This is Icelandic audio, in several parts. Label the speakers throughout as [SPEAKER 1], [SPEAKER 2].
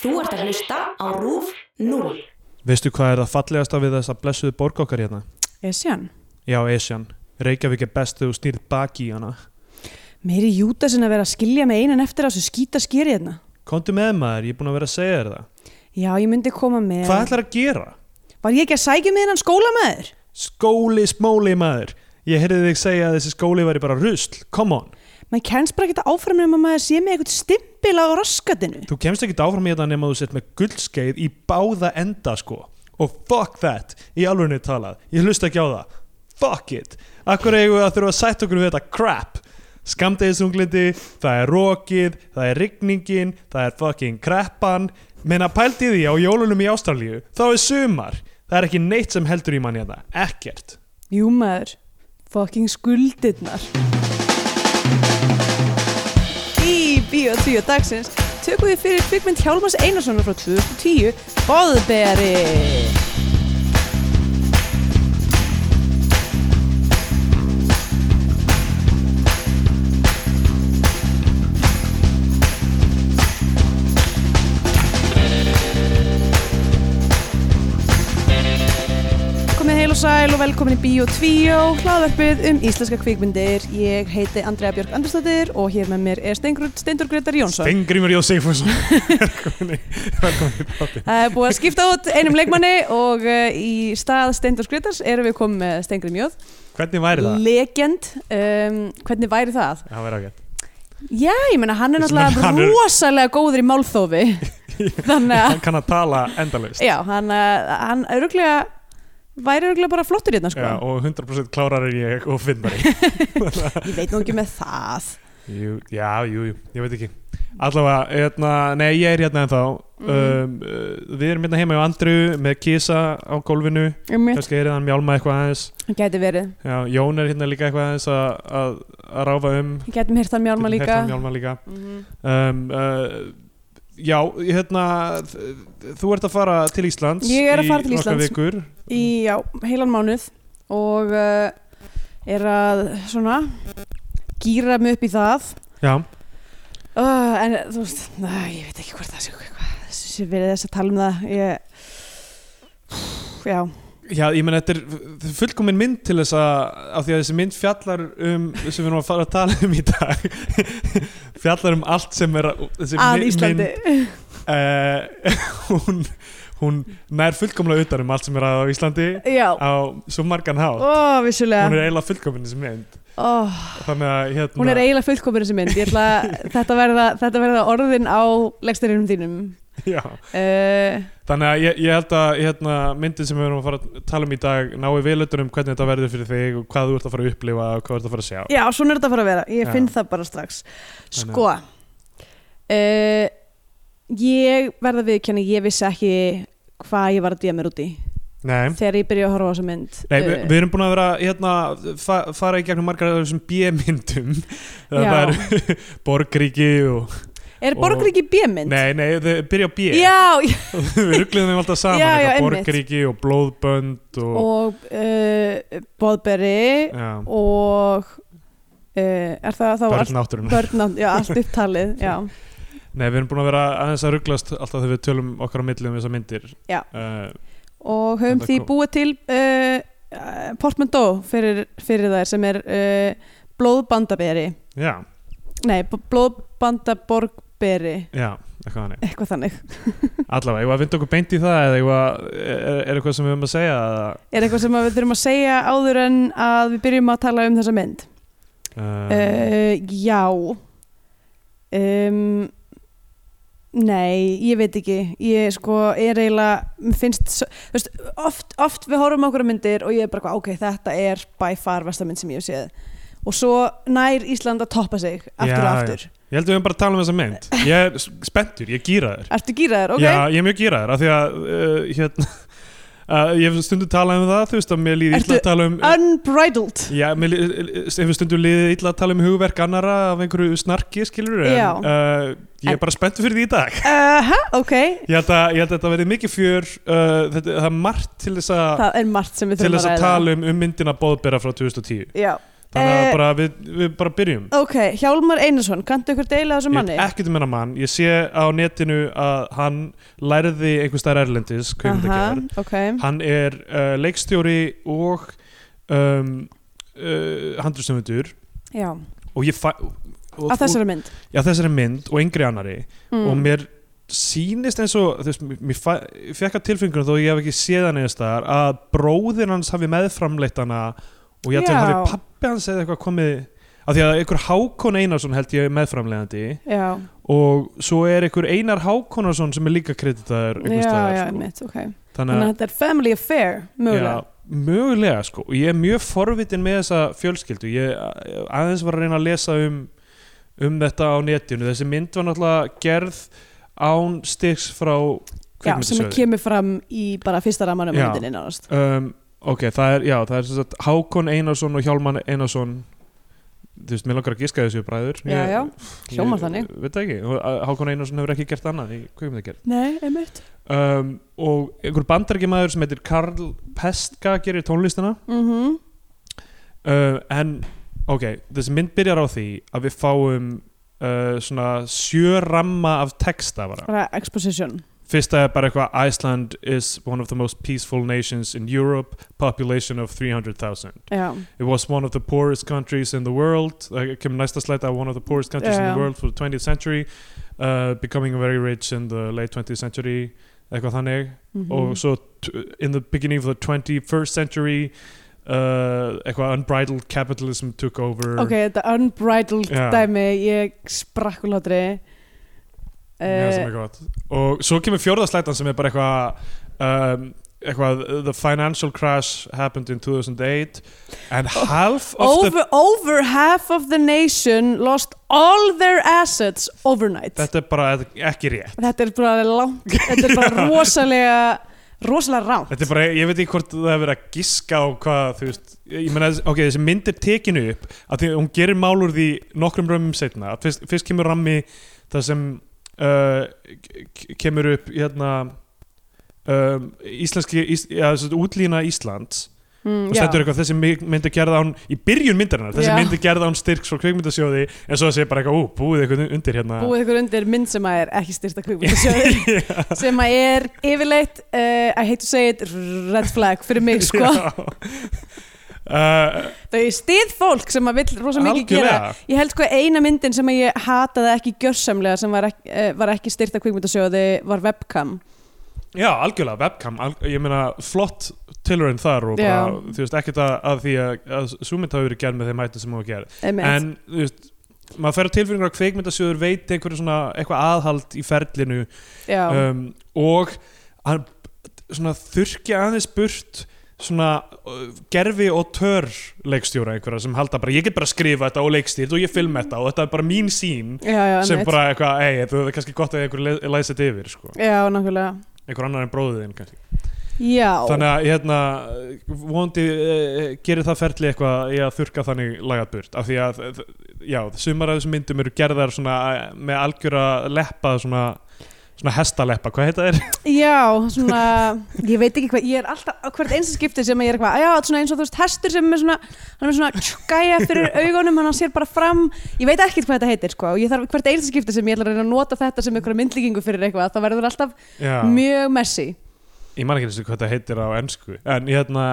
[SPEAKER 1] Þú ert að hlusta á RÚF 0.
[SPEAKER 2] Veistu hvað er það fallegasta við þessa blessuðu borg okkar hérna?
[SPEAKER 3] Esjan
[SPEAKER 2] Já, Esjan. Reykjavík er best þegar þú snýr baki í hana.
[SPEAKER 3] Meiri Júdas en að vera að skilja með einan eftir á þessu skýta skýri hérna
[SPEAKER 2] Komdu með maður, ég er búin að vera að segja þér það.
[SPEAKER 3] Já, ég myndi koma með
[SPEAKER 2] Hvað ætlar að gera?
[SPEAKER 3] Var ég ekki að sækja með hennan skóla með þér?
[SPEAKER 2] Skóli, smóli maður. Ég heyrði þig segja að þessi skóli væri bara rusl. Come on.
[SPEAKER 3] Maður kennst bara ekki að áfram nema maður sé með eitthvað stimpil á raskatinu
[SPEAKER 2] Þú kemst ekki áfram í þetta nema þú sett með guldskeið í báða enda sko og fuck that, í alvegni talað ég hlusta ekki á það, fuck it Akkur eigum við að þurfa að sætt okkur við þetta crap Skamdegisunglindu það er rokið, það er rigningin það er fucking kreppan menna pælt í því á jólunum í Ástralíu þá er sumar, það er ekki neitt sem heldur í mann hérna, ekkert
[SPEAKER 3] Jú maður, fucking skuldirnar Í Bíó 10 dagsins tökum við fyrir kvikmynd Hjálmars Einarssonar frá 2010 Bóðberi Komið heil og sæl og velkomin í Bíó 2, hlaðverfið um íslenska kvikmyndir. Ég heiti Andrea Björk Andrastaddir og hér með mér er Steingrú- Steindór Gretar Jónsson.
[SPEAKER 2] Stengrimur Jósef velkomin í velkomin í þáttinn.
[SPEAKER 3] Það er búið að skipta út einum leikmanni og uh, í stað Steindórs Gretars erum við komið með Steingrim Jóð.
[SPEAKER 2] Hvernig væri það?
[SPEAKER 3] Legend. Um, hvernig væri það?
[SPEAKER 2] Það væri ágætt
[SPEAKER 3] Já, ég meina hann er
[SPEAKER 2] Ég meina,
[SPEAKER 3] náttúrulega
[SPEAKER 2] hann er-
[SPEAKER 3] rosalega góður í málþófi. Þannig að,
[SPEAKER 2] Hann kann að tala endalaust
[SPEAKER 3] já, hann, uh, hann öruglega, væri öruglega bara flottur hérna, sko.
[SPEAKER 2] Já, og 100% klárar en ég og finnari
[SPEAKER 3] Ég veit nú ekki með það.
[SPEAKER 2] jú, Já, jú, jú, ég veit ekki Allavega, hérna, nei, ég er hérna ennþá
[SPEAKER 3] Mhm.
[SPEAKER 2] um, uh, Við erum hérna heima hjá Andru með kisa á gólfinu
[SPEAKER 3] Um
[SPEAKER 2] Kannski er hann mjálma eitthvað aðeins
[SPEAKER 3] Gæti verið.
[SPEAKER 2] já, Jón er hérna líka eitthvað aðeins að, að, að ráfa um
[SPEAKER 3] Við Gætum hirt hann mjálma
[SPEAKER 2] Getum heyrt
[SPEAKER 3] líka.
[SPEAKER 2] hann mjálma líka.
[SPEAKER 3] Mhm.
[SPEAKER 2] Um, uh, Já, hérna, þ- þú ert að fara til Íslands
[SPEAKER 3] Ég er að fara
[SPEAKER 2] í
[SPEAKER 3] til
[SPEAKER 2] nokkrar
[SPEAKER 3] Íslands.
[SPEAKER 2] vikur.
[SPEAKER 3] í já, heilan mánuð og uh, er að svona gýra mig upp í það
[SPEAKER 2] Já,
[SPEAKER 3] uh, en þú veist, næ, ég veit ekki hvort það sé hvað þessu sé verið þess að tala um það ég já,
[SPEAKER 2] Já, ég menn, þetta er fullkomin mynd til þess að, af því að þessi mynd fjallar um, sem við erum að fara að tala um í dag, fjallar um allt sem er, að- þessi
[SPEAKER 3] að
[SPEAKER 2] mi-
[SPEAKER 3] Íslandi
[SPEAKER 2] mynd, uh, hún, hún nær fullkomlega utan um allt sem er að á Íslandi
[SPEAKER 3] já,
[SPEAKER 2] á svo margan hátt.
[SPEAKER 3] ó,
[SPEAKER 2] Hún er e-
[SPEAKER 3] vissulega
[SPEAKER 2] eiginlega fullkomin þessi mynd,
[SPEAKER 3] ó,
[SPEAKER 2] þannig að, hérna,
[SPEAKER 3] hún er eiginlega fullkomur þessi mynd ég ætla að þetta verða, þetta verða orðin á leggstærinum þínum
[SPEAKER 2] já,
[SPEAKER 3] uh,
[SPEAKER 2] þannig að ég, ég held að, hérna, myndin sem við erum að fara að tala um í dag nái vilutur um hvernig þetta verður fyrir þig og hvað þú ert að fara að upplifa og hvað þú ert að fara að sjá.
[SPEAKER 3] Já, svona er þetta að fara að vera, ég
[SPEAKER 2] Já.
[SPEAKER 3] finn það bara strax Sko uh, Ég verða við kynna, ég vissi ekki hvað ég var að dýja mér út í
[SPEAKER 2] Nei.
[SPEAKER 3] þegar ég byrja að horfa á þessa mynd
[SPEAKER 2] Nei, við,
[SPEAKER 3] Eh,
[SPEAKER 2] við erum búin að vera hérna, fa fara í gegnum margar af þessum B-myndum það
[SPEAKER 3] Já.
[SPEAKER 2] er borgríki og...
[SPEAKER 3] Er borgríki B-mynd?
[SPEAKER 2] Nei, nei, þau byrja á B
[SPEAKER 3] Já, já,
[SPEAKER 2] við ruggluðum þeim alltaf saman
[SPEAKER 3] Já, já,
[SPEAKER 2] eitthvað
[SPEAKER 3] einmitt.
[SPEAKER 2] borgríki og blóðbönd og,
[SPEAKER 3] og uh, Bóðberi
[SPEAKER 2] já,
[SPEAKER 3] og uh, er það þá allt-
[SPEAKER 2] börn náttúrun
[SPEAKER 3] börn, já, allt upptalið já.
[SPEAKER 2] Nei, við erum búin að vera aðeins að rugglast alltaf þegar við tölum okkar á milli um þessar myndir
[SPEAKER 3] Já.
[SPEAKER 2] uh,
[SPEAKER 3] og höfum
[SPEAKER 2] Þetta
[SPEAKER 3] því
[SPEAKER 2] kom-
[SPEAKER 3] búið til uh, eh, portmanteau fyrir, fyrir þær sem er uh, blóðbandaberi
[SPEAKER 2] Já,
[SPEAKER 3] Nei, b- blóðbandaborgberi
[SPEAKER 2] já, eitthvað þannig
[SPEAKER 3] eitthvað þannig.
[SPEAKER 2] Allavega, ég var að vinda okkur beint í það eða eigum við að- er, er eitthvað sem við höfum að segja eða,
[SPEAKER 3] Er eitthvað sem að við þurfum að segja áður en að við byrjum að tala um þessa mynd?
[SPEAKER 2] uh,
[SPEAKER 3] Uh, já. Um, nei, ég veit ekki. Ég sko er eiginlega, mér finnst, svo- þú veist, oft, oft við horfum á okkur myndir og ég er bara, eitthvað, ok, þetta er by far vestamynd sem ég hef séð. Og svo nær Ísland að toppa sig aftur og
[SPEAKER 2] Já,
[SPEAKER 3] aftur.
[SPEAKER 2] Ég held að við höfum bara að tala um þessa mynd Ég er spenntur, ég gýra þér
[SPEAKER 3] Ertu gýraður, ok?
[SPEAKER 2] Já, ég er mjög gýraður af því að uh, hérna, uh, ég hef stundu talað um það þú veist að mér líði illa
[SPEAKER 3] Ertu
[SPEAKER 2] að tala um
[SPEAKER 3] Unbridled.
[SPEAKER 2] Já, mér líði- hefur stundu líði illa að tala um hugverk annara af einhverju snarki, skilur en
[SPEAKER 3] Já.
[SPEAKER 2] uh, ég er
[SPEAKER 3] En-
[SPEAKER 2] bara spenntur fyrir því í dag
[SPEAKER 3] Uh, ok,
[SPEAKER 2] Ég held að, ég held að þetta verði mikið fjör uh, þetta, það er margt til þess að
[SPEAKER 3] það er margt sem við
[SPEAKER 2] til
[SPEAKER 3] þurfum
[SPEAKER 2] þess
[SPEAKER 3] að ræða.
[SPEAKER 2] að tala um um myndina Bóðbera frá 2010
[SPEAKER 3] Já,
[SPEAKER 2] Þannig að
[SPEAKER 3] Eh,
[SPEAKER 2] bara, við, við bara byrjum
[SPEAKER 3] ok, Hjálmar Einarsson, kanntu ykkur deila þessu
[SPEAKER 2] Ég
[SPEAKER 3] manni?
[SPEAKER 2] veit ekkert um hennar mann Ég sé á netinu að hann lærði einhvers staðar erlendis
[SPEAKER 3] Aha,
[SPEAKER 2] kvikmyndagerð
[SPEAKER 3] ok,
[SPEAKER 2] Hann er uh, leikstjóri og um, uh, handrustöfundur
[SPEAKER 3] já,
[SPEAKER 2] og ég fæ og,
[SPEAKER 3] að þessari mynd
[SPEAKER 2] og, já, þessari mynd og yngri annari
[SPEAKER 3] mm.
[SPEAKER 2] og mér sýnist eins og þú veist, mér- mér fæ, fekk að tilfengunum þó ég hef ekki séð hann eða staðar að bróðir hans hafi meðframleitt hana og ég til
[SPEAKER 3] Já.
[SPEAKER 2] hafi pappi hans eða eitthvað komið af því að einhver Hákon Einarsson held ég er meðframleiðandi
[SPEAKER 3] já,
[SPEAKER 2] og svo er einhver Einar Hákonarsson sem er líka kreditaður
[SPEAKER 3] já,
[SPEAKER 2] einhvers staðar,
[SPEAKER 3] já,
[SPEAKER 2] sko.
[SPEAKER 3] mitt, ok
[SPEAKER 2] þannig
[SPEAKER 3] þannig
[SPEAKER 2] að
[SPEAKER 3] að þetta er family affair, mögulega
[SPEAKER 2] Já, mögulega sko og ég er mjög forvitin með þessa fjölskyldu ég a- aðeins var að reyna að lesa um um þetta á netinu þessi mynd var náttúrulega gerð án stiks frá
[SPEAKER 3] Já, sem að
[SPEAKER 2] kvikmyndasöðu
[SPEAKER 3] kemur fram í bara fyrsta ramanum
[SPEAKER 2] Já.
[SPEAKER 3] myndinni nánast
[SPEAKER 2] um, ok, það er, já, það er sem sagt, Hákon Einarsson og Hjálman Einarsson þú veist, mér langar að giska þessu bræður
[SPEAKER 3] Já, já, hljómar þannig.
[SPEAKER 2] ég, veit það ekki, og, að, Hákon Einarsson hefur ekki gert annað í kvikmyndagerð
[SPEAKER 3] Nei, einmitt
[SPEAKER 2] um, og einhver bandarækjamaður sem heitir Karl Pestka gerir tónlistina
[SPEAKER 3] mm
[SPEAKER 2] uh, en ok, þessi mynd byrjar á því að við fáum uh, svona sjö ramma af texta bara.
[SPEAKER 3] Bara exposition
[SPEAKER 2] fyrsta er bara eitthvað Iceland is one of the most peaceful nations in Europe population of 300,000
[SPEAKER 3] Já,
[SPEAKER 2] it was one of the poorest countries in the world það kemur næsta slæta one of the poorest countries in
[SPEAKER 3] Já.
[SPEAKER 2] the world for the 20th century uh, becoming very rich in the late 20th century eitthvað þannig
[SPEAKER 3] mm
[SPEAKER 2] og svo t- in the beginning of the 21st century uh, eitthvað unbridled capitalism took over
[SPEAKER 3] Ok, þetta unbridled
[SPEAKER 2] Já.
[SPEAKER 3] dæmi Ég sprakk úr hlátri
[SPEAKER 2] Já, sem
[SPEAKER 3] uh,
[SPEAKER 2] er gott. og svo kemur fjórðaslætan sem er bara eitthvað um, eitthvað the financial crash happened in 2008 and half of the
[SPEAKER 3] over, over half of the nation lost all their assets overnight
[SPEAKER 2] þetta er bara ekki rétt
[SPEAKER 3] Þetta er bara langt Þetta er bara rosalega rosalega rámt
[SPEAKER 2] Þetta er bara, ég veit ekki hvort það hefur verið að giska á hvað, þú veist, ég meina, ok, þessi mynd er tekinu upp, að því hún gerir mál úr því nokkrum römmum setna, fyrst, fyrst kemur rammi það sem uh, k- k- kemur upp, hérna, um, íslenski, ís, ja, þessi, útlína Íslands,
[SPEAKER 3] mm,
[SPEAKER 2] og
[SPEAKER 3] já.
[SPEAKER 2] stendur eitthvað, þessi mi- mynd er gerð án, í byrjun myndarinnar, þessi
[SPEAKER 3] Já.
[SPEAKER 2] mynd er gerð án styrks frá kveikmyndasjóði, en svo þessi er bara eitthvað, ú, búið eitthvað undir hérna.
[SPEAKER 3] Búið ykkur undir mynd sem að er ekki styrta kvíkmyndasjóður sem að er yfirleitt uh, I hate to say it, red flag fyrir mig sko,
[SPEAKER 2] Uh,
[SPEAKER 3] þau stið fólk sem að vill rosa mikið gera ég held sko eina myndin sem að ég hataði ekki gjörsamlega sem var ekki, uh, var ekki styrta kvíkmyndasjóði var webcam
[SPEAKER 2] Já, algjörlega, webcam, al ég meina flott tilurinn þar og bara,
[SPEAKER 3] Já.
[SPEAKER 2] þú veist, ekkert að, að því að, að súmynd hafi verið gerð með þeim hættum sem hafa gerð.
[SPEAKER 3] en,
[SPEAKER 2] En, þú veist, maður fer á tilfinningur að kveikmyndasjóður veit einhverju svona, eitthvað aðhald í ferlinu
[SPEAKER 3] já,
[SPEAKER 2] um, og hann svona þurrki aðeins burt svona uh, gerfi og tör leikstjóra einhverja sem halda bara, ég get bara að skrifa þetta og leikstýrt og ég film þetta og þetta er bara mín sín
[SPEAKER 3] já, já,
[SPEAKER 2] sem
[SPEAKER 3] einmitt.
[SPEAKER 2] bara eitthvað, ei, þú veist, kannski gott að einhverju le- læsi þetta yfir, sko.
[SPEAKER 3] já, nákvæmlega
[SPEAKER 2] Einhver annar en bróðið þinn, kannski.
[SPEAKER 3] já,
[SPEAKER 2] Þannig að hérna, vondi uh, gerir það ferli eitthvað í að þurka þannig lagat burt af því að, eh, já, sumar af þessum myndum eru gerðar svona eh, með algjöra leppa, svona, svona hestaleppa, hvað heita þeir?
[SPEAKER 3] já, svona ég veit ekki hvað, ég er alltaf á hvert eins skipti sem að ég er eitthvað, já, svona eins og þú veist hestur sem er með svona, hann er með svona gæja fyrir augunum, hann sér bara fram ég veit ekkert hvað þetta heitir, sko, og ég þarf hvert eins skipti sem ég ætla að reyna að nota þetta sem einhverja myndlíkingu fyrir eitthvað, það verður alltaf
[SPEAKER 2] Já,
[SPEAKER 3] mjög messy
[SPEAKER 2] ég man ekki eins og hvað þetta heitir á ennsku en hérna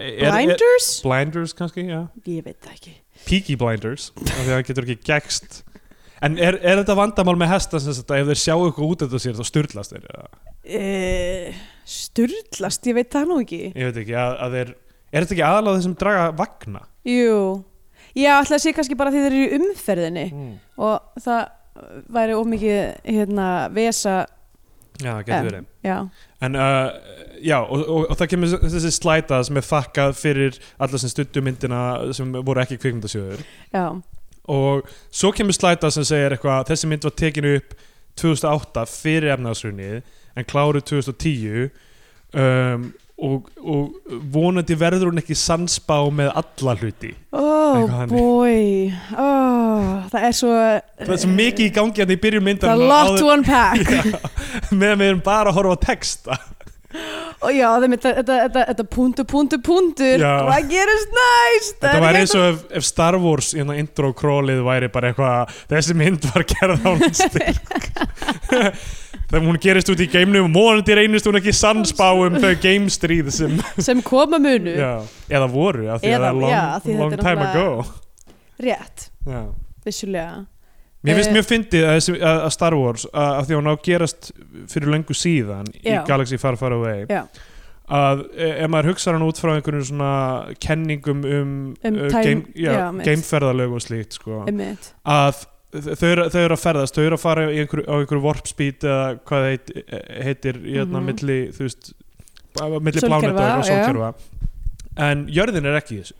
[SPEAKER 2] er, Er,
[SPEAKER 3] Blinders?
[SPEAKER 2] blinders kannski, já
[SPEAKER 3] Ég veit það ekki
[SPEAKER 2] Peaky Blinders, af því að hann getur ekki gegst En er, er þetta vandamál með hesta sem þetta, ef þeir sjáu eitthvað út þetta sér þá styrlast þeir, eða?
[SPEAKER 3] uh, Sturlast, ég veit það nú ekki
[SPEAKER 2] ég veit ekki, að, að þeir Er þetta ekki aðalega þessum draga vagna?
[SPEAKER 3] Jú Já, ætla að sé kannski bara því þeir eru í umferðinni
[SPEAKER 2] Mm.
[SPEAKER 3] og það væri ómikið hérna vesa
[SPEAKER 2] Já, það getur
[SPEAKER 3] em,
[SPEAKER 2] verið
[SPEAKER 3] Já,
[SPEAKER 2] En uh, já, og, og, og það kemur þessi slæta sem er þakkað fyrir alla sem stuttu myndina sem voru ekki kvikmyndasjóður
[SPEAKER 3] já,
[SPEAKER 2] og svo kemur slæta sem segir eitthvað þessi mynd var tekinu upp 2008 fyrir efnaðsrunnið en kláruð 2010 um, og, og vonandi verður hún ekki sannspá með alla hluti
[SPEAKER 3] oh
[SPEAKER 2] Eitthvað þannig.
[SPEAKER 3] boy oh, Það er svo
[SPEAKER 2] Það er svo mikið í gangi að um þið byrjum
[SPEAKER 3] Það
[SPEAKER 2] myndar
[SPEAKER 3] er lot to unpack
[SPEAKER 2] meðan við erum bara að horfa á texta
[SPEAKER 3] og já, það mitt, þetta, þetta, þetta punktur, punktur, punktur
[SPEAKER 2] Já.
[SPEAKER 3] hvað gerist næst
[SPEAKER 2] Þetta
[SPEAKER 3] er hérna
[SPEAKER 2] var
[SPEAKER 3] ekki
[SPEAKER 2] eins og ef, ef Star Wars hérna intro królið væri bara eitthvað þessi mynd var gerð án styrk þegar hún gerist út í geimnum mónandi reynist hún ekki sannspá um þau geimstríð sem
[SPEAKER 3] hægt sem koma munu
[SPEAKER 2] já, eða voru af því að
[SPEAKER 3] Eða-
[SPEAKER 2] það er long,
[SPEAKER 3] já, af því þetta
[SPEAKER 2] long
[SPEAKER 3] er
[SPEAKER 2] time ago
[SPEAKER 3] náttúrulega- rétt,
[SPEAKER 2] já.
[SPEAKER 3] vissulega
[SPEAKER 2] Mér finnst
[SPEAKER 3] Eh.
[SPEAKER 2] mjög fyndið að, þessi- að, að Star Wars að, að því að hún á að gerast fyrir löngu síðan í
[SPEAKER 3] Já.
[SPEAKER 2] Galaxy Far Far Away
[SPEAKER 3] Já.
[SPEAKER 2] að e, ef maður hugsar hann út frá einhverjum svona kenningum um,
[SPEAKER 3] Um
[SPEAKER 2] uh,
[SPEAKER 3] time-
[SPEAKER 2] game, já,
[SPEAKER 3] já, mitt.
[SPEAKER 2] gameferðalög og slíkt sko.
[SPEAKER 3] einmitt,
[SPEAKER 2] að þau eru, þau eru að ferðast, þau eru að fara í einhver, á einhverju warp speed eða hvað það heit, heitir hérna
[SPEAKER 3] Mhm.
[SPEAKER 2] milli, þú veist bara milli
[SPEAKER 3] Sólkerfa,
[SPEAKER 2] plánetar og
[SPEAKER 3] já.
[SPEAKER 2] sólkerfa en jörðin er ekki í þessu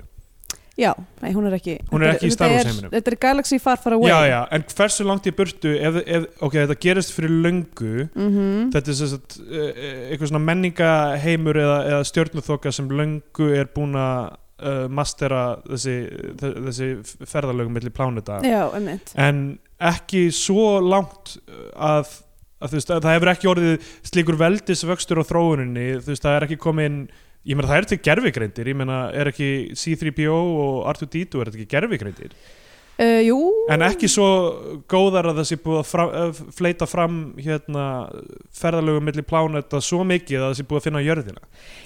[SPEAKER 3] já, nei, hún er ekki
[SPEAKER 2] Hún er
[SPEAKER 3] þetta-
[SPEAKER 2] ekki í
[SPEAKER 3] þetta
[SPEAKER 2] Star Wars
[SPEAKER 3] er-
[SPEAKER 2] heiminum.
[SPEAKER 3] þetta er Galaxy Far Far Away
[SPEAKER 2] já, já, en hversu langt í burtu ef, ef, ok, þetta gerist fyrir löngu
[SPEAKER 3] Mhm.
[SPEAKER 2] þetta er sérst e, eitthvað svona menningaheimur eða, eða stjörnuþoka sem löngu er búin að uh, mastera þessi, þessi ferðalögum milli pláneta
[SPEAKER 3] já, einmitt
[SPEAKER 2] en ekki svo langt uh, að, að, þú veist, að það hefur ekki orðið slíkur veldisvöxtur á þróuninni þú veist, það er ekki komið inn ég meina það er til gerfigreindir, ég meina er ekki C-3PO og R2-D2 er þetta ekki gerfigreindir,
[SPEAKER 3] uh, jú,
[SPEAKER 2] en ekki svo góðar að það sé búið að fram, að fleita fram hérna ferðalögum milli pláneta svo mikið að það sé búið að finna jörðina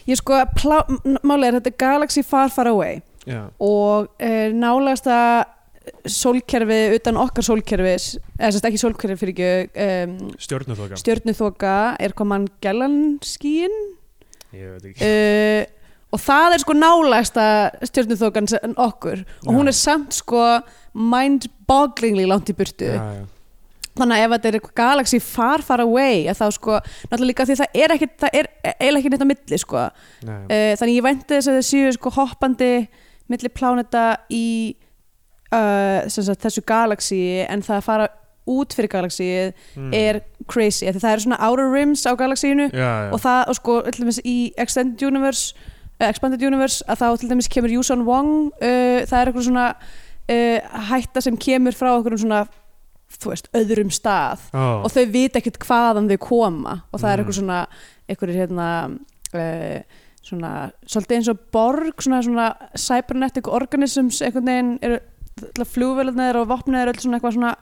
[SPEAKER 3] ég sko plá, máli er þetta er Galaxy Far Far Away
[SPEAKER 2] já,
[SPEAKER 3] og uh, nálegasta sólkerfi utan okkar sólkerfis eða sérst ekki sólkerfi fyrir ekki um,
[SPEAKER 2] stjórnuþokan
[SPEAKER 3] stjörnuþoka er hvað mann Gellanskíin
[SPEAKER 2] ég veit ekki
[SPEAKER 3] uh, og það er sko nálegasta stjörnuþokan sem okkur og hún
[SPEAKER 2] Já.
[SPEAKER 3] er samt sko mind-bogglingly langt í burtu
[SPEAKER 2] já, já.
[SPEAKER 3] þannig að ef þetta er eitthvað galaxy far far away að þá sko, náttúrulega líka því það er ekki það er eiginlega ekki neitt á milli sko
[SPEAKER 2] Nei.
[SPEAKER 3] uh, þannig ég vænti þess að þið séu sko hoppandi milli pláneta í uh, sem sagt, þessu galaxí en það að fara út fyrir galaxíið
[SPEAKER 2] Mm.
[SPEAKER 3] er crazy af því það eru svona outer rims á galaxíinu
[SPEAKER 2] já, já.
[SPEAKER 3] og það og sko til dæmis í Extended Universe uh, Expanded Universe að þá til dæmis kemur Yuson Wong uh, það er eitthvað svona uh, hætta sem kemur frá okkur svona þú veist, öðrum stað
[SPEAKER 2] Ó,
[SPEAKER 3] og þau vita ekkert hvaðan þau koma og það er
[SPEAKER 2] Mm.
[SPEAKER 3] eitthvað svona eitthvað hérna uh, svona, svolítið eins og borg svona, svona cybernetic organisms einhvern veginn eru flugvelarnir og vopnið eru öll svona eitthvað svona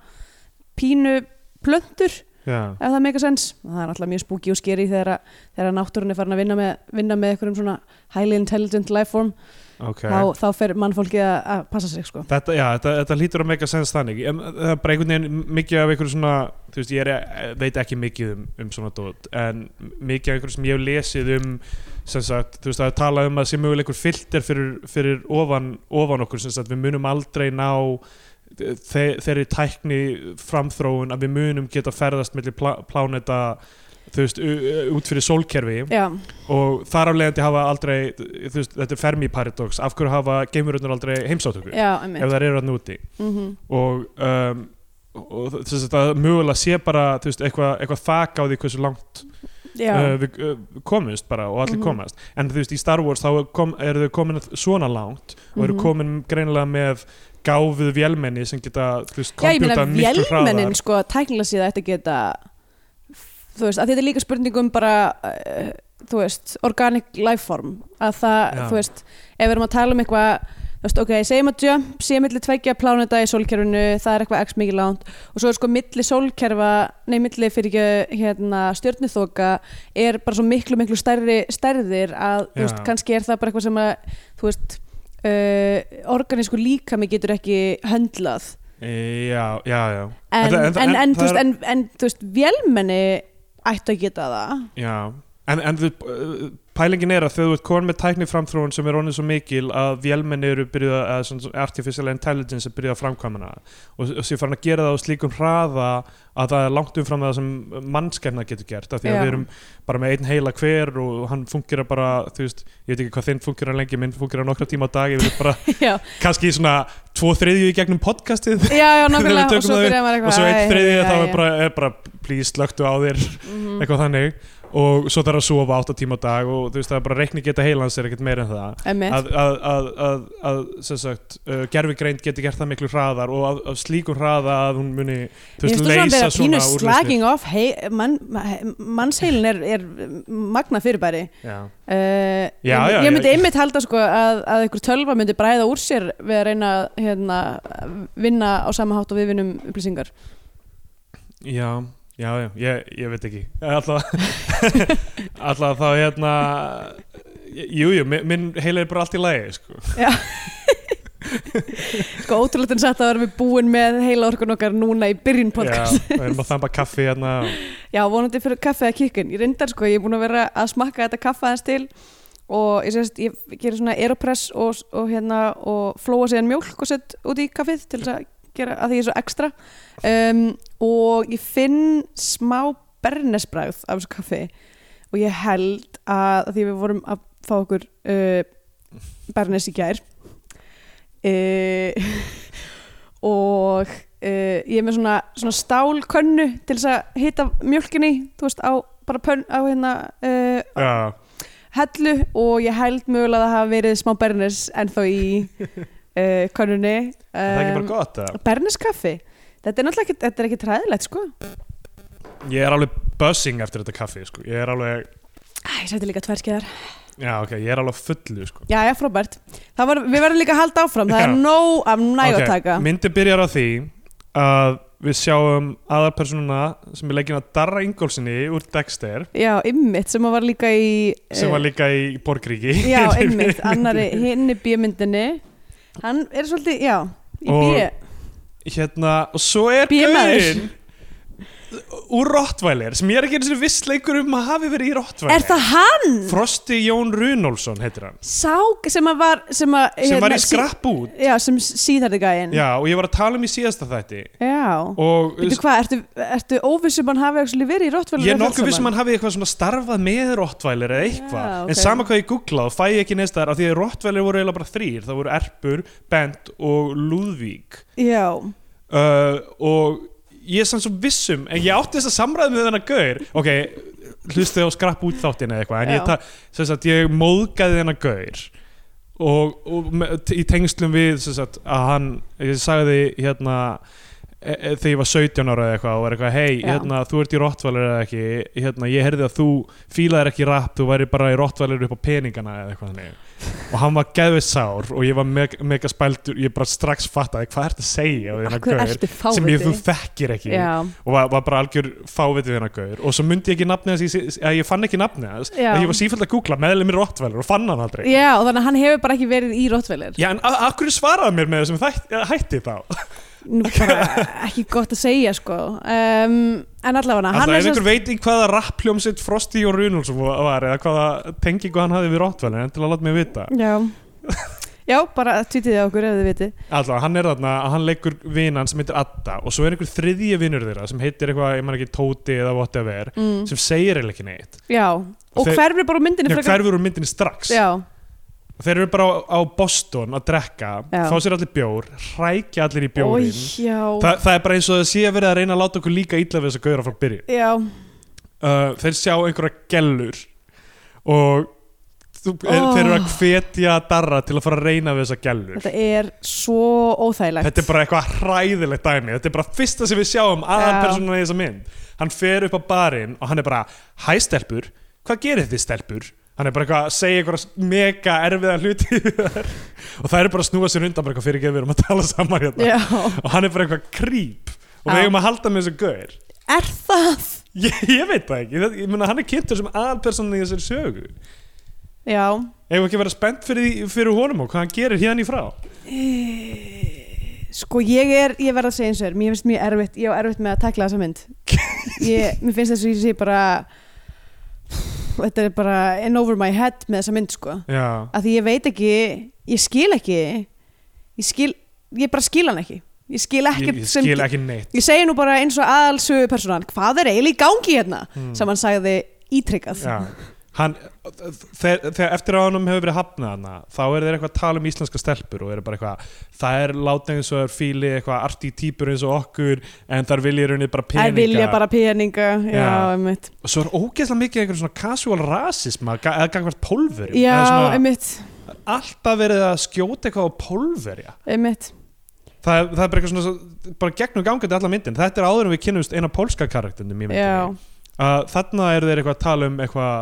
[SPEAKER 3] pínu plöntur
[SPEAKER 2] já.
[SPEAKER 3] ef það meika sens og það er náttúrulega mjög spooky og skeri þegar, að- þegar að náttúrun er farin að vinna með, vinna með einhverjum svona highly intelligent lifeform
[SPEAKER 2] Okay.
[SPEAKER 3] þá, þá fer mannfólkið að, að passa sig sko.
[SPEAKER 2] Þetta, já, þetta, þetta lítur að meika sens þannig en það er bara einhvern veginn mikið af einhverju svona þú veist, ég er, eh, veit ekki mikið um, um svona dót, en mikið af einhverju sem ég hef lesið um sem sagt, þú veist, það er talað um að sé mögulega einhver filter fyrir, fyrir ofan, ofan okkur sem sagt, við munum aldrei ná þe þeirri tækni framþróun að við munum geta ferðast millir plá pláneta þú veist, u- út fyrir sólkerfi
[SPEAKER 3] Já,
[SPEAKER 2] og þar af leiðandi hafa aldrei þú veist, þetta er Fermi paradox, af hverju hafa geimurunnar aldrei heimsátt okkur
[SPEAKER 3] já,
[SPEAKER 2] ef
[SPEAKER 3] einmitt
[SPEAKER 2] þær eru hann úti
[SPEAKER 3] mm
[SPEAKER 2] og, um, og þess að það mögulega sé bara þú veist, eitthvað, eitthvað þak á því hversu langt
[SPEAKER 3] Já,
[SPEAKER 2] uh, við uh, komumst bara og allir
[SPEAKER 3] Mhm.
[SPEAKER 2] komast en þú veist í Star Wars þá kom, eru þau komin svona langt og eru
[SPEAKER 3] Mhm.
[SPEAKER 2] komin greinilega með gáfuð vélmenni sem geta þú veist,
[SPEAKER 3] Já, ég meina
[SPEAKER 2] kompjúta miklu
[SPEAKER 3] vélmennin
[SPEAKER 2] hraðar
[SPEAKER 3] sko tæknilega síða þetta geta þú veist, að þetta er líka spurning um bara uh, þú veist, organic lifeform að það,
[SPEAKER 2] Já.
[SPEAKER 3] þú veist, ef við erum að tala um eitthvað þú veist, ok, segjum að jump sé milli tveggja pláneta í sólkerfinu það er eitthvað x mikið langt og svo er sko milli sólkerfa, nei milli fyrir ekki hérna stjörnuþoka er bara svo miklu miklu stærri stærðir að,
[SPEAKER 2] Já.
[SPEAKER 3] þú veist, kannski er það bara eitthvað sem að, þú veist uh, organísku líkami getur ekki höndlað
[SPEAKER 2] E, já, já, já, En
[SPEAKER 3] en, en,
[SPEAKER 2] það- en
[SPEAKER 3] en,
[SPEAKER 2] það-
[SPEAKER 3] en,
[SPEAKER 2] það
[SPEAKER 3] þú veist,
[SPEAKER 2] er-
[SPEAKER 3] en, en þú veist, vélmenni ættu að geta það
[SPEAKER 2] já. En, en þú, uh, pælingin er að þegar þú ert komin með tækniframþróun sem er onnið svo mikil að vélmenni eru byrjuð að svona, svona artificial intelligence er byrjuð að framkvæmina og, og sér farin að gera það á slíkum hraða að það er langt umfram það sem mannskjarnar getur gert af því að
[SPEAKER 3] Já.
[SPEAKER 2] við erum bara með einn heila hver og hann fungir bara, þú veist, ég veit ekki hvað þinn fungir að lengi, minn fungir að nokkra tíma á dag ég vil bara
[SPEAKER 3] já,
[SPEAKER 2] kannski svona tvo þriðju í gegnum podcastið
[SPEAKER 3] já, já, nákvæmlega
[SPEAKER 2] tökum
[SPEAKER 3] og svo
[SPEAKER 2] það upp
[SPEAKER 3] byrjaði
[SPEAKER 2] og
[SPEAKER 3] maður eitthvað
[SPEAKER 2] svo
[SPEAKER 3] æ,
[SPEAKER 2] einn
[SPEAKER 3] æ,
[SPEAKER 2] þriðju
[SPEAKER 3] æ,
[SPEAKER 2] þá
[SPEAKER 3] æ.
[SPEAKER 2] er bara, er bara please slöktu á þér
[SPEAKER 3] Mhm.
[SPEAKER 2] eitthvað þannig og svo þarf að sofa 8 tíma á dag og þú veist það er bara reikni geta heilans er ekkert meira en það
[SPEAKER 3] emmitt,
[SPEAKER 2] að, að, að, að, að sem sagt, uh, gerfigreind geti gert það miklu hraðar og af, af slíkum hraða að hún muni þú
[SPEAKER 3] ég
[SPEAKER 2] veist,
[SPEAKER 3] finnst þú svona
[SPEAKER 2] leysa
[SPEAKER 3] að
[SPEAKER 2] svona
[SPEAKER 3] pínu
[SPEAKER 2] úrlausnir
[SPEAKER 3] slagging off hei, mann, mannsheilin er, er magna fyrirbæri
[SPEAKER 2] já.
[SPEAKER 3] uh,
[SPEAKER 2] Já,
[SPEAKER 3] ég,
[SPEAKER 2] já,
[SPEAKER 3] ég myndi
[SPEAKER 2] já, ég-
[SPEAKER 3] einmitt halda sko að, að einhver tölva myndi bræða úr sér við að reyna að hérna, vinna á sama hátt og við vinnum upplýsingar
[SPEAKER 2] já, já, já, ég, ég veit ekki alltaf alltaf þá hérna jújú, jú, mi- minn heila er bara allt í lagi sko.
[SPEAKER 3] sko ótrúlega en satt að erum við búin með heila orkun okkar núna í byrjun
[SPEAKER 2] já,
[SPEAKER 3] podcast
[SPEAKER 2] við erum að þamba kaffi hérna
[SPEAKER 3] Já, vonandi fyrir kaffið að kikkin. Ég reyndar sko, ég er búin að vera að smakka þetta kaffa aðeins til og ég sést, ég gerir svona aeropress og, og hérna og flóa síðan mjólk og sett út í kaffið til þess að gera að því ég er svo ekstra um, og ég finn smá bernesbræð af þessu kaffi og ég held að, að því við vorum að fá okkur uh, bernes í gær uh, og uh, ég er með svona, svona stálkönnu til þess að hita mjölkinni þú veist á bara pönn á hérna uh,
[SPEAKER 2] já,
[SPEAKER 3] hellu og ég held mögulega að það hafa verið smá bernis ennþá í uh, könnunni
[SPEAKER 2] er það ekki
[SPEAKER 3] um,
[SPEAKER 2] bara gott það?
[SPEAKER 3] berniskaffi þetta er náttúrulega ekki, þetta er ekki træðilegt sko
[SPEAKER 2] ég er alveg buzzing eftir þetta kaffi sko. ég er alveg
[SPEAKER 3] Æ, ég sætti líka tverskiðar
[SPEAKER 2] Já, ok, ég er alveg á fullu sko.
[SPEAKER 3] já, já, frábært Það var, við verðum líka að halda áfram það
[SPEAKER 2] Já.
[SPEAKER 3] er nóg af næg að taka
[SPEAKER 2] myndi byrjar á því að við sjáum aðarpersonuna sem er leikinn að Darra Ingolsinni úr Dexter
[SPEAKER 3] já, ymmit sem var líka í
[SPEAKER 2] sem
[SPEAKER 3] eh,
[SPEAKER 2] var líka í Borgríki
[SPEAKER 3] já, ymmit, annari hinni bíomyndinni hann er svolítið, já í
[SPEAKER 2] Og-
[SPEAKER 3] bíu
[SPEAKER 2] hérna, og svo er
[SPEAKER 3] Bímaður.
[SPEAKER 2] gaurinn úr Rottweiler sem ég er ekki eins og viss leikur um að hafi verið í Rottweiler
[SPEAKER 3] Er það hann?
[SPEAKER 2] Frosti Jón Runolfsson heitir hann
[SPEAKER 3] Sá sem að var sem, að,
[SPEAKER 2] sem var í
[SPEAKER 3] Hérna, sí-
[SPEAKER 2] skrapp út
[SPEAKER 3] Já, sem síðarði gæinn
[SPEAKER 2] Já, og ég var að tala um í síðasta þætti
[SPEAKER 3] Já.
[SPEAKER 2] og
[SPEAKER 3] Veitu hvað, ertu, ertu óvissum hann hafi actually verið í Rottvælu
[SPEAKER 2] Ég er nokkuð um vissum hann hafi eitthvað svona starfað með rottvælir eða eitthvað,
[SPEAKER 3] Já, ok.
[SPEAKER 2] en sama hvað ég googla þá fæ ég ekki neins þar af því að rottvælir voru eiginlega bara þrýr, það voru Erpur, Bent og Lúðvík
[SPEAKER 3] Já,
[SPEAKER 2] uh, og ég er samt svo vissum, en ég átti þess að samræða með þennan gaur, ok hlustu á skrapp út þáttinn eða eitthvað en
[SPEAKER 3] Já.
[SPEAKER 2] ég, ta- sem sagt, ég móðgaði þennan gaur og, og me- t- í tengslum við sem sagt, að hann, ég sagði hérna e- e- þegar ég var 17 ára eða eitthvað og var eitthvað, hei,
[SPEAKER 3] Já.
[SPEAKER 2] hérna, þú ert í rottvalir eða ekki, hérna, ég heyrði að þú fílaðir ekki rap, þú væri bara í rottvalir upp á peningana eða eitthvað þannig og hann var geðvið sár og ég var meg, mega spældur, ég bara strax fattaði hvað ertu að segja við þennan
[SPEAKER 3] hver
[SPEAKER 2] gaur
[SPEAKER 3] ertu fáviti
[SPEAKER 2] sem ég þú þekkir ekki
[SPEAKER 3] Já,
[SPEAKER 2] og var, var bara algjör fávitið hennar gaur og svo myndi ég ekki nafnið hans, í sí- að ég fann ekki nafnið hans
[SPEAKER 3] Já.
[SPEAKER 2] að ég var sífælt að googla meðlum í Rottweiler og fann hann aldrei
[SPEAKER 3] já og þannig að hann hefur bara ekki verið í Rottvælu
[SPEAKER 2] Já, en a- af hverju svaraði mér með þessum þætt, hætti þá?
[SPEAKER 3] Nú bara ekki gott að segja sko um, En allavega
[SPEAKER 2] Alltaf,
[SPEAKER 3] hann
[SPEAKER 2] ef
[SPEAKER 3] er
[SPEAKER 2] einhver
[SPEAKER 3] svo
[SPEAKER 2] veit í hvaða rappljómsitt Frosti og Runulsson var eða hvaða tengingu hann hafi við Rottweiler, en til að láta mig vita
[SPEAKER 3] Já Já, bara tvítið á okkur ef þið vitið
[SPEAKER 2] Alltaf, hann er þarna, hann leikur vinan sem heitir Adda og svo er einhver þriðji vinnur þeirra sem heitir eitthvað, ég man ekki, Tóti eða whatever
[SPEAKER 3] mm.
[SPEAKER 2] sem segir eiginlega ekki neitt
[SPEAKER 3] Já, og
[SPEAKER 2] Þeir-
[SPEAKER 3] hverfur bara úr myndinni
[SPEAKER 2] Já,
[SPEAKER 3] frekar-
[SPEAKER 2] hverfur úr myndinni strax
[SPEAKER 3] Já,
[SPEAKER 2] Þeir eru bara á, á Boston að drekka
[SPEAKER 3] Já.
[SPEAKER 2] fá sér allir bjór, hrækja allir í
[SPEAKER 3] Oj,
[SPEAKER 2] bjórin
[SPEAKER 3] já
[SPEAKER 2] Þa, það er bara eins og það sé að vera að reyna að láta okkur líka illa við þess að gauðra frá byrjun
[SPEAKER 3] Já,
[SPEAKER 2] uh, Þeir sjá einhverja gellur og þú, er,
[SPEAKER 3] Oh.
[SPEAKER 2] þeir eru að hvetja Darra til að fara að reyna við þess að gellur
[SPEAKER 3] þetta er svo óþægilegt
[SPEAKER 2] Þetta er bara eitthvað hræðilegt dæmi Þetta er bara fyrsta sem við sjáum aðalpersónuna í þessa mynd Hann fer upp á barinn og hann er bara Hæ stelpur, hvað gerir þið stelpur? Hann er bara eitthvað að segja eitthvað mega erfiða hluti við þær. og það er bara að snúa sér undan bara eitthvað fyrir ekki að við erum að tala saman hérna
[SPEAKER 3] Já,
[SPEAKER 2] og hann er bara eitthvað krýp og við
[SPEAKER 3] Já.
[SPEAKER 2] eigum að halda með þessu gaur
[SPEAKER 3] er það?
[SPEAKER 2] ég, ég veit það ekki, ég, ég meina hann er kynntur sem aðalpersónuna í þessari sögu
[SPEAKER 3] Já
[SPEAKER 2] Eigum við ekki að vera spennt fyrir, því- fyrir honum og hvað hann gerir hérna í frá
[SPEAKER 3] Sko ég er, ég verð að segja eins og þér Mér finnst mjög erfitt, ég á erfitt með að tekla þessa mynd ég, Mér finnst þess að ég sé bara Þetta er bara in over my head með þessa mynd sko
[SPEAKER 2] Já,
[SPEAKER 3] Af því ég veit ekki, ég skil ekki Ég skil, ég bara skil hann ekki Ég skil
[SPEAKER 2] ég,
[SPEAKER 3] ekkert
[SPEAKER 2] ég
[SPEAKER 3] sem
[SPEAKER 2] skil ekki neitt
[SPEAKER 3] Ég segi nú bara eins og aðalsögu personan Hvað er eiginlega í gangi hérna?
[SPEAKER 2] Mm.
[SPEAKER 3] Sem hann sagði ítrykkað
[SPEAKER 2] Já. hann, þegar, þegar eftir að honum hefur verið hafnað hana, þá er þeir eitthvað að tala um íslenska stelpur og eru bara eitthvað það er látið eins og er fíli eitthvað arti típur eins og okkur en þar vilja í rauninni bara
[SPEAKER 3] Það
[SPEAKER 2] peninga
[SPEAKER 3] vilja bara peninga, já,
[SPEAKER 2] Já.
[SPEAKER 3] einmitt
[SPEAKER 2] og svo er ógeðslega mikið einhverjum svona casual rasisma ga- eða gangvart pólverjum
[SPEAKER 3] Já,
[SPEAKER 2] Eða svona,
[SPEAKER 3] einmitt,
[SPEAKER 2] alltaf verið að skjóta eitthvað á pólverja
[SPEAKER 3] einmitt
[SPEAKER 2] það, er- það er bara eitthvað svona bara gegnum gangandi allar myndin, þetta er áður en við kynnumst eina pólska karakterinu í myndinni
[SPEAKER 3] Já,
[SPEAKER 2] að þarna eru þeir eitthvað að tala um eitthvað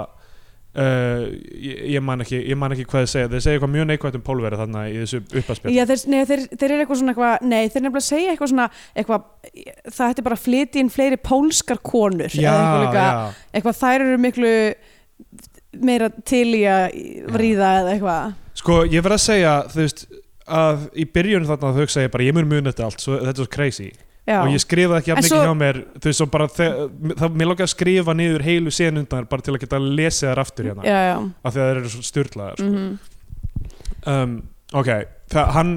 [SPEAKER 2] uh, ég, ég, man ekki, ég man ekki hvað þeir segja þeir segja eitthvað mjög neikvægt um pólverið þarna í þessu uppaspjall
[SPEAKER 3] já þeir, nei, þeir, þeir eru eitthvað svona eitthvað, nei, þeir nefnilega segja eitthvað svona eitthvað, það hætti bara að flytja inn fleiri pólskar konur eða eitthvað, líka, eitthvað þær eru miklu meira til í að ríða eða eitthvað
[SPEAKER 2] sko ég verð að segja þú veist að í byrjun þarna þau segja bara ég mun mun þetta allt, svo, þetta er svo crazy
[SPEAKER 3] Já,
[SPEAKER 2] og ég skrifaði ekki
[SPEAKER 3] En
[SPEAKER 2] jafn mikið
[SPEAKER 3] svo-
[SPEAKER 2] hjá mér þú veist, svo bara, þe- það, mér lókaði að skrifa niður heilu senundar bara til að geta lesið þær aftur hérna,
[SPEAKER 3] já, já
[SPEAKER 2] af því að þeir eru svo styrlaðar
[SPEAKER 3] mm
[SPEAKER 2] um, ok, það, hann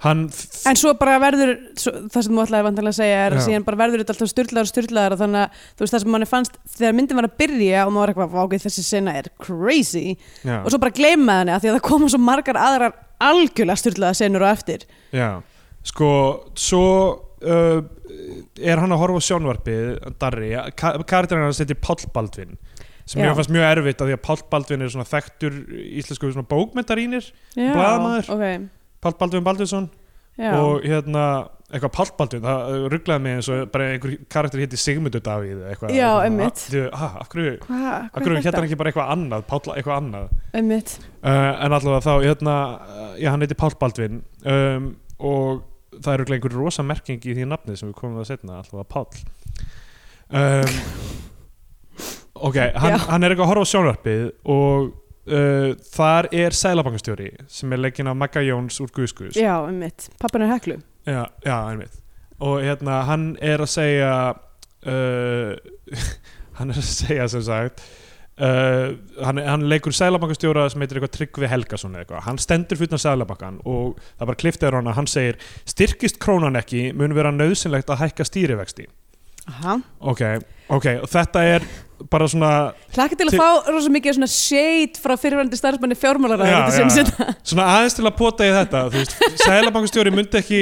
[SPEAKER 2] hann,
[SPEAKER 3] En svo bara verður, svo, það sem þú ætlaði vantilega að segja er að
[SPEAKER 2] Já.
[SPEAKER 3] síðan bara verður þetta alltaf styrlaðar og styrlaðar og þannig að þú veist það sem manni fannst þegar myndin var að byrja og maður var eitthvað vágið þessi sena er crazy
[SPEAKER 2] já,
[SPEAKER 3] og svo bara gleyma henni að því að það koma svo margar aðrar algjörlega styrlaðar senur á eftir
[SPEAKER 2] Já, sko svo uh, er hann að horfa á sjónvarpið Darri, karakterinn hann setjir Páll Baldvin sem
[SPEAKER 3] Já.
[SPEAKER 2] mér fannst mjög erfitt af því að Páll Baldvin er svona þekktur íslensku svona bókmentarínir
[SPEAKER 3] Já,
[SPEAKER 2] Blaðamaður.
[SPEAKER 3] ok,
[SPEAKER 2] Páll Baldvin Baldvinsson
[SPEAKER 3] já,
[SPEAKER 2] og hérna eitthvað Páll Baldvin, það rugglaði mig eins og bara einhver karakter hitti Sigmundur Davíð eða eitthvað,
[SPEAKER 3] Já,
[SPEAKER 2] Eitthvað,
[SPEAKER 3] einmitt.
[SPEAKER 2] Þau, ah, af hverju, af
[SPEAKER 3] Hva, hvað
[SPEAKER 2] hverju
[SPEAKER 3] er
[SPEAKER 2] hérna
[SPEAKER 3] þetta?
[SPEAKER 2] ekki bara eitthvað annað Páll, eitthvað annað
[SPEAKER 3] Einmitt.
[SPEAKER 2] uh, en allavega þá hérna, uh, já, hann heiti Páll Baldvin um, og það eru einhver rosa merking í því nafni sem við komum að setna allavega Páll um, ok, hann,
[SPEAKER 3] Já.
[SPEAKER 2] hann er eitthvað að horfa á sjónvarpið og uh, þar er sælabankastjóri sem er leikinn af Magga Jóns úr Guðskus
[SPEAKER 3] Já, einmitt, pappan er heklu
[SPEAKER 2] Já, já, einmitt og hérna, hann er að segja uh, hann er að segja sem sagt uh, hann, hann leikur sælabankastjóra sem heitir eitthvað Tryggvi Helgason eða eitthvað hann stendur fyrir sælabankan og það bara kliftaður hann að hann segir styrkist krónan ekki mun vera nöðsynlegt að hækka stýrivexti
[SPEAKER 3] Aha.
[SPEAKER 2] ok, ok, og þetta er bara svona,
[SPEAKER 3] Hlakka til að
[SPEAKER 2] Til-
[SPEAKER 3] fá rosa mikið svona shade frá fyrirvændi starfsmanni hérna.
[SPEAKER 2] Já,
[SPEAKER 3] fjármálaræði
[SPEAKER 2] já, svona aðeins til að pota í þetta þú veist, sælabankastjóri myndi ekki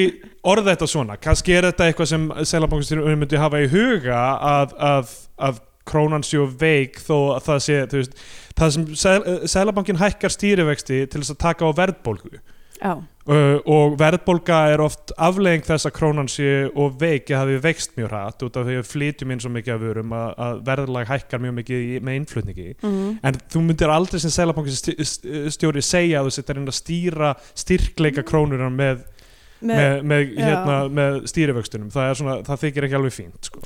[SPEAKER 2] orða þetta svona, kannski er þetta eitthvað sem sælabankastjóri myndi hafa í huga að, að, að krónan séu veik þó að það sé þú veist, það sem sæl, sælabankin hækkar stýrivexti til þess að taka á verðbólgu
[SPEAKER 3] Já,
[SPEAKER 2] Uh, og verðbólga er oft afleiðing þess að krónan sé og veiki hafi veikst mjög hratt út af því að flytjum inn svo mikið af vörum að, að verðlag hækkar mjög mikið í, með innflutningi
[SPEAKER 3] Mhm.
[SPEAKER 2] en þú myndir aldrei sem selabankistjóri segja að þú setjar inn að stýra styrkleika krónunar með,
[SPEAKER 3] Mm. með,
[SPEAKER 2] með, með,
[SPEAKER 3] já.
[SPEAKER 2] hérna, með stýrivöxtunum það, er svona, það þykir ekki alveg fínt sko.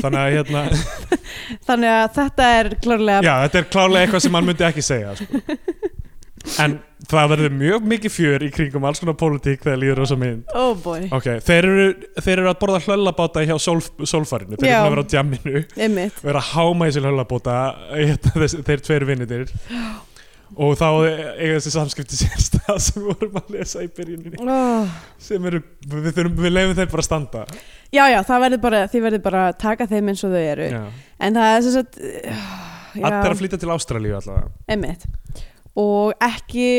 [SPEAKER 2] þannig að hérna,
[SPEAKER 3] þannig að þetta er klárlega
[SPEAKER 2] já, þetta er klárlega eitthvað sem hann myndi ekki segja sko. en það verður mjög mikið fjör í kringum alls konar pólitík þegar líður þess að mynd
[SPEAKER 3] Oh boy,
[SPEAKER 2] Ok, þeir eru, þeir eru að borða hlöllabáta hjá sólf, sólfarinu, þeir
[SPEAKER 3] Já.
[SPEAKER 2] eru búin að vera á djamminu
[SPEAKER 3] einmitt
[SPEAKER 2] vera að háma í sér hlöllabáta hérna, þess- þeir tveir vinnitir og þá eiga þessi samskipti sérstað sem við vorum að lesa í byrjuninni
[SPEAKER 3] oh.
[SPEAKER 2] sem eru, við, þurfum, við leifum þeir bara að standa
[SPEAKER 3] Já, já, það verður bara, þið verður bara að taka þeim eins og þau eru
[SPEAKER 2] Já.
[SPEAKER 3] En það er sem sagt uh, já,
[SPEAKER 2] Allir að flytja til Ástralíu allavega
[SPEAKER 3] Einmitt Og ekki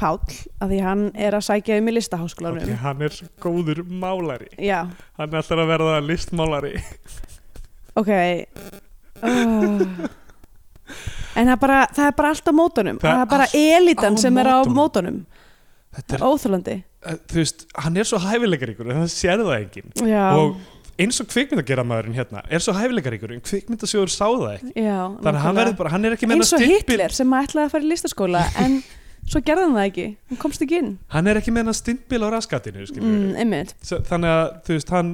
[SPEAKER 3] Páll af því hann er að sækja um í listaháskólanum
[SPEAKER 2] okay, Hann er góður málari
[SPEAKER 3] Já,
[SPEAKER 2] Hann er alltaf að verða listmálari
[SPEAKER 3] ok oh. En það er, bara, það er bara allt á mótunum
[SPEAKER 2] Það
[SPEAKER 3] Það,
[SPEAKER 2] er
[SPEAKER 3] er bara
[SPEAKER 2] allt
[SPEAKER 3] elitan
[SPEAKER 2] á
[SPEAKER 3] sem er á
[SPEAKER 2] mótunum.
[SPEAKER 3] mótunum
[SPEAKER 2] Þetta er, eh,
[SPEAKER 3] Óþólandi
[SPEAKER 2] þú veist, hann er svo hæfileikar ykkur en það sér það enginn
[SPEAKER 3] Já,
[SPEAKER 2] og eins og kvikmyndageramaðurinn hérna er svo hæfileikaríkur en kvikmyndasjóður sá það ekki
[SPEAKER 3] já
[SPEAKER 2] þannig að hann,
[SPEAKER 3] nákvæmlega.
[SPEAKER 2] verður bara, hann er ekki með
[SPEAKER 3] eins og
[SPEAKER 2] þennan stimpil-
[SPEAKER 3] Hitler sem ætlaði að fara í listaskóla en svo gerði hann það ekki, hann komst ekki inn
[SPEAKER 2] hann er ekki með hann stimpil á raskatinu mm.
[SPEAKER 3] mm, einmitt,
[SPEAKER 2] þannig að þú veist hann,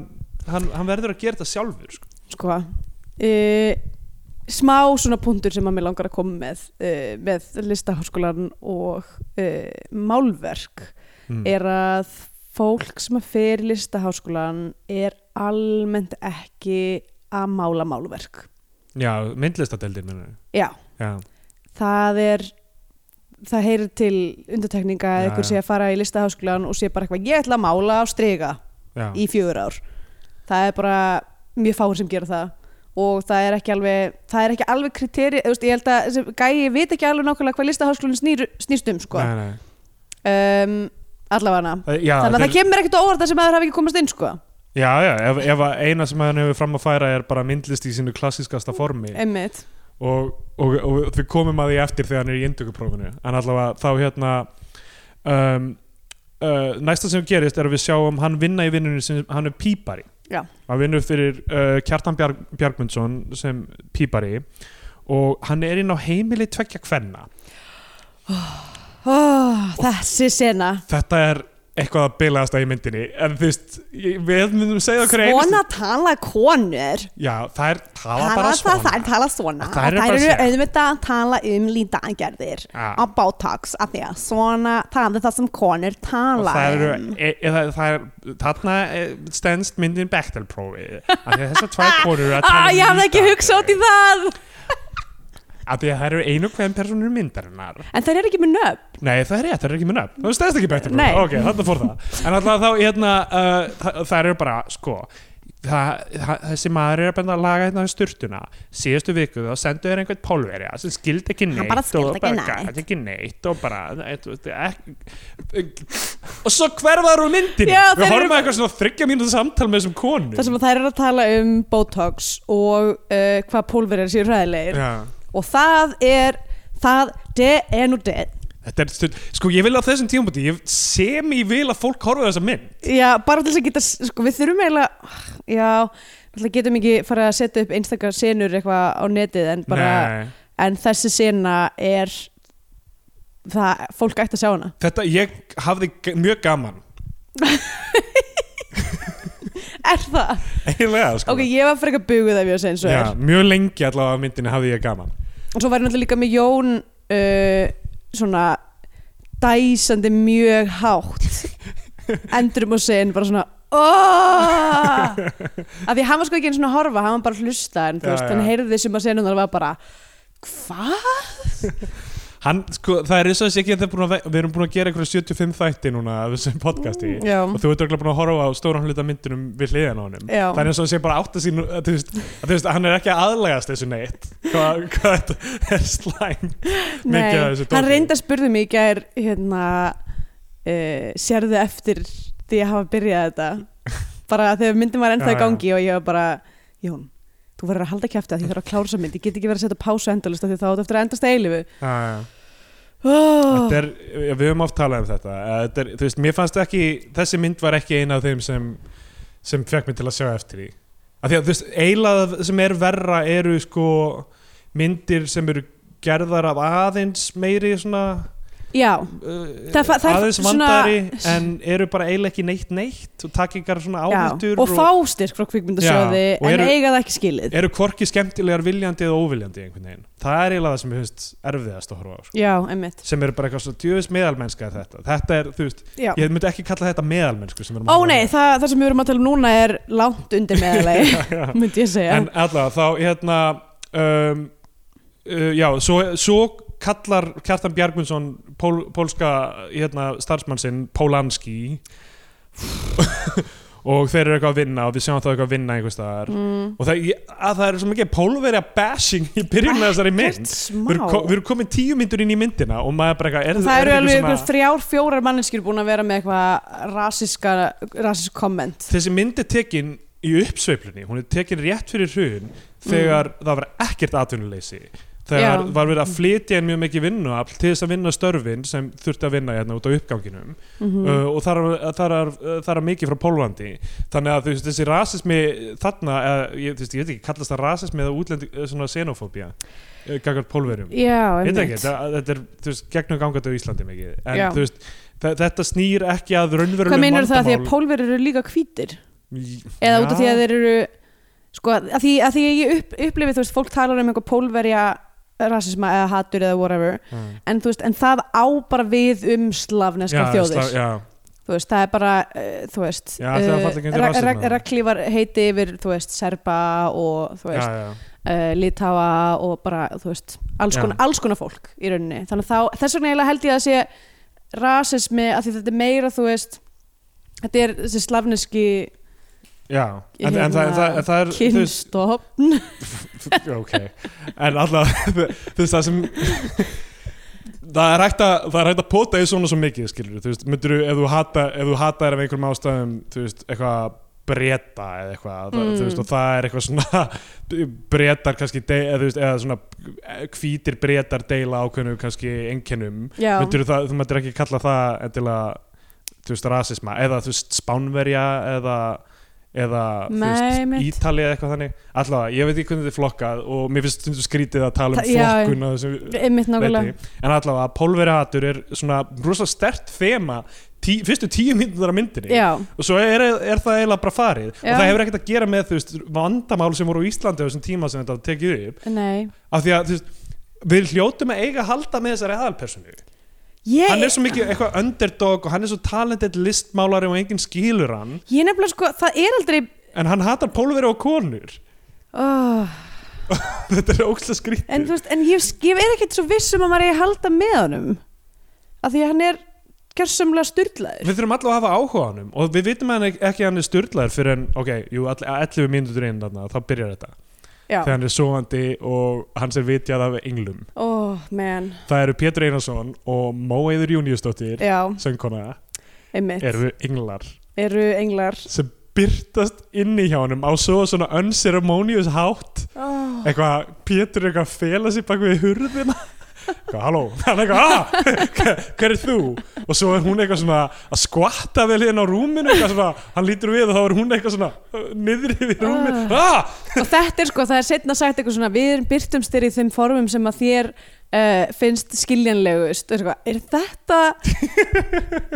[SPEAKER 2] hann, hann verður að gera þetta sjálfur sko.
[SPEAKER 3] sko uh, smá svona punktur sem að mér langar að koma með uh, með listaháskólan og uh, málverk
[SPEAKER 2] mm.
[SPEAKER 3] er að fólk sem að fer í listaháskólan er almennt ekki að mála málverk
[SPEAKER 2] já, myndlistadeldin minna
[SPEAKER 3] já,
[SPEAKER 2] já,
[SPEAKER 3] það er það heyrir til undirtekninga að
[SPEAKER 2] Já,
[SPEAKER 3] ykkur
[SPEAKER 2] já.
[SPEAKER 3] sé að fara í listaháskólan og sé bara eitthvað, ég ætla að mála á strega
[SPEAKER 2] já.
[SPEAKER 3] í fjögur ár það er bara mjög fáir sem gera það og það er ekki alveg það er ekki alveg kriteri veist, ég held að þessi gæi veit ekki alveg nákvæmlega hvað listaháskólinn snýr, snýst um sko.
[SPEAKER 2] nei, nei.
[SPEAKER 3] um, allavega
[SPEAKER 2] Eh, Já,
[SPEAKER 3] þannig að
[SPEAKER 2] þeir-
[SPEAKER 3] það kemur ekkert á óvart að sem maður hafi ekki komast inn sko.
[SPEAKER 2] já, já ef, ef að eina sem hann hefur fram að færa er bara myndlist í sínu klassiskasta formi
[SPEAKER 3] einmitt
[SPEAKER 2] og, og, og við komum að því eftir þegar hann er í indökuprófinu en allavega þá hérna um, uh, næsta sem gerist er að við sjáum hann vinna í vinnunni sem hann er pípari
[SPEAKER 3] Já.
[SPEAKER 2] hann vinnur fyrir uh, Kjartan Bjarg, Bjargmundsson sem pípari og hann er inn á heimili tveggja kvenna
[SPEAKER 3] oh, þessi sena
[SPEAKER 2] þetta er eitthvað að bilaðast að í myndinni en þú veist, ég- við myndum segja okkur
[SPEAKER 3] svona tala konur
[SPEAKER 2] já, það er tala
[SPEAKER 3] tala
[SPEAKER 2] bara
[SPEAKER 3] það,
[SPEAKER 2] svona
[SPEAKER 3] það tala svona
[SPEAKER 2] Þær eru bara
[SPEAKER 3] og þær eru
[SPEAKER 2] svona.
[SPEAKER 3] auðvitað að tala um lítagerðir
[SPEAKER 2] Ja.
[SPEAKER 3] á bátags af því að svona það er það sem konur
[SPEAKER 2] Og
[SPEAKER 3] tala
[SPEAKER 2] það eru,
[SPEAKER 3] um
[SPEAKER 2] e, e, það, það er, þarna e, stendst myndin Bechtel-prófi af því að þessar tvær konur eru að tala
[SPEAKER 3] ah,
[SPEAKER 2] um
[SPEAKER 3] ég hafði ekki
[SPEAKER 2] lífdagar.
[SPEAKER 3] hugsað út í það
[SPEAKER 2] af því að það eru einu hvern personur myndarinnar
[SPEAKER 3] en þær eru ekki með nöfn
[SPEAKER 2] nei það er rétt, það er ekki minna það stendst ekki
[SPEAKER 3] Nei.
[SPEAKER 2] Bechtel-prófi, ok, þarna fór það en alltaf þá, hérna, uh, það, það eru bara sko Það, það, þessi maður er að benda að laga hérna styrtuna síðustu viku þá sendu þér einhvern pólverja sem skildi ekki neitt
[SPEAKER 3] bara skildi
[SPEAKER 2] og
[SPEAKER 3] ekki
[SPEAKER 2] bara
[SPEAKER 3] neitt.
[SPEAKER 2] gat ekki neitt og bara eh, eitt, eitt, ekki, og svo hverfaður úr myndinni
[SPEAKER 3] Já,
[SPEAKER 2] við
[SPEAKER 3] þeir eru-
[SPEAKER 2] horfum að eitthvað svona þryggja mínútu samtal með þessum konu
[SPEAKER 3] þar sem að þær eru að tala um botox og uh, hvað pólverjar séu hræðilegir
[SPEAKER 2] Já.
[SPEAKER 3] og það er það de en og de
[SPEAKER 2] Þetta er stund, sko ég vil á þessum tímapunkti, ég sem ég vil að fólk horfa á þessa mynd
[SPEAKER 3] já, bara til þess að geta sko, við þurfum eiginlega já, náttúrulega getum ekki fara að setja upp einstakar senur eitthvað á netið en bara
[SPEAKER 2] Nei.
[SPEAKER 3] en þessi sena er það, fólk ætti að sjá hana
[SPEAKER 2] Þetta, ég hafði g- mjög gaman
[SPEAKER 3] er það?
[SPEAKER 2] Eiginlega, sko
[SPEAKER 3] ok, ég var frekar buguð af Jósa eins og
[SPEAKER 2] Já,
[SPEAKER 3] er
[SPEAKER 2] Mjög lengi allavega á myndinni hafði ég gaman
[SPEAKER 3] og svo var ég náttúrulega líka með Jón uh, svona dæsandi mjög hátt endurum og sen bara svona oh! af því hann var sko ekki einu svona að horfa hann var bara að hlusta en þú
[SPEAKER 2] Já,
[SPEAKER 3] veist,
[SPEAKER 2] já.
[SPEAKER 3] hann heyrði sem að senum það var bara hvað?
[SPEAKER 2] Hann, sko, það er eins og þessi ekki að það er búin að ve- við erum búin að gera einhverja 75 þætti núna af þessum podcasti
[SPEAKER 3] Mm, já.
[SPEAKER 2] og þú ert örugglega búin að horfa á stóran hluta af myndinum við hliðan á honum
[SPEAKER 3] Já.
[SPEAKER 2] Það er eins og þessi bara átt að sín að, þú veist, að, þú veist, hann er ekki að aðlegast þessu neitt hvað hva, þetta er slæm
[SPEAKER 3] Nei,
[SPEAKER 2] mikið af þessu
[SPEAKER 3] hann
[SPEAKER 2] dóti.
[SPEAKER 3] reyndi að spurði mig í gær hérna, uh, sérðu eftir því að hafa byrjað þetta bara þegar myndin var
[SPEAKER 2] Já,
[SPEAKER 3] ennþá í
[SPEAKER 2] já.
[SPEAKER 3] gangi og ég var bara, Jón þú verður að halda kæfti að því ég þarf að klára þessa mynd ég get ekki verið að setja pásu endalist af því þá áttu eftir að endast að eilifu
[SPEAKER 2] Já, já
[SPEAKER 3] oh,
[SPEAKER 2] Þetta er, við höfum oft talað um þetta, að þetta er, þú veist, mér fannst ekki þessi mynd var ekki eina af þeim sem sem fekk mig til að sjá eftir því af því að þú veist, eilað sem er verra eru sko myndir sem eru gerðar af aðeins meiri svona
[SPEAKER 3] já,
[SPEAKER 2] uh,
[SPEAKER 3] Það fa- það er
[SPEAKER 2] aðeins
[SPEAKER 3] svona-
[SPEAKER 2] vandari en eru bara eiginlega ekki neitt neitt og takingar svona
[SPEAKER 3] já,
[SPEAKER 2] áhættur
[SPEAKER 3] og fá styrk frá kvikmyndasjóði
[SPEAKER 2] Já, og
[SPEAKER 3] en
[SPEAKER 2] eru-
[SPEAKER 3] eiga það ekki skilið
[SPEAKER 2] eru hvorki skemmtilegar viljandi eða óviljandi einhvern veginn, það er eiginlega það sem mér finnst erfiðast að horfa á sko.
[SPEAKER 3] já, emmitt
[SPEAKER 2] sem eru bara eitthvað svona djöfis meðalmennska er þetta, þetta er, þú veist
[SPEAKER 3] já.
[SPEAKER 2] Ég myndi ekki kalla þetta meðalmennsku sem við erum
[SPEAKER 3] ó
[SPEAKER 2] að horfa
[SPEAKER 3] nei,
[SPEAKER 2] á.
[SPEAKER 3] það, það sem við erum að tala um núna er langt undir meðalegi
[SPEAKER 2] Já, já.
[SPEAKER 3] myndi ég segja
[SPEAKER 2] En allavega þá hérna um, uh, Já, svo, svo kallar Kjartan Bjargmundsson pól, pólska hérna, starfsmann sinn Pólanski og þeir eru eitthvað að vinna og við sjáum það eitthvað að vinna einhvers staðar
[SPEAKER 3] mm,
[SPEAKER 2] og það, ég- að það er svo mikið pólverja bashing í byrjun með þessari mynd Við erum, ko-
[SPEAKER 3] smá
[SPEAKER 2] við erum komin tíu myndur inn í myndina og maður bara eitthvað er-
[SPEAKER 3] Það
[SPEAKER 2] er
[SPEAKER 3] eru
[SPEAKER 2] þetta
[SPEAKER 3] alveg
[SPEAKER 2] ekki
[SPEAKER 3] ykkur þrjár, fjórar manneskir búin að vera með eitthvað rasiska, rasisk komment.
[SPEAKER 2] þessi mynd er tekin í uppsveiflunni, hún er tekin rétt fyrir hrun þegar það var ekkert atvinnuleysi þegar
[SPEAKER 3] Mm. Já.
[SPEAKER 2] var verið að flytja en mjög mikið vinnuafl til þess að vinna störfin sem þurfti að vinna hérna út á uppganginum
[SPEAKER 3] Mm
[SPEAKER 2] uh, og þar er- þar er uh, þar er mikið frá Pólvandi þannig að þú veist, þessi rasismi þarna, eða, ég, þú veist, ég veit ekki, kallast það rasismi eða útlendi, eh, svona xenofóbia uh, gagart pólverjum
[SPEAKER 3] Já,
[SPEAKER 2] Ég veit
[SPEAKER 3] einmitt.
[SPEAKER 2] ekki, þetta, þetta er þú veist, gegnum gangandi á Íslandi mikið en
[SPEAKER 3] Já.
[SPEAKER 2] þú veist, þe- þetta snýr ekki að raunverulegum
[SPEAKER 3] Hvað meinar það að því að
[SPEAKER 2] vandamál-
[SPEAKER 3] pólverið eru líka hvítir?
[SPEAKER 2] Í-
[SPEAKER 3] Eða út af
[SPEAKER 2] Já.
[SPEAKER 3] því að þeir eru, sko, að því að, því að ég upp, upplifi, þú veist, fólk talar um eitthvað pólverja rasisma eða hatur eða whatever,
[SPEAKER 2] Mm.
[SPEAKER 3] en þú veist, en það á bara við um slavneska þjóðir.
[SPEAKER 2] slá- já,
[SPEAKER 3] Þú veist, það er bara, uh, þú veist, eh,
[SPEAKER 2] Já, það er fallegt undir rasisma.
[SPEAKER 3] regli var heiti yfir, þú veist, serba og, þú veist,
[SPEAKER 2] já, já.
[SPEAKER 3] uh, litáa og bara, þú veist, alls
[SPEAKER 2] Já.
[SPEAKER 3] konar, alls konar fólk í rauninni. Þannig að þá, þess vegna eiginlega held ég að sé rasismi, að því þetta er meira, þú veist, þetta er þessi slavneski
[SPEAKER 2] Já,
[SPEAKER 3] Ég
[SPEAKER 2] en, en, það, en,
[SPEAKER 3] hérna,
[SPEAKER 2] það, en það er þú veist-
[SPEAKER 3] kynstofn
[SPEAKER 2] Já, ok en allavega þú veist það sem það er hægt að það er hægt að pota í svona svo mikið skilur þú veist myndir ef þú hata ef þú hata er af einhverjum ástæðum þú veist eitthvað breyta eða eitthvað mm.
[SPEAKER 3] Mm.
[SPEAKER 2] þú veist og það er eitthvað svona breytar kannski de, eða, þú veist, eða svona eh, hvítir breytar deila ákveðnu kannski einkennum
[SPEAKER 3] Já,
[SPEAKER 2] myndir það þú myndir ekki kalla það endilega þú veist rasisma eða þú veist spánverja eða eða þú
[SPEAKER 3] Nei,
[SPEAKER 2] veist,
[SPEAKER 3] mitt.
[SPEAKER 2] Ítali eða eitthvað þannig allavega, ég veit ekki hvernig þið er flokkað og mér finnst stundum skrítið að tala um
[SPEAKER 3] Það- já,
[SPEAKER 2] flokkun á þessu
[SPEAKER 3] einmitt nákvæmlega
[SPEAKER 2] leyti. en allavega, pólverihatur er svona rosalega stert þema tí, fyrstu tíu myndunar af myndinni
[SPEAKER 3] Já,
[SPEAKER 2] og svo er, er það eiginlega bara farið
[SPEAKER 3] Já.
[SPEAKER 2] og það hefur ekkert að gera með þú veist, vandamál sem voru á Íslandi á þessum tíma sem þetta var tekið upp
[SPEAKER 3] nei
[SPEAKER 2] af því að þú veist, við hljótum að eiga að halda með þessari aðalpersonu
[SPEAKER 3] Ég,
[SPEAKER 2] hann er svo mikið eitthvað underdog og hann er svo talented listmálari og enginn skilur hann
[SPEAKER 3] ég nefnilega sko, það er aldrei
[SPEAKER 2] en hann hatar pólveri og konur
[SPEAKER 3] oh,
[SPEAKER 2] þetta er ókslega skrítið
[SPEAKER 3] En þú veist, en ég, ég er ekkert svo viss um að maður eigi að halda með honum af því að hann er gjörsamlega styrlaður
[SPEAKER 2] við þurfum allavega að hafa áhuga á hannum og við vitum að hann ekki að hann er styrlaður fyrir en, ok, jú, all- 11 mínútur inn þarna, þá byrjar þetta,
[SPEAKER 3] Já,
[SPEAKER 2] þegar hann er sofandi og hans er vitjað af englum
[SPEAKER 3] oh man,
[SPEAKER 2] það eru Pétur Einarsson og Móeiður Júniusdóttir,
[SPEAKER 3] já,
[SPEAKER 2] söngkona
[SPEAKER 3] einmitt
[SPEAKER 2] eru englar
[SPEAKER 3] eru englar
[SPEAKER 2] sem byrtast inni hjá hannum á svo svona unceremonious hátt
[SPEAKER 3] oh.
[SPEAKER 2] eitthvað, Pétur er eitthvað að fela sér bak við hurðina eitthvað, halló, hann eitthvað, ah hver- hver er þú? og svo er hún eitthvað svona að skvatta vel hérna á rúminu eitthvað svona, hann lítur við og þá er hún eitthvað svona uh, niðri við rúminu, ah
[SPEAKER 3] og þetta er sko, það er setna sagt eitthvað svona við byrtumst þér í þeim formum sem að þér uh, finnst skiljanlegust er, er þetta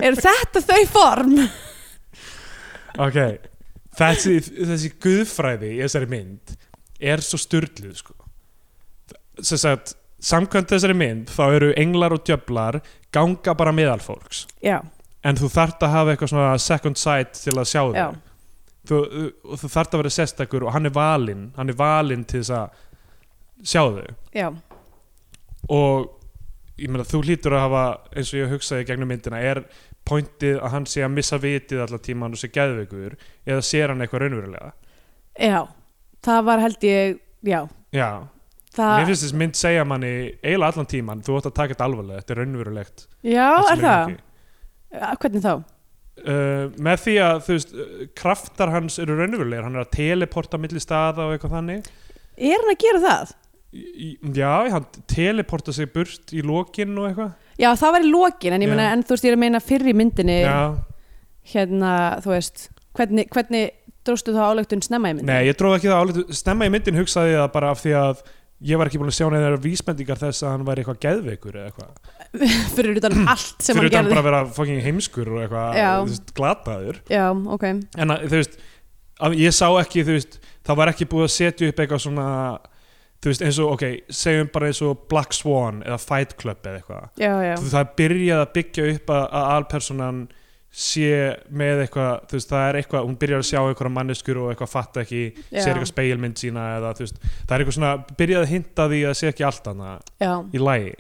[SPEAKER 3] er þetta þau form
[SPEAKER 2] ok, þessi, þessi guðfræði í þessari mynd er svo styrluð sko sem sagt, samkvæmt þessari mynd þá eru englar og djöflar ganga bara meðal fólks
[SPEAKER 3] já,
[SPEAKER 2] en þú þarft að hafa eitthvað svona second sight til að sjá
[SPEAKER 3] já,
[SPEAKER 2] það þú, og þú þarft að vera sérstakur og hann er valinn hann er valinn til þess að sjá þau
[SPEAKER 3] já
[SPEAKER 2] og ég meina þú hlýtur að hafa eins og ég hugsaði í gegnum myndina er pointið að hann sé að missa vitið allar tíman og sé gæðveikur eða sér hann eitthvað raunverulega
[SPEAKER 3] já, það var held ég já,
[SPEAKER 2] já, mér
[SPEAKER 3] það
[SPEAKER 2] finnst þess mynd segja manni eiginlega allan tíman, þú ætti að taka þetta alvarlega þetta er raunverulegt
[SPEAKER 3] já,
[SPEAKER 2] allt sem
[SPEAKER 3] er það
[SPEAKER 2] í gangi.
[SPEAKER 3] Ja, hvernig þá?
[SPEAKER 2] Uh, með því að þú veist uh, kraftar hans eru raunverulegir hann er að teleporta milli staða og eitthvað þannig
[SPEAKER 3] er hann að gera það?
[SPEAKER 2] Í- í- Já, hann teleporta sig burt í lokin og eitthvað
[SPEAKER 3] já, það var í lokin, en ég
[SPEAKER 2] Já.
[SPEAKER 3] meina, en þú veist ég er að meina fyrr í myndinni,
[SPEAKER 2] Já,
[SPEAKER 3] hérna, þú veist hvernig, hvernig dróstu þá álegtun snemma í myndinni?
[SPEAKER 2] nei, ég tróði ekki það álið Stemma í myndin hugsaði ég það bara af því að ég var ekki búin að sjá neðar vísbendingar þess að hann væri eitthvað geðveikur eða eitthvað
[SPEAKER 3] fyrir utan allt sem
[SPEAKER 2] Fyrir
[SPEAKER 3] hann
[SPEAKER 2] utan
[SPEAKER 3] gerði
[SPEAKER 2] bara að vera fucking heimskur og eitthvað
[SPEAKER 3] Já.
[SPEAKER 2] þú veist, glataður
[SPEAKER 3] já, ok,
[SPEAKER 2] En að, þú veist, að ég sá ekki, þú veist það var ekki búið að setja upp eitthvað svona þú veist, eins og, ok, segjum bara eins og Black Swan eða Fight Club eða eitthvað
[SPEAKER 3] já, já
[SPEAKER 2] þú, það er byrjað að byggja upp að, að alpersonan sé með eitthvað, þú veist, það er eitthvað hún byrjar að sjá einhverja manneskur og eitthvað fatta ekki
[SPEAKER 3] Já.
[SPEAKER 2] sér eitthvað speilmynd sína eða, þú veist, það er eitthvað svona, byrjað að hinta því að sé ekki allt annað
[SPEAKER 3] já,
[SPEAKER 2] í lagi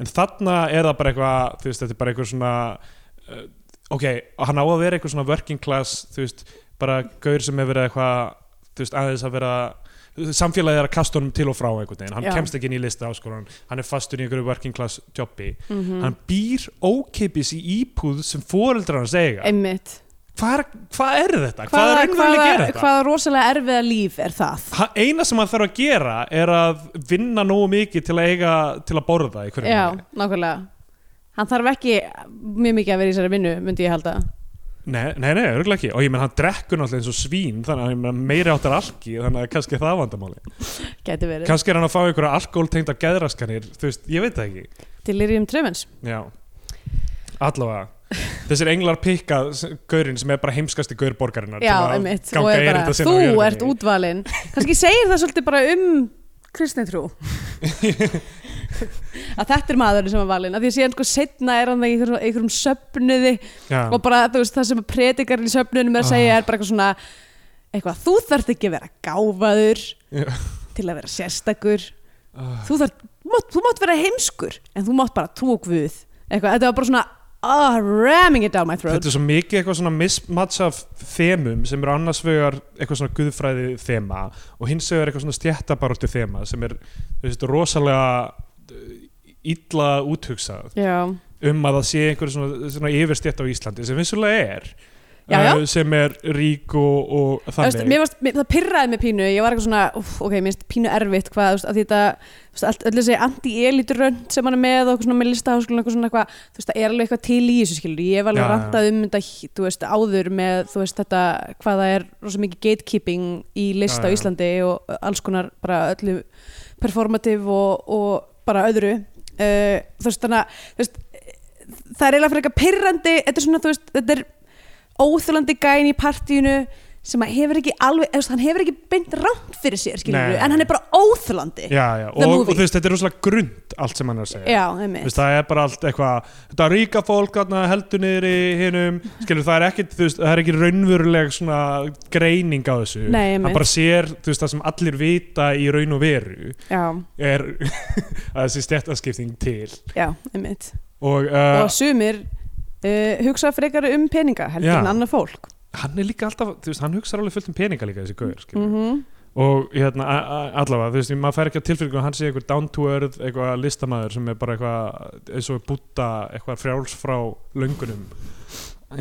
[SPEAKER 2] en þarna er það bara eitthvað þú veist, þetta er bara eitthvað svona uh, ok, hann á að vera eitthvað svona working class þú veist, bara gaur sem hefur verið eitthvað, þú veist, aðeins að vera samfélagið er að kasta honum til og frá einhvern veginn, hann
[SPEAKER 3] Já.
[SPEAKER 2] kemst ekki inn í lista háskólan hann er fastur í einhverju working class jobbi
[SPEAKER 3] mm
[SPEAKER 2] hann býr ókeipis í íbúð sem foreldrar hans eiga
[SPEAKER 3] einmitt
[SPEAKER 2] hvað er, hvað er þetta? hvað er raunverulega að gera þetta?
[SPEAKER 3] hvaða rosalega erfiða líf er það
[SPEAKER 2] Ha- eina sem hann þarf að gera er að vinna nógu mikið til að eiga til að borða í hverju
[SPEAKER 3] já,
[SPEAKER 2] mánuði.
[SPEAKER 3] nákvæmlega hann þarf ekki mjög mikið að vera í þessari vinnu myndi ég halda
[SPEAKER 2] nei, nei, nei, örgulega ekki og ég menn hann drekkur náttúrulega eins og svín þannig að ég menn meiri áttar alki þannig að kannski er það vandamáli
[SPEAKER 3] gæti verið, Kans
[SPEAKER 2] kannski er hann að fá einhverja alkoholtengda geðraskanir þú veist, ég veit það ekki
[SPEAKER 3] delirium trefens
[SPEAKER 2] Já, allavega Þessir englar pikka s- gaurinn sem er bara heimskasti gaur borgarinnar
[SPEAKER 3] já,
[SPEAKER 2] til að
[SPEAKER 3] einmitt,
[SPEAKER 2] ganga
[SPEAKER 3] og er bara,
[SPEAKER 2] erinda sinna á
[SPEAKER 3] þú
[SPEAKER 2] jörðinni.
[SPEAKER 3] ert útvalinn kannski segir það svolítið bara um kristin trú að þetta er maðurinn sem er valinn að því að síðan sko setna er hann í einhverjum- einhverjum söpnuði
[SPEAKER 2] Já. Ah.
[SPEAKER 3] og bara þú veist það sem predikarinn í söfnunum er að segja er bara eitthvað svona eitthvað, þú þarft ekki að vera gáfaður
[SPEAKER 2] Já. Ah.
[SPEAKER 3] til að vera sérstakur þú þarft, þú mátt, þú mátt vera heimskur en þú mátt bara trú og guð eitthvað, þetta var bara svona ah, ramming it down my throat
[SPEAKER 2] Þetta er svo mikið eitthvað svona mismatch af þemum sem eru annars vegar eitthvað svona guðfræði þema og hins vegar eitthvað svona stjættabaróttu þema sem er þú veist, rosalega uh, illa úthugsað
[SPEAKER 3] já,
[SPEAKER 2] um að það sé einhver svona, svona yfirstjætt á Íslandi sem vissulega er
[SPEAKER 3] Já, já.
[SPEAKER 2] uh, sem er rík og, og
[SPEAKER 3] Þú veist,
[SPEAKER 2] þannig
[SPEAKER 3] mér varst, mér, það pirraði mig pínu ég var eitthvað svona, uff, ok, mér finnst pínu erfitt hvað, þú veist, að þetta, þú veist, allt, öll þessi anti-elitrönd sem hann er með og eitthvað svona með listaháskólan, eitthvað svona eitthvað, þú veist, það er alveg eitthvað til í þessu skilur, ég var alveg
[SPEAKER 2] Já,
[SPEAKER 3] ja,
[SPEAKER 2] já.
[SPEAKER 3] rantað um þetta, hí- þú veist, áður með, þú veist, þetta, hvað það er rosa mikið gatekeeping í
[SPEAKER 2] Já,
[SPEAKER 3] list á
[SPEAKER 2] já.
[SPEAKER 3] Íslandi og alls konar bara öllu performativ og, og bara öðru uh, þú veist, þannig að, þú veist, það er eiginlega fyrir eitthvað pirrandi, þetta er svona, þú veist, þetta er óþjólandi gæin í partíinu sem að hefur ekki alveg, eða, þú veist, hann hefur ekki beint rámt fyrir sér, skilur
[SPEAKER 2] Nei.
[SPEAKER 3] en hann er bara óþjólandi
[SPEAKER 2] já, já.
[SPEAKER 3] The
[SPEAKER 2] Og, og
[SPEAKER 3] movie.
[SPEAKER 2] þú veist, þetta er rosalega grund allt sem hann er að segja
[SPEAKER 3] já
[SPEAKER 2] Þú
[SPEAKER 3] einmitt
[SPEAKER 2] Veist, það er bara allt eitthvað þetta ríka fólk þarna, heldur niður í hinum skilur það er ekki, veist, það er ekki raunveruleg svona greining á þessu
[SPEAKER 3] Nei, einmitt.
[SPEAKER 2] hann bara sér þú veist, það sem allir vita í raun og veru
[SPEAKER 3] já,
[SPEAKER 2] er að þessi stjættaskipting til
[SPEAKER 3] já, einmitt
[SPEAKER 2] og, uh,
[SPEAKER 3] og sumir uh, hugsa frekar um peninga heldur
[SPEAKER 2] Já.
[SPEAKER 3] en annað fólk
[SPEAKER 2] hann er líka alltaf þú veist, hann hugsar alveg fullt um peninga líka þessi gaur mm
[SPEAKER 3] mm
[SPEAKER 2] og hérna, a- a- allavega þú veist, maður fær ekki að tilfylgjum að hann sé einhver down to earth eitthvað listamaður sem er bara eitthvað eins og búta eitthvað frjáls frá löngunum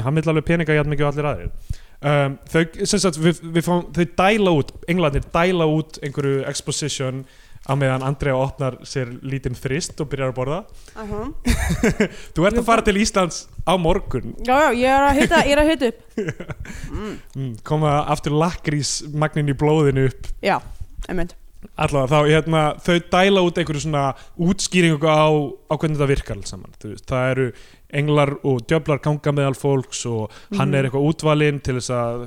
[SPEAKER 2] hann vil alveg peninga jætt mikið og allir aðrir um, þau, sem sagt, við, við fáum þau dæla út, englarnir dæla út einhverju exposition á meðan Andrea opnar sér lítinn þrist og byrjar að borða þú ert að fara til Íslands á morgun
[SPEAKER 3] já, já, ég er að hita, ég er að hita upp
[SPEAKER 2] mm, koma aftur lakrísmagnin í blóðinu upp
[SPEAKER 3] já, einmitt
[SPEAKER 2] Allavega, þá, hérna, þau dæla út einhverju svona útskýringu á, á hvernig þetta virkar alls saman. Þú Veist, það eru englar og djöflar ganga meðal fólks og
[SPEAKER 3] Mhm.
[SPEAKER 2] hann er eitthvað útvalinn til þess að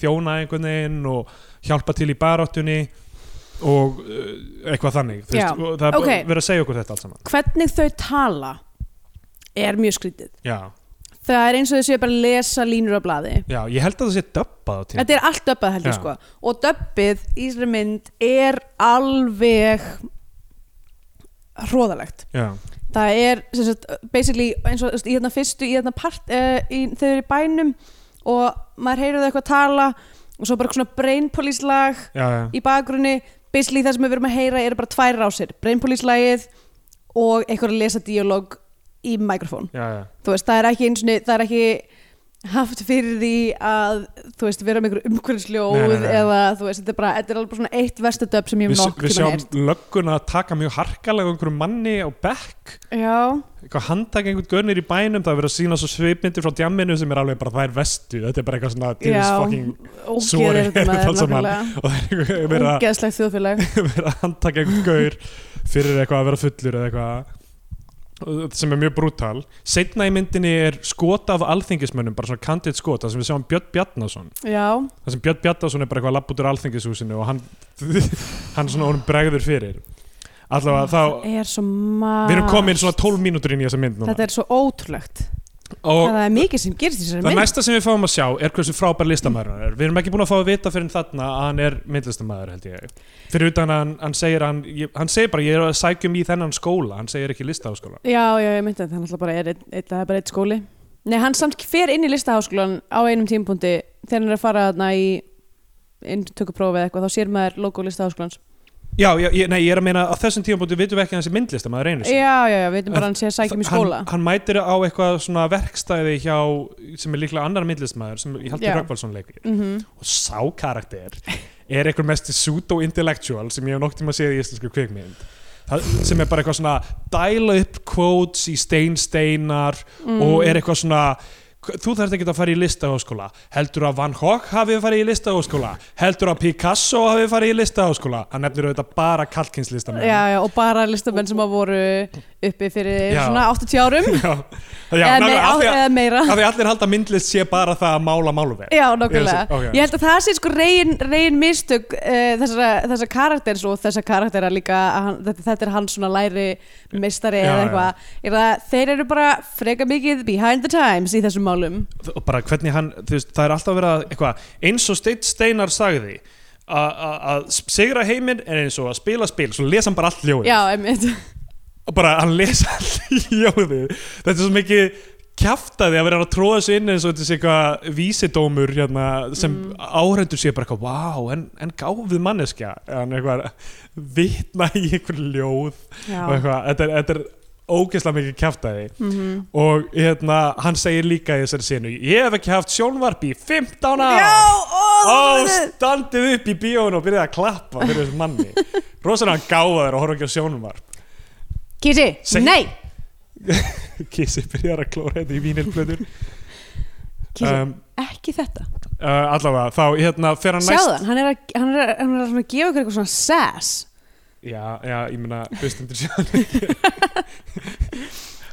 [SPEAKER 2] þjóna einhvern veginn og hjálpa til í baráttunni og uh, eitthvað þannig. Þú
[SPEAKER 3] Já,
[SPEAKER 2] Veist, og það er
[SPEAKER 3] ok.
[SPEAKER 2] okay. verið að segja okkur þetta alls saman.
[SPEAKER 3] hvernig þau tala er mjög skrítið
[SPEAKER 2] Já,
[SPEAKER 3] það er eins og þau séu bara að lesa línur á blaði
[SPEAKER 2] já, ég held að það sé döbbað á tíma.
[SPEAKER 3] Þetta er allt döbbað heldur
[SPEAKER 2] Já.
[SPEAKER 3] sko og döbbið í þessari mynd er alveg hróðalegt
[SPEAKER 2] Já,
[SPEAKER 3] það er sem sagt, basically eins og þú veist, í hérna fyrstu í hérna part uh, í, þau eru í bænum og maður heyrðu þau eitthvað tala og svo bara eitthvað svona brain police lag
[SPEAKER 2] já, já.
[SPEAKER 3] í bakgrunni basically það sem við verum að heyra eru bara tvær rásir brain police lagið og eitthvað að lesa dialog í mikrofón
[SPEAKER 2] Já, já.
[SPEAKER 3] þú veist, það er ekki eins og það er ekki haft fyrir því að þú veist, vera með einhver
[SPEAKER 2] Nei,
[SPEAKER 3] umhverfisljóð
[SPEAKER 2] nei, nei.
[SPEAKER 3] eða þú veist, þetta er bara, þetta er alveg bara svona eitt versta döp sem ég
[SPEAKER 2] Við,
[SPEAKER 3] hef
[SPEAKER 2] s-
[SPEAKER 3] nokk
[SPEAKER 2] við sjáum lögguna að taka mjög harkalega á einhverjum manni á bekk
[SPEAKER 3] Já,
[SPEAKER 2] eitthvað handtaka einhvern görnir í bænum það er verið að sína svo svipmyndir frá djamminu sem er alveg bara það er vestu, þetta er bara eitthvað svona
[SPEAKER 3] já,
[SPEAKER 2] Jesus fucking,
[SPEAKER 3] ógeð
[SPEAKER 2] sorry,
[SPEAKER 3] er þetta
[SPEAKER 2] þetta
[SPEAKER 3] maður
[SPEAKER 2] allt saman.
[SPEAKER 3] nákvæmlega.
[SPEAKER 2] og það er eitthvað verið að-
[SPEAKER 3] Ógeðslegt þjóðfélag
[SPEAKER 2] verið að handtaka einhvern gaur fyrir eitthvað að vera fullur eða eitthvað Og sem er mjög brútal setna í myndinni er skot af alþingismönnum bara svona kandid skot, það sem við sjáum Björn Bjarnason
[SPEAKER 3] Já,
[SPEAKER 2] það sem Björn Bjarnason er bara eitthvað lapp út úr alþingishúsinu og hann, hann svona honum bregður fyrir allavega þá,
[SPEAKER 3] er svo margt
[SPEAKER 2] við erum komin svona 12 mínútur inn í þessa mynd núna
[SPEAKER 3] Þetta er svo ótrúlegt
[SPEAKER 2] og
[SPEAKER 3] Hvað Það er mikið sem gerist í þessari
[SPEAKER 2] Það
[SPEAKER 3] mynd
[SPEAKER 2] næsta sem við fáum að sjá er hversu frábær listamæður hann er. Við erum ekki búin að fá að vita fyrir þarna að hann er myndlistamæður held ég. Fyrir utan að hann, hann segir að hann, ég, hann segir bara ég er að sækjum í þennan skóla, hann segir ekki listaháskóla.
[SPEAKER 3] Já, já, ég myndi að það náttúrulega bara er, einn- einn- það er bara eitt skóli Nei, hann samt fer inn í listaháskólan á einum tímpúndi þegar hann er að fara þarna í inntökuprófi eða eitthvað, þá sér maður logo listaháskólans
[SPEAKER 2] Já, já ég, nei, ég er að meina að þessum tíum búin vitum við ekki að hann sé myndlistamæður einu sinni.
[SPEAKER 3] Já, já, já, við veitum bara að hann sé að sækja mér um skóla
[SPEAKER 2] Hann, hann mætir á eitthvað svona verkstæði hjá, sem er líklega annar myndlistamæður sem ég held
[SPEAKER 3] Já.
[SPEAKER 2] að Rökkvalsson leikur.
[SPEAKER 3] mm
[SPEAKER 2] Og sá karakter er einhver mest pseudo-intellectual sem ég hef nokt tíma að séð í íslensku kvikmynd. Það, sem er bara eitthvað svona dæla upp quotes í steinsteinar
[SPEAKER 3] Mm.
[SPEAKER 2] og er eitthvað svona þú þarft ekki að fara í listaháskóla heldur að Van Gogh hafi farið í listaháskóla heldur að Picasso hafi farið í listaháskóla hann nefnir auðvitað bara kalkinslistamenn
[SPEAKER 3] Já, já, og bara listamenn sem að voru uppi fyrir
[SPEAKER 2] Já.
[SPEAKER 3] svona 80 árum
[SPEAKER 2] já, já
[SPEAKER 3] eða,
[SPEAKER 2] nefnir,
[SPEAKER 3] mei,
[SPEAKER 2] af,
[SPEAKER 3] á,
[SPEAKER 2] því að,
[SPEAKER 3] eða meira
[SPEAKER 2] af því að allir halda að myndlist sé bara það að mála málverk
[SPEAKER 3] Já, nokkulega.
[SPEAKER 2] Ég sé- ok.
[SPEAKER 3] Ég held að það sé sko reyn, reyn mistök uh, þessara, þessara karakters og þessara karaktera líka að hann, þetta, þetta er hans svona læri meistari
[SPEAKER 2] Já,
[SPEAKER 3] eða
[SPEAKER 2] já.
[SPEAKER 3] eitthvað. Er að Þeir eru bara freka mikið behind the times í þessum málum.
[SPEAKER 2] og bara hvernig hann, þú veist, það er alltaf verið að eitthvað, eins og Steinn Steinar sagði a- a- að sigra heiminn er eins og að spila spil, svo lesa hann bara allt ljóðið
[SPEAKER 3] Já, einmitt.
[SPEAKER 2] og bara hann lesa allt ljóðið þetta er svo mikið kjafta því að vera að tróða þessu inn eins og þetta sé eitthvað vísidómur hérna, sem
[SPEAKER 3] Mm.
[SPEAKER 2] áhrendur sé bara eitthvað vá, en, en gáfið manneskja en eitthvað vitna í einhver ljóð og
[SPEAKER 3] já.
[SPEAKER 2] eitthvað, þetta er, þetta er ógeðslega mikið kjafta því
[SPEAKER 3] Mm
[SPEAKER 2] og hérna, hann segir líka í þessari sinu ég hef ekki haft sjónvarp í 15 ár
[SPEAKER 3] já, ó,
[SPEAKER 2] Ó,
[SPEAKER 3] það er
[SPEAKER 2] standið upp í bíón og byrjaði að klappa fyrir þessum manni Rosalega gáfaður og horfa ekki á sjónvarp
[SPEAKER 3] Kísi,
[SPEAKER 2] Seg-
[SPEAKER 3] nei
[SPEAKER 2] Kissi byrjar að klóra þetta í vínilblöður
[SPEAKER 3] Kísi,
[SPEAKER 2] um,
[SPEAKER 3] ekki þetta
[SPEAKER 2] uh, Allavega, þá hérna fer hann næst
[SPEAKER 3] Sjáðan, hann er að, hann er að, hann er að svona gefa okkur eitthvað svona sass
[SPEAKER 2] Já, já, ég meina, hlustendur sjá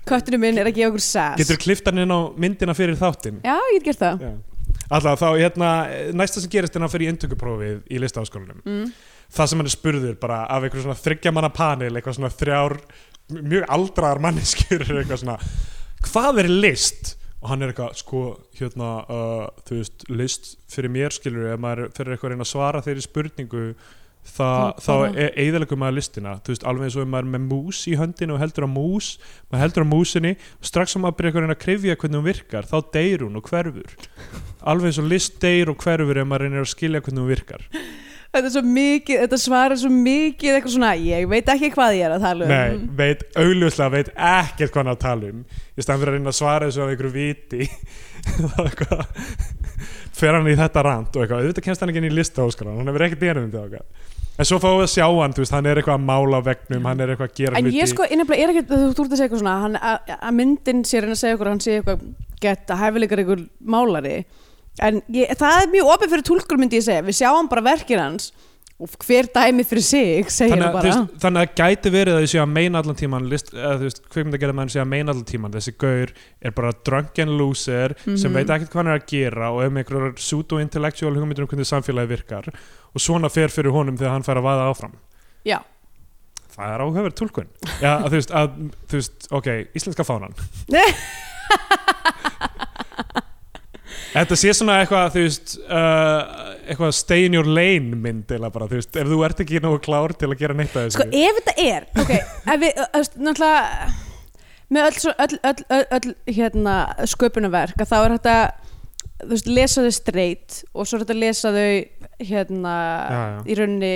[SPEAKER 3] Köttinu minn er að gefa okkur sass
[SPEAKER 2] Getur kliftan inn á myndina fyrir þáttinn
[SPEAKER 3] Já, ég get gert það
[SPEAKER 2] Já. Allavega, þá hérna Næsta sem gerist er hann fyrir inntökuprófið í listaháskólanum
[SPEAKER 3] mm.
[SPEAKER 2] Það sem hann er spurður bara af einhver svona þryggja manna panel Eitthvað svona þrjár, mjög aldraðar manneskjur Eitthvað svona hvað er list og hann er eitthvað sko hérna uh, þú veist list fyrir mér skilur ef maður fyrir eitthvað að reyna að svara þeirri spurningu þa, þá
[SPEAKER 3] Þá- þá-
[SPEAKER 2] e eigðalegum maður listina þú veist alveg eins og ef maður er með mús í höndinu og heldur á mús, maður heldur á músinni og strax sem maður byrja eitthvað að reyna að krifja hvernig hún virkar þá deyr hún og hverfur alveg eins og list deyr og hverfur ef maður reynir að skilja hvernig hún virkar
[SPEAKER 3] Þetta er svo mikið, þetta svarar svo mikið eitthvað svona, ég veit ekki hvað ég er að tala um
[SPEAKER 2] Nei, veit, augljóslega veit ekkert hvað hann er að tala um í staðan fyrir að reyna að svara þessu af einhverju viti þá eitthvað fer hann í þetta rand og eitthvað auðvitað kemst hann ekki inn í listaháskólan, hann hefur ekkert erindi á en svo fáum við að sjá hann, þú veist, hann er eitthvað að mála á vegnum, hann er eitthvað að gera
[SPEAKER 3] En
[SPEAKER 2] hluti
[SPEAKER 3] ég sko, innafnilega, er ekkert þú þú ert að segja eitthvað svona, hann, að- að myndin sé að reyna að segja okkur, að hann sé eitthvað gett að hæfileikar ykkur málari en ég, það er mjög opið fyrir túlkur myndi ég segja, við sjáum bara verkin hans og hver dæmi fyrir sig segir
[SPEAKER 2] þannig,
[SPEAKER 3] hann
[SPEAKER 2] að, þú
[SPEAKER 3] bara
[SPEAKER 2] veist, þannig að það gæti verið að ég sé að meina allan tíman list, eða, þú veist, kvikmynd að gera sé að meina allan tíman þessi gaur er bara drunk and loser sem
[SPEAKER 3] Mhm.
[SPEAKER 2] veit ekkert hvað hann er að gera og er með einhverjar pseudo-intellectual hugmyndur um hvernig samfélagi virkar og svona fer fyrir honum þegar hann fær að vaða áfram
[SPEAKER 3] Já.
[SPEAKER 2] Það er áhugaverð tólkun Já, að, þú veist, að, þú veist, ok, íslenska fánan Þetta sé svona eitthvað, þú veist uh, eitthvað stay in your lane mynd eða bara, þú veist, ef þú ert ekki nógu klár til að gera neitt að þessu
[SPEAKER 3] Sko ef þetta er Ok, ef við, ö- öst, náttúrulega með öll, svo- öll, öll, öll, öll hérna, sköpunarverk að þá er þetta þú veist, lesa þau straight og svo er þetta lesa þau hérna,
[SPEAKER 2] Já, já.
[SPEAKER 3] í rauninni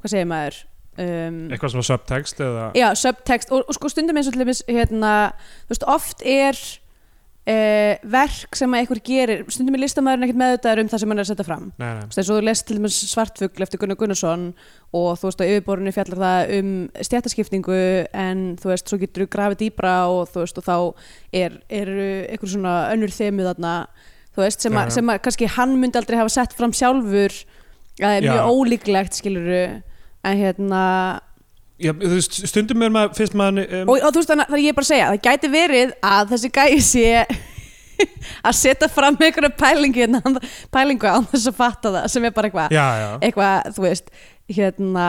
[SPEAKER 3] hvað segir maður um,
[SPEAKER 2] eitthvað svona subtext eða
[SPEAKER 3] já, subtext og, og sko stundum eins og til dæmis hérna, þú veist, oft er uh, verk sem að einhver gerir stundum er listamaðurinn ekkert meðutaður um það sem hann er að setja fram
[SPEAKER 2] nei, nei.
[SPEAKER 3] Þú veist, eins og þú lest til dæmis svartfugl eftir Gunnar Gunnarsson og þú veist að yfirborunni fjallar það um stjættaskiptingu en þú veist, svo getur þú grafið dýbra og þú veist, og þá er, er einhver svona önnur þemu þarna þú veist, sem,
[SPEAKER 2] Já,
[SPEAKER 3] að,
[SPEAKER 2] já.
[SPEAKER 3] sem að kannski hann myndi aldrei hafa sett fram sjálfur það er
[SPEAKER 2] Já.
[SPEAKER 3] mjög ólíklegt, skilur en hérna
[SPEAKER 2] Já, þú veist, stundum er maður, finnst maður um,
[SPEAKER 3] og, og þú veist, þannig að ég er bara að segja, það gæti verið að þessi gæi sé að setja fram einhverja pælingu, hérna, pælingu án þess að fatta það sem er bara eitthvað
[SPEAKER 2] Já, já,
[SPEAKER 3] eitthvað, þú veist hérna,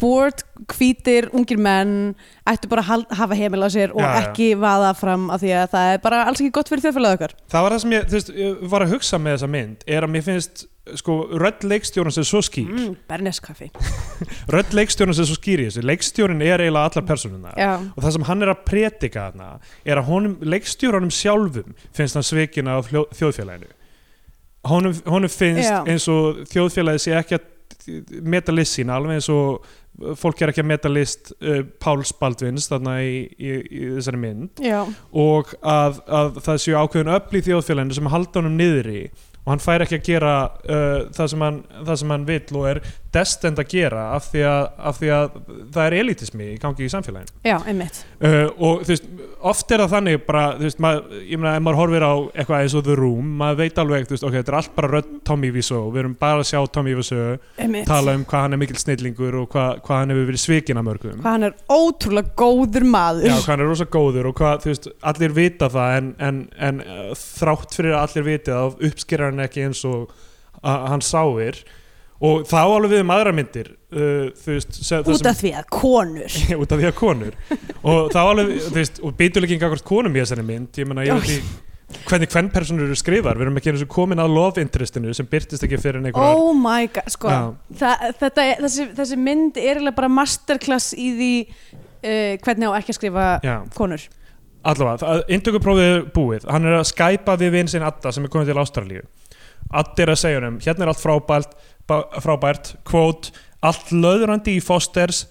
[SPEAKER 3] bored, hvítir ungir menn, ættu bara að hal- hafa heimil á sér og
[SPEAKER 2] Já, já.
[SPEAKER 3] ekki vaða fram af því að það er bara alls ekki gott fyrir þjóðfélagið okkar
[SPEAKER 2] það var það sem ég, þú veist, ég var að hugsa með þessa mynd er að mér finnst, sko, rödd leikstjórnans er svo skýr,
[SPEAKER 3] mm, Berneskaffi
[SPEAKER 2] rödd leikstjórnans er svo skýr í þessu, leikstjórnin er eiginlega allar personuna
[SPEAKER 3] Já,
[SPEAKER 2] og það sem hann er að predika þarna er að honum, leikstjórnum sjálfum finnst hann svikin af hljó- þjóðfélaginu honum, honum finnst
[SPEAKER 3] Já.
[SPEAKER 2] eins og þjóðfélagið sé ekki að meta list sína alveg eins og uh, fólk er ekki að meta list uh, Páls Baldvins þarna í, í, í þessari mynd
[SPEAKER 3] já,
[SPEAKER 2] og að, að það séu ákveðin öfl í þjóðfélaginu sem halda honum niðri og hann fær ekki að gera uh, það, sem hann, það sem hann vill og er destend að gera af því að, af því að það er elitismi í gangi í samfélaginu
[SPEAKER 3] já, einmitt
[SPEAKER 2] uh, og þú veist, oft er það þannig bara, þú veist, maður, ég meina, ef maður horfir á eitthvað eins og The Room, maður veit alveg þú veist, ok, þetta er allt bara rödd Tommy Wiseau við erum bara að sjá Tommy Wiseau
[SPEAKER 3] einmitt
[SPEAKER 2] tala um hvað hann er mikil snillingur og hvað, hvað hann hefur verið svikin af mörgum
[SPEAKER 3] Hvað hann er ótrúlega góður maður
[SPEAKER 2] um- Já, hvað hann er rosa góður og hvað, þú veist, allir vita það en, en, en uh, þrátt fyrir að allir viti það uppskerar hann ekki eins og að, hann sáir og þá alveg við um aðra myndir uh, þú veist, se- það
[SPEAKER 3] Út af því að konur
[SPEAKER 2] sem, út af því að konur og þá alveg, þú veist, og býtuleginn akkvart konum í þessari mynd, ég meina, ég veit ekki hvernig hvern personur eru skrifar, við erum ekki eins og komin að love interestinu sem byrtist ekki fyrir en einhverjar
[SPEAKER 3] Oh my god, sko
[SPEAKER 2] Já.
[SPEAKER 3] Þa, þetta, er- þessi, þessi mynd er eiginlega bara masterclass í því uh, hvernig á ekki að skrifa
[SPEAKER 2] Já,
[SPEAKER 3] konur
[SPEAKER 2] allavega, það- inntökuprófið er búið hann er að skæpa við vinn sinn Adda sem er komin til Ástralíu Adda er að segja honum, hérna er allt frábært bá- frábært, kvót allt löðrandi í fosters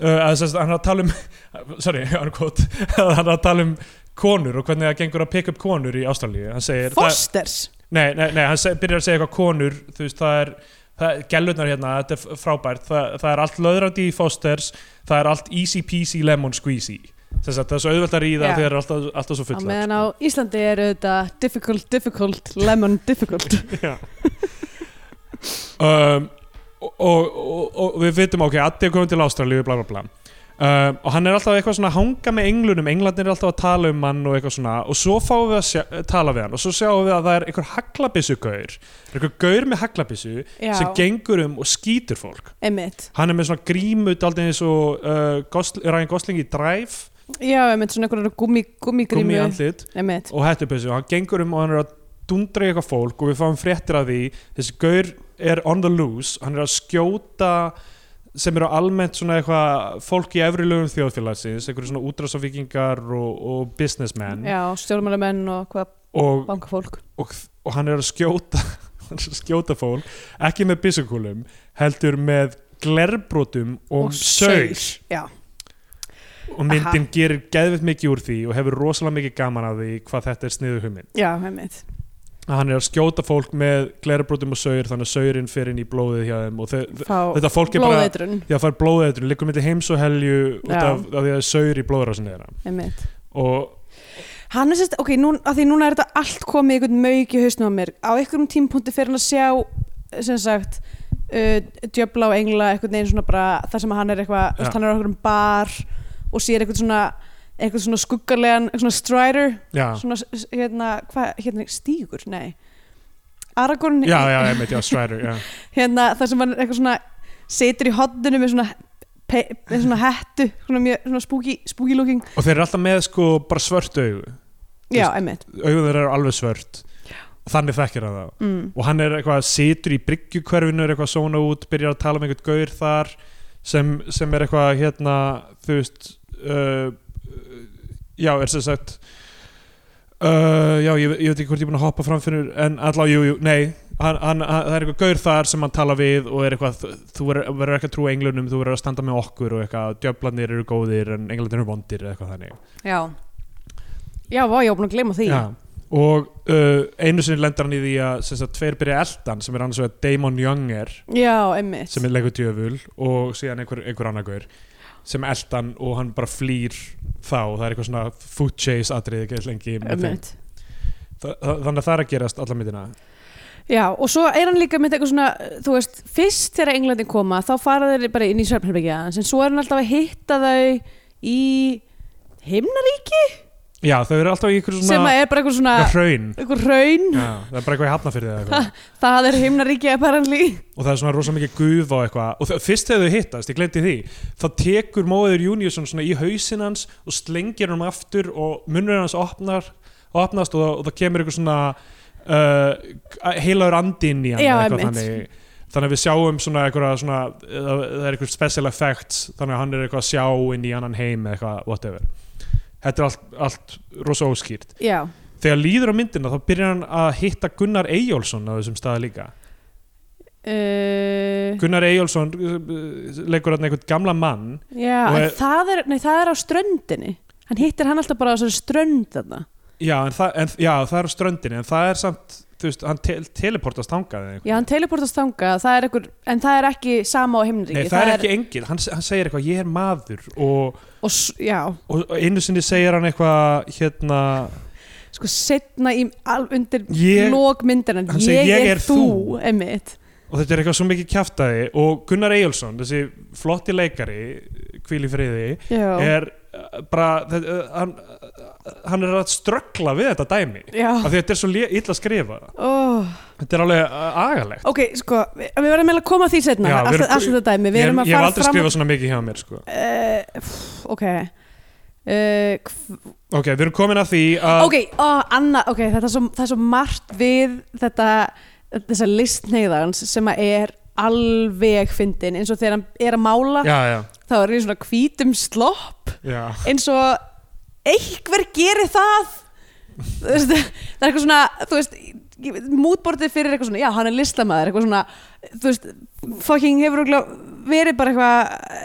[SPEAKER 2] uh, að, sest, hann er að tala um sorry, hann er kvót hann er að tala um konur og hvernig það gengur að pick up konur í Ástralíu hann segir, það-
[SPEAKER 3] Fosters
[SPEAKER 2] Nei, nei, nei, hann seg, byrjar að segja eitthvað konur þú veist, það er, það, gælurnar hérna þetta er f- frábært, það, það er allt löðrandi í fosters, það er allt easy peasy lemon squeezy, þess að það er svo auðvelt að ríða
[SPEAKER 3] Já.
[SPEAKER 2] þegar það er alltaf, alltaf svo
[SPEAKER 3] á
[SPEAKER 2] fullar
[SPEAKER 3] meðan á Íslandi er auðvitað difficult, difficult, lemon difficult
[SPEAKER 2] um, og, og, og, og við vitum ok, Addi er komin til Ástralíu bla bla bla um, og hann er alltaf eitthvað svona að hanga með englunum, englarnir er alltaf að tala um hann og eitthvað svona, og svo fáum við að sjá, eh, tala við hann og svo sjáum við að það er einhver haglabissugaur einhver gaur með haglabissu sem gengur um og skýtur fólk
[SPEAKER 3] einmitt
[SPEAKER 2] hann er með svona grímu daldið eins og uh, Gosl Ryan Gosling í Drive
[SPEAKER 3] já, einmitt svona einhverjar gummi, gummigrímu
[SPEAKER 2] grímu í andlit
[SPEAKER 3] einmitt
[SPEAKER 2] og hættupessu og hann gengur um og hann er að dundra í eitthvað fólk og við fáum fréttir af því þessi gaur er on the loose hann er að skjóta sem eru almennt svona eitthvað fólk í efri lögum þjóðfélagsins einhverju svona útrásavíkingar og, og businessmen
[SPEAKER 3] já, stjórnmálamenn og hvað
[SPEAKER 2] og,
[SPEAKER 3] bankafólk
[SPEAKER 2] og, og hann er að skjóta hann er að skjóta fólk ekki með byssukúlum heldur með glerbrotum og, og
[SPEAKER 3] já,
[SPEAKER 2] og myndin gerir geðvitt mikið úr því og hefur rosalega mikið gaman af því hvað þetta er sniðu hugmynd
[SPEAKER 3] já, einmitt
[SPEAKER 2] að hann er að skjóta fólk með glerabrótum og saur þannig að saurinn fer inn í blóðið hjá þeim og þe- þe-
[SPEAKER 3] fá
[SPEAKER 2] þetta fólk er bara
[SPEAKER 3] blóðeitrun,
[SPEAKER 2] því að fær blóðeitrun, liggur myndi heims og helju út
[SPEAKER 3] Já.
[SPEAKER 2] af, af því að saur í blóðrásinni þeirra
[SPEAKER 3] einmitt
[SPEAKER 2] og
[SPEAKER 3] hann er sérst, ok, nú, að því núna er þetta allt komið einhvern mög í hausnum á mér á einhverjum tímpunkti fer hann að sjá sem sagt uh, djöfla og engla einhvern veginn svona bara þar sem hann er eitthvað,
[SPEAKER 2] Ja.
[SPEAKER 3] ja. hann er á einhverjum bar og sér einhvern svona einhvern svona skuggarlegan, einhvern svona strider
[SPEAKER 2] já,
[SPEAKER 3] svona, s- s- hérna, hvað, hérna stígur, nei Aragorn,
[SPEAKER 2] já, já, ég meit, já, Strider já.
[SPEAKER 3] hérna þar sem hann er eitthvað svona situr í hotninu með svona pe, með svona hettu, svona mjög svona spooky, spooky looking,
[SPEAKER 2] og þeir eru alltaf með sko bara svört augu
[SPEAKER 3] já,
[SPEAKER 2] Just-
[SPEAKER 3] emmitt
[SPEAKER 2] augu þeirra eru alveg svört og þannig þekkir hann þá
[SPEAKER 3] mm.
[SPEAKER 2] og hann er eitthvað situr í bryggjukverfinu er eitthvað svona út, byrjar að tala um einhvern gaur þar sem, sem er eitthvað hérna, þú veist uh, uh, já, er sem sagt uh, já, ég, ég veit ekki hvort ég er búin að hoppa fram fyrir en allavega, jú, jú, nei hann, hann, hann, það er eitthvað gaur þar sem hann tala við og er eitthvað, þú- þú verður- verður ekki að trúa englunum þú verður að standa með okkur og eitthvað djöflanir eru góðir en englarnir eru vondir eða eitthvað þannig
[SPEAKER 3] Já Já, vá, ég var búin að gleyma því
[SPEAKER 2] Já, og uh, einu sinni lendar hann í því að sem sagt, tveir byrja eldan sem er annars vegar Damon Younger
[SPEAKER 3] Já, einmitt
[SPEAKER 2] sem er leikur djöful og síðan einhver, einhver annar gaur sem eldan og hann bara flýr þá það er eitthvað svona food chase atriði ekki lengi með þeim.
[SPEAKER 3] einmitt.
[SPEAKER 2] Þa, þa- þannig að það er að gerast alla myndina
[SPEAKER 3] Já, og svo er hann líka með eitthvað svona þú veist, fyrst þegar Englandin koma þá fara þeir bara inn í svefnherbyggja en svo er hann alltaf að hitta þau í himnaríki
[SPEAKER 2] já þau eru alltaf í einhver
[SPEAKER 3] sem
[SPEAKER 2] svona
[SPEAKER 3] að er bara eitthvað svona
[SPEAKER 2] eitthvað hraun
[SPEAKER 3] eitthvað raun,
[SPEAKER 2] já, það er bara eitthvað í hafnafyrði eða eitthvað
[SPEAKER 3] það er himnaríki apparently
[SPEAKER 2] og það er svona rosa mikið gufa og eitthvað og þau- fyrst þegar þau hittast, ég glemti því þá tekur móður Júniusson svona í hausin hans og slengir hann aftur og munnur hans opnar, opnast og, það- og það kemur eitthvað svona uh, heilagur andi inn í hann
[SPEAKER 3] Já,
[SPEAKER 2] eða eitthvað
[SPEAKER 3] einmitt.
[SPEAKER 2] þannig þannig að við sjáum svona eitthvað svona, það það er eitthvað special effects þannig að hann er eitthvað að sjá inn í annan heim eða eitthvað, whatever þetta er allt, allt rosa óskýrt
[SPEAKER 3] Já,
[SPEAKER 2] þegar líður á myndina þá byrjar hann að hitta Gunnar Eyjólfsson á þessum staða líka
[SPEAKER 3] uh,
[SPEAKER 2] Gunnar Eyjólfsson uh, leikur hann einhvern gamla mann
[SPEAKER 3] já
[SPEAKER 2] Og
[SPEAKER 3] en
[SPEAKER 2] er-
[SPEAKER 3] það, er, nei, það er á ströndinni hann hittir hann alltaf bara á þessari strönd þarna
[SPEAKER 2] já, en það, en, já, það er á ströndinni en það er samt, þú veist, hann te teleportast hangað
[SPEAKER 3] Já, hann teleportast þangað, það er einhver, en það er ekki sama á himnaríki
[SPEAKER 2] Nei, það, er ekki engil, hann, hann segir eitthvað ég er maður og,
[SPEAKER 3] og, s- já,
[SPEAKER 2] og, og einu sinni segir hann eitthvað hérna,
[SPEAKER 3] sko setna í al, undir
[SPEAKER 2] Ég-
[SPEAKER 3] lókmyndina
[SPEAKER 2] Hann segir, "Ég er þú."
[SPEAKER 3] einmitt.
[SPEAKER 2] og þetta er eitthvað svo mikið kjaftaði og Gunnar Eyjólfsson, þessi flotti leikari hvíl í friði
[SPEAKER 3] já,
[SPEAKER 2] er uh, bara þe- uh, hann, uh, hann er að ströggla við þetta dæmi
[SPEAKER 3] já.
[SPEAKER 2] af því að þetta er svo lé- illa skrifa
[SPEAKER 3] Oh.
[SPEAKER 2] þetta er alveg uh, agalegt
[SPEAKER 3] ok, sko við, við verðum eiginlega að koma að því setna
[SPEAKER 2] Já, við
[SPEAKER 3] alltaf,
[SPEAKER 2] erum-
[SPEAKER 3] alltaf þetta dæmi, við
[SPEAKER 2] Ég,
[SPEAKER 3] erum að
[SPEAKER 2] ég hef
[SPEAKER 3] fara
[SPEAKER 2] aldrei
[SPEAKER 3] fram
[SPEAKER 2] skrifað svona mikið hjá mér sko.
[SPEAKER 3] uh, pff, ok Uh, hv-
[SPEAKER 2] Ok, við erum komin að því að
[SPEAKER 3] ok, oh, Anna, ok, þetta er svo, það er svo margt við þetta, þessa listneiðans sem að er alveg fyndin eins og þegar hann er að mála
[SPEAKER 2] Já, já,
[SPEAKER 3] þá er hann í svona hvítum slopp
[SPEAKER 2] já
[SPEAKER 3] eins og einhver gerir það Þú veist, það er eitthvað svona þú veist, mútbortið fyrir eitthvað svona já, hann er listamaður, eitthvað svona þú veist, fucking hefur örugglega verið bara eitthvað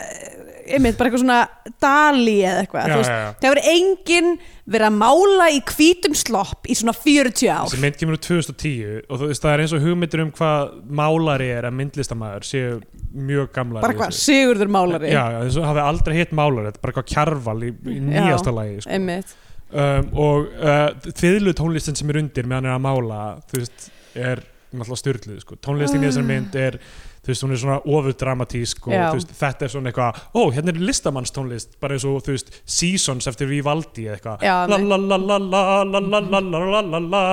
[SPEAKER 3] einmitt, bara eitthvað svona dali eða eitthvað
[SPEAKER 2] Já,
[SPEAKER 3] þú veist,
[SPEAKER 2] já, já.
[SPEAKER 3] það hefur enginn verið að mála í hvítum slopp í svona 40 ár
[SPEAKER 2] þessi mynd kemur úr 2010 og þú veist það er eins og hugmyndir um hvað málari er að myndlistamæður séu mjög gamlar
[SPEAKER 3] bara
[SPEAKER 2] í
[SPEAKER 3] hvað,
[SPEAKER 2] þessu.
[SPEAKER 3] sigurður málari
[SPEAKER 2] já, já, eins og hafi aldrei hitt málari þetta er bara eitthvað kjarval í, í nýjasta lagi sko.
[SPEAKER 3] einmitt
[SPEAKER 2] um, og uh, þiðlu tónlistin sem er undir meðan hann er að mála þú veist, er náttúrulega styrluð sko. tónlistin í þessari mynd er þú veist, hún er svona ofurdramatísk og
[SPEAKER 3] Ah. Já.
[SPEAKER 2] þú veist, þetta er svona eitthvað, ó, hérna er listamannstónlist bara eins og, þú veist, seasons eftir Vivaldi eða eitthvað
[SPEAKER 3] Já,
[SPEAKER 2] la la la la la la la la la la la la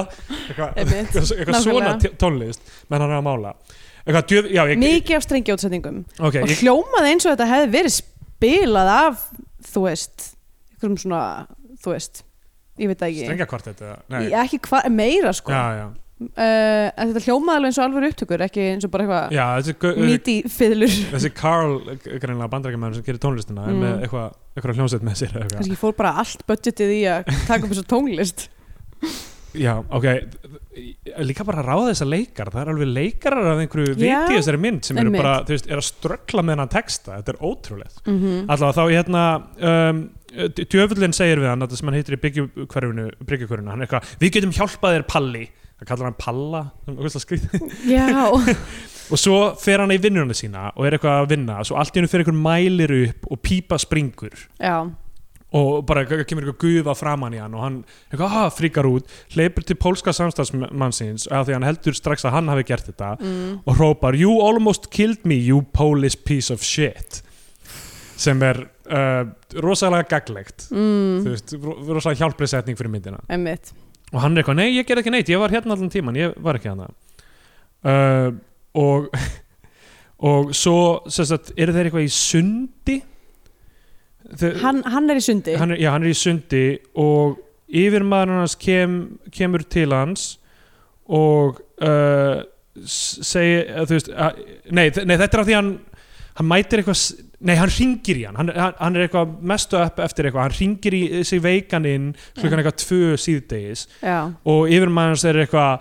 [SPEAKER 2] eitthvað
[SPEAKER 3] Einmitt,
[SPEAKER 2] eitthvað- eitthvað svona
[SPEAKER 3] nákvæmlega.
[SPEAKER 2] t- tónlist menn hann er að mála eitthvað, djöf, já, ég,
[SPEAKER 3] mikið af strengjótsendingum
[SPEAKER 2] ok, ég,
[SPEAKER 3] og hljómaði eins og þetta hefði verið spilað af þú veist, einhverjum svona þú veist, ég veit það ekki
[SPEAKER 2] strengja kvart þetta
[SPEAKER 3] Ég-
[SPEAKER 2] nei,
[SPEAKER 3] ekki hva, meira sko
[SPEAKER 2] já,
[SPEAKER 3] uh,
[SPEAKER 2] já,
[SPEAKER 3] en þetta hljómaði alveg eins og alveg upptökur ekki eins og bara eitthvað
[SPEAKER 2] já þessi, gau-
[SPEAKER 3] nýti fiðlur
[SPEAKER 2] þessi Carl, greinlega bandarækjumæður sem gerir tónlistina er
[SPEAKER 3] Mm.
[SPEAKER 2] með eitthvað, eitthvað hljómsveit með sér eða eitthvað.
[SPEAKER 3] kannski fór bara allt budgetið í að taka upp þessu tónlist
[SPEAKER 2] já, ok líka bara að ráða þessa leikar það er alveg leikarar af einhverju viti
[SPEAKER 3] Já,
[SPEAKER 2] í þessari mynd sem eru
[SPEAKER 3] einmitt.
[SPEAKER 2] bara, þú veist, er að ströggla með hennan texta, þetta er ótrúlegt
[SPEAKER 3] mm -hmm.
[SPEAKER 2] Allá þá hérna um, djöfullin segir við hann þetta sem hann heitir í byggjukverfinu byggjukverfinu, hann er eitthvað, við getum hjálpað þér Palli það kallar hann Palla um sem er ógeðslega skrýtið.
[SPEAKER 3] já,
[SPEAKER 2] og svo fer hann í vinnunni sína og er eitthvað að vinna svo allt í hennu fer einhver mælir upp og pípa springur
[SPEAKER 3] já,
[SPEAKER 2] og bara kemur eitthvað gufa framann í hann og hann eitthvað, ah, fríkar út hleypur til pólska samstagsmannsins af því hann heldur strax að hann hafi gert þetta og hrópar, you almost killed me you Polish piece of shit sem er uh, rosalega gaglegt
[SPEAKER 3] mm,
[SPEAKER 2] þú veist, ro- rosalega hjálplega setning fyrir myndina
[SPEAKER 3] emmitt
[SPEAKER 2] og hann er eitthvað, nei, ég gerði ekki neitt, ég var hérna allan tíman ég var ekki hérna uh, og og svo, sem sagt, eru þeir eitthvað í sundi Þe-
[SPEAKER 3] hann, hann er í sundi
[SPEAKER 2] hann er, já, hann er í sundi og yfirmaður hans kem, kemur til hans og uh, segi, eh, þú veist að, nei, þe- nei, þetta er af því hann hann mætir eitthvað, s- nei, hann ringir í hann hann, hann- hann er eitthvað mestu upp eftir eitthvað hann ringir í sig veikan inn klukkan eitthvað tvö síðdegis
[SPEAKER 3] já,
[SPEAKER 2] og yfirmaður hans er eitthvað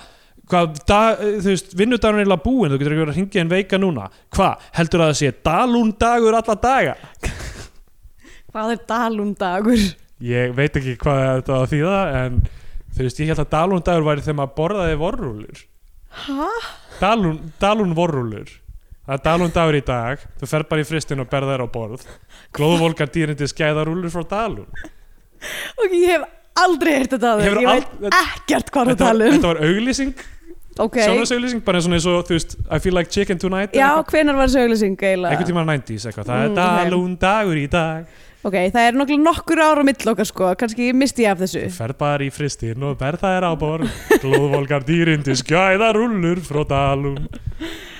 [SPEAKER 2] hvað, dag, þú veist, vinnudagur er eiginlega búinn þú getur ekki verið að ringið en veika núna hvað, heldur að það sé dalún dagur alla daga
[SPEAKER 3] hvað er um dalundagur
[SPEAKER 2] Ég veit ekki hvað þetta á að þýða en þú veist, ég held að dalundagur væri þegar maður borðaði vorrúlur
[SPEAKER 3] hæ?
[SPEAKER 2] Dalun, dalun vorrúlur Það er dalundagur í dag þú fer bara í fristin og berðar á borð glóðvolgar dýrindi skæðarúlur frá dalun
[SPEAKER 3] ok, ég hef aldrei heyrt þetta að
[SPEAKER 2] Hefur
[SPEAKER 3] þau ég
[SPEAKER 2] ald-
[SPEAKER 3] veit ekkert hvað það
[SPEAKER 2] þetta, var-
[SPEAKER 3] tala um
[SPEAKER 2] þetta var auglýsing,
[SPEAKER 3] ok,
[SPEAKER 2] sjálfnarsauglýsing bara svona eins og, þú veist, I feel like chicken tonight
[SPEAKER 3] já, hvenar var þessi auglýsing eiginlega?
[SPEAKER 2] einhvern tíma 90s eitthvað, það
[SPEAKER 3] Mm,
[SPEAKER 2] er
[SPEAKER 3] ok.
[SPEAKER 2] dalundagur í dag
[SPEAKER 3] Ok, það er nokkuð nokkur ára mittl okkar sko, kannski misti ég af þessu.
[SPEAKER 2] þú fer bara í fristin og berðar á borð glóðvolgar dýrindi skæðarúlur frá dalun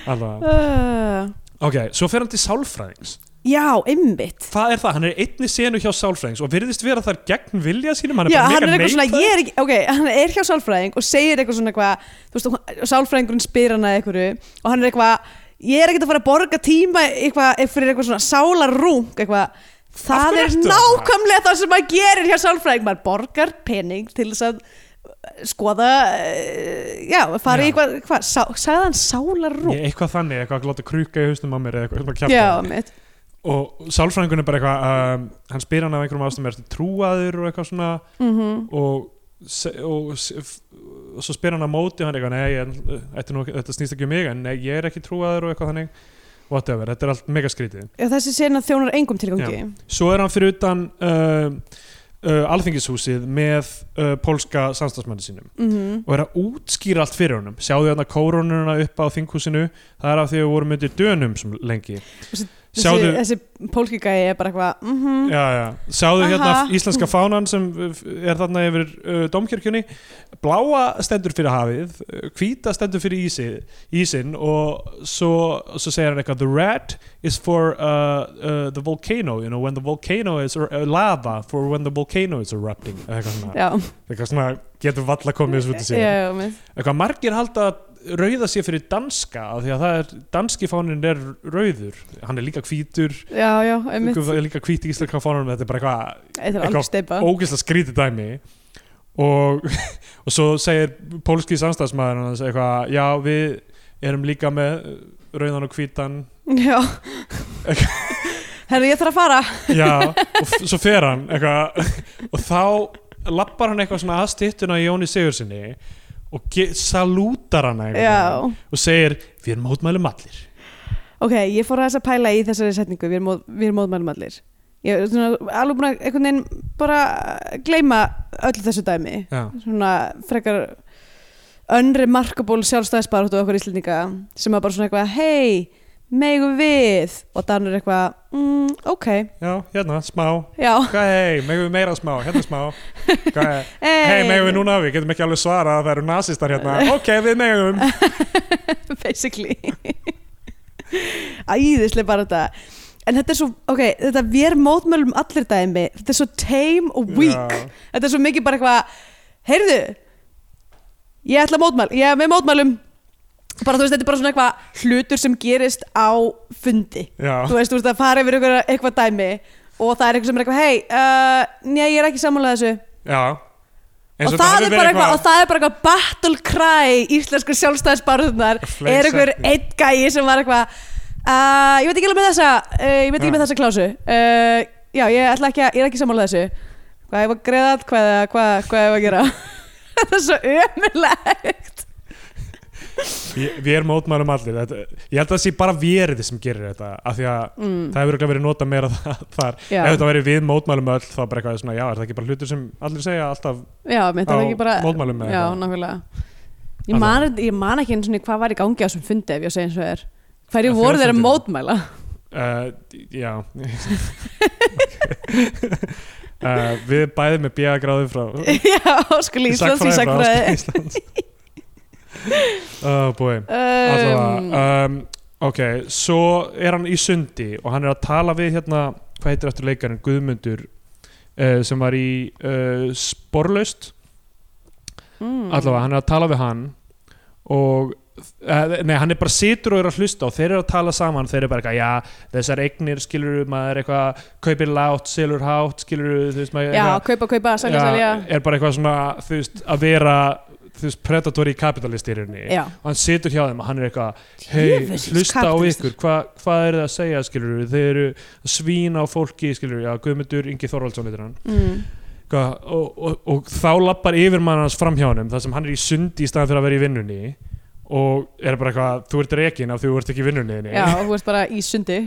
[SPEAKER 2] alveg
[SPEAKER 3] Uh,
[SPEAKER 2] Ok, svo fer hann til sálfræðings
[SPEAKER 3] já, ymmit.
[SPEAKER 2] Hvað er það? Hann er einni senu hjá sálfræðings og virðist vera þar gegn vilja sínum hann er
[SPEAKER 3] Já,
[SPEAKER 2] bara
[SPEAKER 3] hann er
[SPEAKER 2] mega
[SPEAKER 3] eitthvað svona,
[SPEAKER 2] neikvæður.
[SPEAKER 3] ég er ekki, ok, hann er hjá sálfræðing og segir eitthvað svona eitthvað, þú veist, og sálfræðingurinn spyr hann að einhverju og hann er eitthvað, ég er ekkert að fara að borga tíma eitthvað, fyrir eitthvað svona sálarrung, eitthvað,
[SPEAKER 2] Af
[SPEAKER 3] það
[SPEAKER 2] hverju
[SPEAKER 3] er
[SPEAKER 2] ertu að það?
[SPEAKER 3] nákvæmlega það sem maður gerir hjá sálfræðing, maður borgar pening til þess að skoða, eh, já, fara í
[SPEAKER 2] Já.
[SPEAKER 3] eitthvað, hvað, sá, sagði hann sálarrung?
[SPEAKER 2] Ég- Eitthvað þannig, eitthvað að láta kruka í haustum á mér eða eitthvað, eitthvað
[SPEAKER 3] Já,
[SPEAKER 2] kjafta
[SPEAKER 3] mitt,
[SPEAKER 2] og sálfræðingun er bara eitthvað um, hann spyr hann af einhverjum ástæðum ertu trúaður og eitthvað svona
[SPEAKER 3] mhm.
[SPEAKER 2] og, se- og, se- f- og svo spyr hann á móti og hann er eitthvað, nei, ég, þetta, er nú, þetta snýst ekki um mig en nei, ég er ekki trúaður og eitthvað þannig whatever, þetta er allt mega skrítið
[SPEAKER 3] Já, þessi sena þjónar engum tilgangi
[SPEAKER 2] Svo er hann fyrir utan uh, uh, alþingishúsið með uh, pólska samstagsmanni sínum
[SPEAKER 3] mm
[SPEAKER 2] og er að útskýra allt fyrir honum sjáðu hann að kórónuna upp á þinghúsinu það er af því að við vorum undir dönum sem lengi
[SPEAKER 3] þessi,
[SPEAKER 2] Sjáðu-
[SPEAKER 3] þessi pólkigæi er bara eitthvað mm
[SPEAKER 2] já, já. sjáðu
[SPEAKER 3] Aha.
[SPEAKER 2] hérna íslenska fánan sem uh, er þarna yfir uh, domkirkjunni bláa stendur fyrir hafið uh, hvíta stendur fyrir ísi, ísin og svo, svo segir hann eitthvað the red is for uh, uh, the volcano, you know, when the volcano is uh, lava for when the volcano is erupting Eða eitthvað svona,
[SPEAKER 3] Já,
[SPEAKER 2] eitthvað svona getur valla komið þessu út í sig
[SPEAKER 3] já, já, mitt.
[SPEAKER 2] eitthvað margir halda að rauða sé fyrir danska af því að það er, danski fáninn er rauður hann er líka hvítur
[SPEAKER 3] já, já, einmitt
[SPEAKER 2] er líka hvít í íslenska fánunum þetta er bara eitthvað
[SPEAKER 3] Þetta er
[SPEAKER 2] eitthvað-
[SPEAKER 3] alveg steipa
[SPEAKER 2] ógeðslega skrítið dæmi og, og svo segir pólski samstæðsmaður hans eitthvað, já við erum líka með uh, rauðan og hvítan
[SPEAKER 3] Já Herri, ég þarf að fara
[SPEAKER 2] já, og f- svo fer hann eitthvað, og þá lappar hann eitthvað svona aðstittuna í Jóni Sigursinni og ge- salútar hann
[SPEAKER 3] Já,
[SPEAKER 2] og segir, við erum mótmælum allir
[SPEAKER 3] ok, ég fór að þess að pæla í þessari setningu Við erum, móð, við erum móðmælum allir Ég er svona alveg búin að einhvern veginn bara gleyma öllu þessu dæmi
[SPEAKER 2] já,
[SPEAKER 3] Svona frekar unremarkable sjálfstæðisbaráttu okkur Íslendinga sem var bara svona eitthvað hei, megum við og Danur eitthvað, mm, ok
[SPEAKER 2] já hérna, smá
[SPEAKER 3] já,
[SPEAKER 2] hvað hei, megum við meira smá, hérna smá hvað hei, hei, megum við núna, við getum ekki alveg svarað að það eru nasistar hérna, ok, við megum
[SPEAKER 3] basically æðislega bara þetta en þetta er svo, ok, þetta við erum mótmælum allir dæmi, þetta er svo tame og weak,
[SPEAKER 2] Já.
[SPEAKER 3] þetta er svo mikið bara eitthvað heyrðu ég ætla að mótmæl, ég er með mótmælum bara þú veist, þetta er bara svona eitthvað hlutur sem gerist á fundi
[SPEAKER 2] Já,
[SPEAKER 3] þú veist, þú veist að fara yfir eitthvað, eitthvað dæmi og það er eitthvað sem er eitthvað, hei uh, njá, ég er ekki sammálað þessu
[SPEAKER 2] já
[SPEAKER 3] og það, er bara eitthvað, og það er bara eitthvað battle cry íslensku sjálfstæðisbarðunar
[SPEAKER 2] Fleip
[SPEAKER 3] er einhver
[SPEAKER 2] setning.
[SPEAKER 3] einn gæi sem var eitthvað uh, ég veit ekki alveg með þessa uh, ég veit ekki
[SPEAKER 2] Já.
[SPEAKER 3] með þessa klásu uh, já, ég, ætla ekki að, ég er ekki sammála þessu hvað ég var að greiða atkvæði eða hvað, hvað ég var að gera það er svo ömulegt
[SPEAKER 2] Við við erum mótmælum allir þetta, Ég held að það sé bara verið sem gerir þetta af því að
[SPEAKER 3] mm,
[SPEAKER 2] það hefur örugglega verið nota meira það, þar
[SPEAKER 3] já,
[SPEAKER 2] Ef þetta væri við mótmælum öll þá bara eitthvað svona Já, er það ekki bara hlutur sem allir segja alltaf
[SPEAKER 3] já, mitt er
[SPEAKER 2] á
[SPEAKER 3] ekki bara
[SPEAKER 2] mótmælum eða
[SPEAKER 3] já,
[SPEAKER 2] eitthvað?
[SPEAKER 3] nákvæmlega ég
[SPEAKER 2] Allavega.
[SPEAKER 3] man, ég man ekki eins og hvað var í gangi á þessum fundi ef ég á að segja eins og er hverju
[SPEAKER 2] Á
[SPEAKER 3] voru þeir að
[SPEAKER 2] þjóðfundinum?
[SPEAKER 3] mótmæla
[SPEAKER 2] Uh, já uh, Við bæðum með bjöða gráðu frá
[SPEAKER 3] já, skuli Íslands í
[SPEAKER 2] frá
[SPEAKER 3] sakfræði
[SPEAKER 2] Íslands Oh boy
[SPEAKER 3] um,
[SPEAKER 2] Allavega, um, ok, svo er hann í sundi og hann er að tala við hérna, hvað heitir eftir leikarinn, Guðmundur uh, sem var í uh, Sporlaust,
[SPEAKER 3] mm.
[SPEAKER 2] uh, allavega hann er að tala við hann og eh, Nei, hann er bara situr og er að hlusta og þeir eru að tala saman, þeir eru bara eitthvað, já þessar eignir skilur maður eitthvað kaupir látt, selur hátt, skilur þú veist maður
[SPEAKER 3] Já, kaupa, kaupa, selja, selja
[SPEAKER 2] uh, já, er bara eitthvað svona, þú veist, að vera þú veist, predatori kapitalisti í rauninni
[SPEAKER 3] Já,
[SPEAKER 2] og hann situr hjá þeim og hann er eitthvað hei,
[SPEAKER 3] Djöfulls
[SPEAKER 2] hlusta á
[SPEAKER 3] kapítalistar.
[SPEAKER 2] ykkur, hva, hvað er það að segja skilur við, þeir eru að svína á fólki skilur við, já, Guðmundur Ingi Þorvaldsson heitir hann
[SPEAKER 3] mm.
[SPEAKER 2] Hva, og, og, og þá lappar yfirmann hans fram hjá hann þar sem hann er í sundi í staðan fyrir að vera í vinnunni og er bara eitthvað, þú ert rekin af því þú ert ekki í vinnunni þinni.
[SPEAKER 3] já og þú ert bara í sundi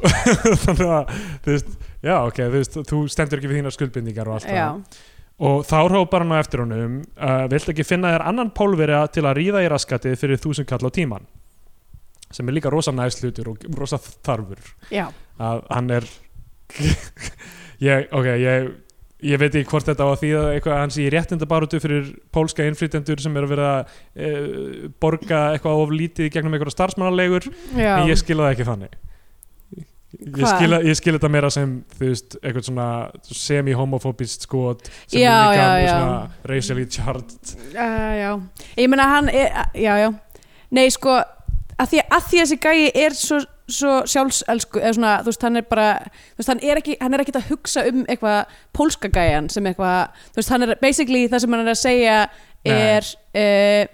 [SPEAKER 2] þannig að, þú veist, já, ok þú, veist, þú stendur ekki við þínar skuldbindingar og allt það
[SPEAKER 3] Já,
[SPEAKER 2] og þá hrópar hann á eftir honum uh, viltu ekki finna þér annan pólverja til að ríða í raskatið fyrir þúsund kall á tíman sem er líka rosa næst hlutur og rosa þarfur
[SPEAKER 3] já,
[SPEAKER 2] að hann er ég, ok, ég ég veit ekki hvort þetta á að þýða eitthvað að hann sé í réttindabarutu fyrir pólska innflytendur sem er að vera að eh, borga eitthvað of lítið í gegnum eitthvað starfsmannalegur
[SPEAKER 3] já.
[SPEAKER 2] en ég skila það ekki þannig ég
[SPEAKER 3] Hvað?
[SPEAKER 2] skila, ég skila þetta meira sem þú veist, eitthvað svona semi-homofóbist skot sem
[SPEAKER 3] Já,
[SPEAKER 2] er líka
[SPEAKER 3] já,
[SPEAKER 2] mjög
[SPEAKER 3] já.
[SPEAKER 2] svona racially charged
[SPEAKER 3] uh, já Ég meina hann, er, ah, já, já Nei, sko, að því að því að þessi gæi er svo, svo sjálfselsku eða svona, þú veist, hann er bara þú veist, hann er ekki, hann er ekki að hugsa um eitthvað pólska gæjan sem eitthvað þú veist, hann er, basically, það sem hann er að segja er uh,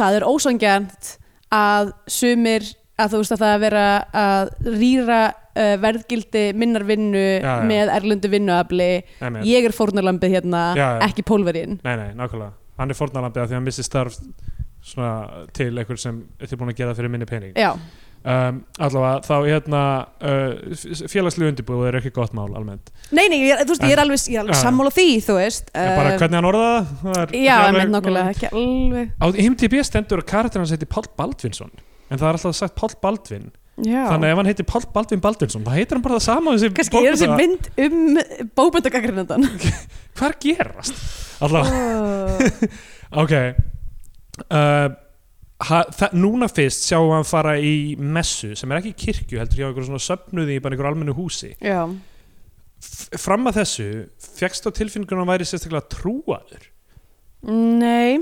[SPEAKER 3] það er ósangjant að sumir að þú veist að það að vera að rýra uh, verðgildi minnar vinnu
[SPEAKER 2] Já, já.
[SPEAKER 3] með erlundu vinnuafli
[SPEAKER 2] Nei,
[SPEAKER 3] ég er fórnarlambið hérna,
[SPEAKER 2] Já, já.
[SPEAKER 3] ekki pólverinn
[SPEAKER 2] nei, nei, nákvæmlega hann er fórnalambið af því að hann missi starf svona til einhver sem er tilbúin að gera fyrir minni pening
[SPEAKER 3] já,
[SPEAKER 2] um, allavega þá hérna uh, félagslu undirbúið er ekki gott mál almennt
[SPEAKER 3] nei, nei, ég, þú veist, ég er alveg, ég er alveg
[SPEAKER 2] Já.
[SPEAKER 3] sammála því, þú veist
[SPEAKER 2] en bara hvernig hann orðaði það, það er
[SPEAKER 3] Um, já,
[SPEAKER 2] ekki
[SPEAKER 3] en
[SPEAKER 2] alveg-
[SPEAKER 3] með nákvæmlega, ekki alveg
[SPEAKER 2] á IMDb stendur að karakter hans heiti Páll Baldvinsson en það er alltaf sagt Páll Baldvin
[SPEAKER 3] já,
[SPEAKER 2] þannig að ef hann heitir Páll Baldvin Baldvinsson þá heitir hann bara það sama á þessi
[SPEAKER 3] kannski er þessi
[SPEAKER 2] bókmennta-
[SPEAKER 3] mynd um bóbendagagrinandan
[SPEAKER 2] hvað er að gerast? Alltaf,
[SPEAKER 3] oh,
[SPEAKER 2] ok uh, ha, það, núna fyrst sjáum við hann fara í messu sem er ekki í kirkju heldur hjá einhverjum svona söfnuði í bara einhverjum almennu húsi
[SPEAKER 3] já,
[SPEAKER 2] F fram að þessu, fjekkst á tilfinningunum að hann væri sérstaklega trúaður
[SPEAKER 3] nei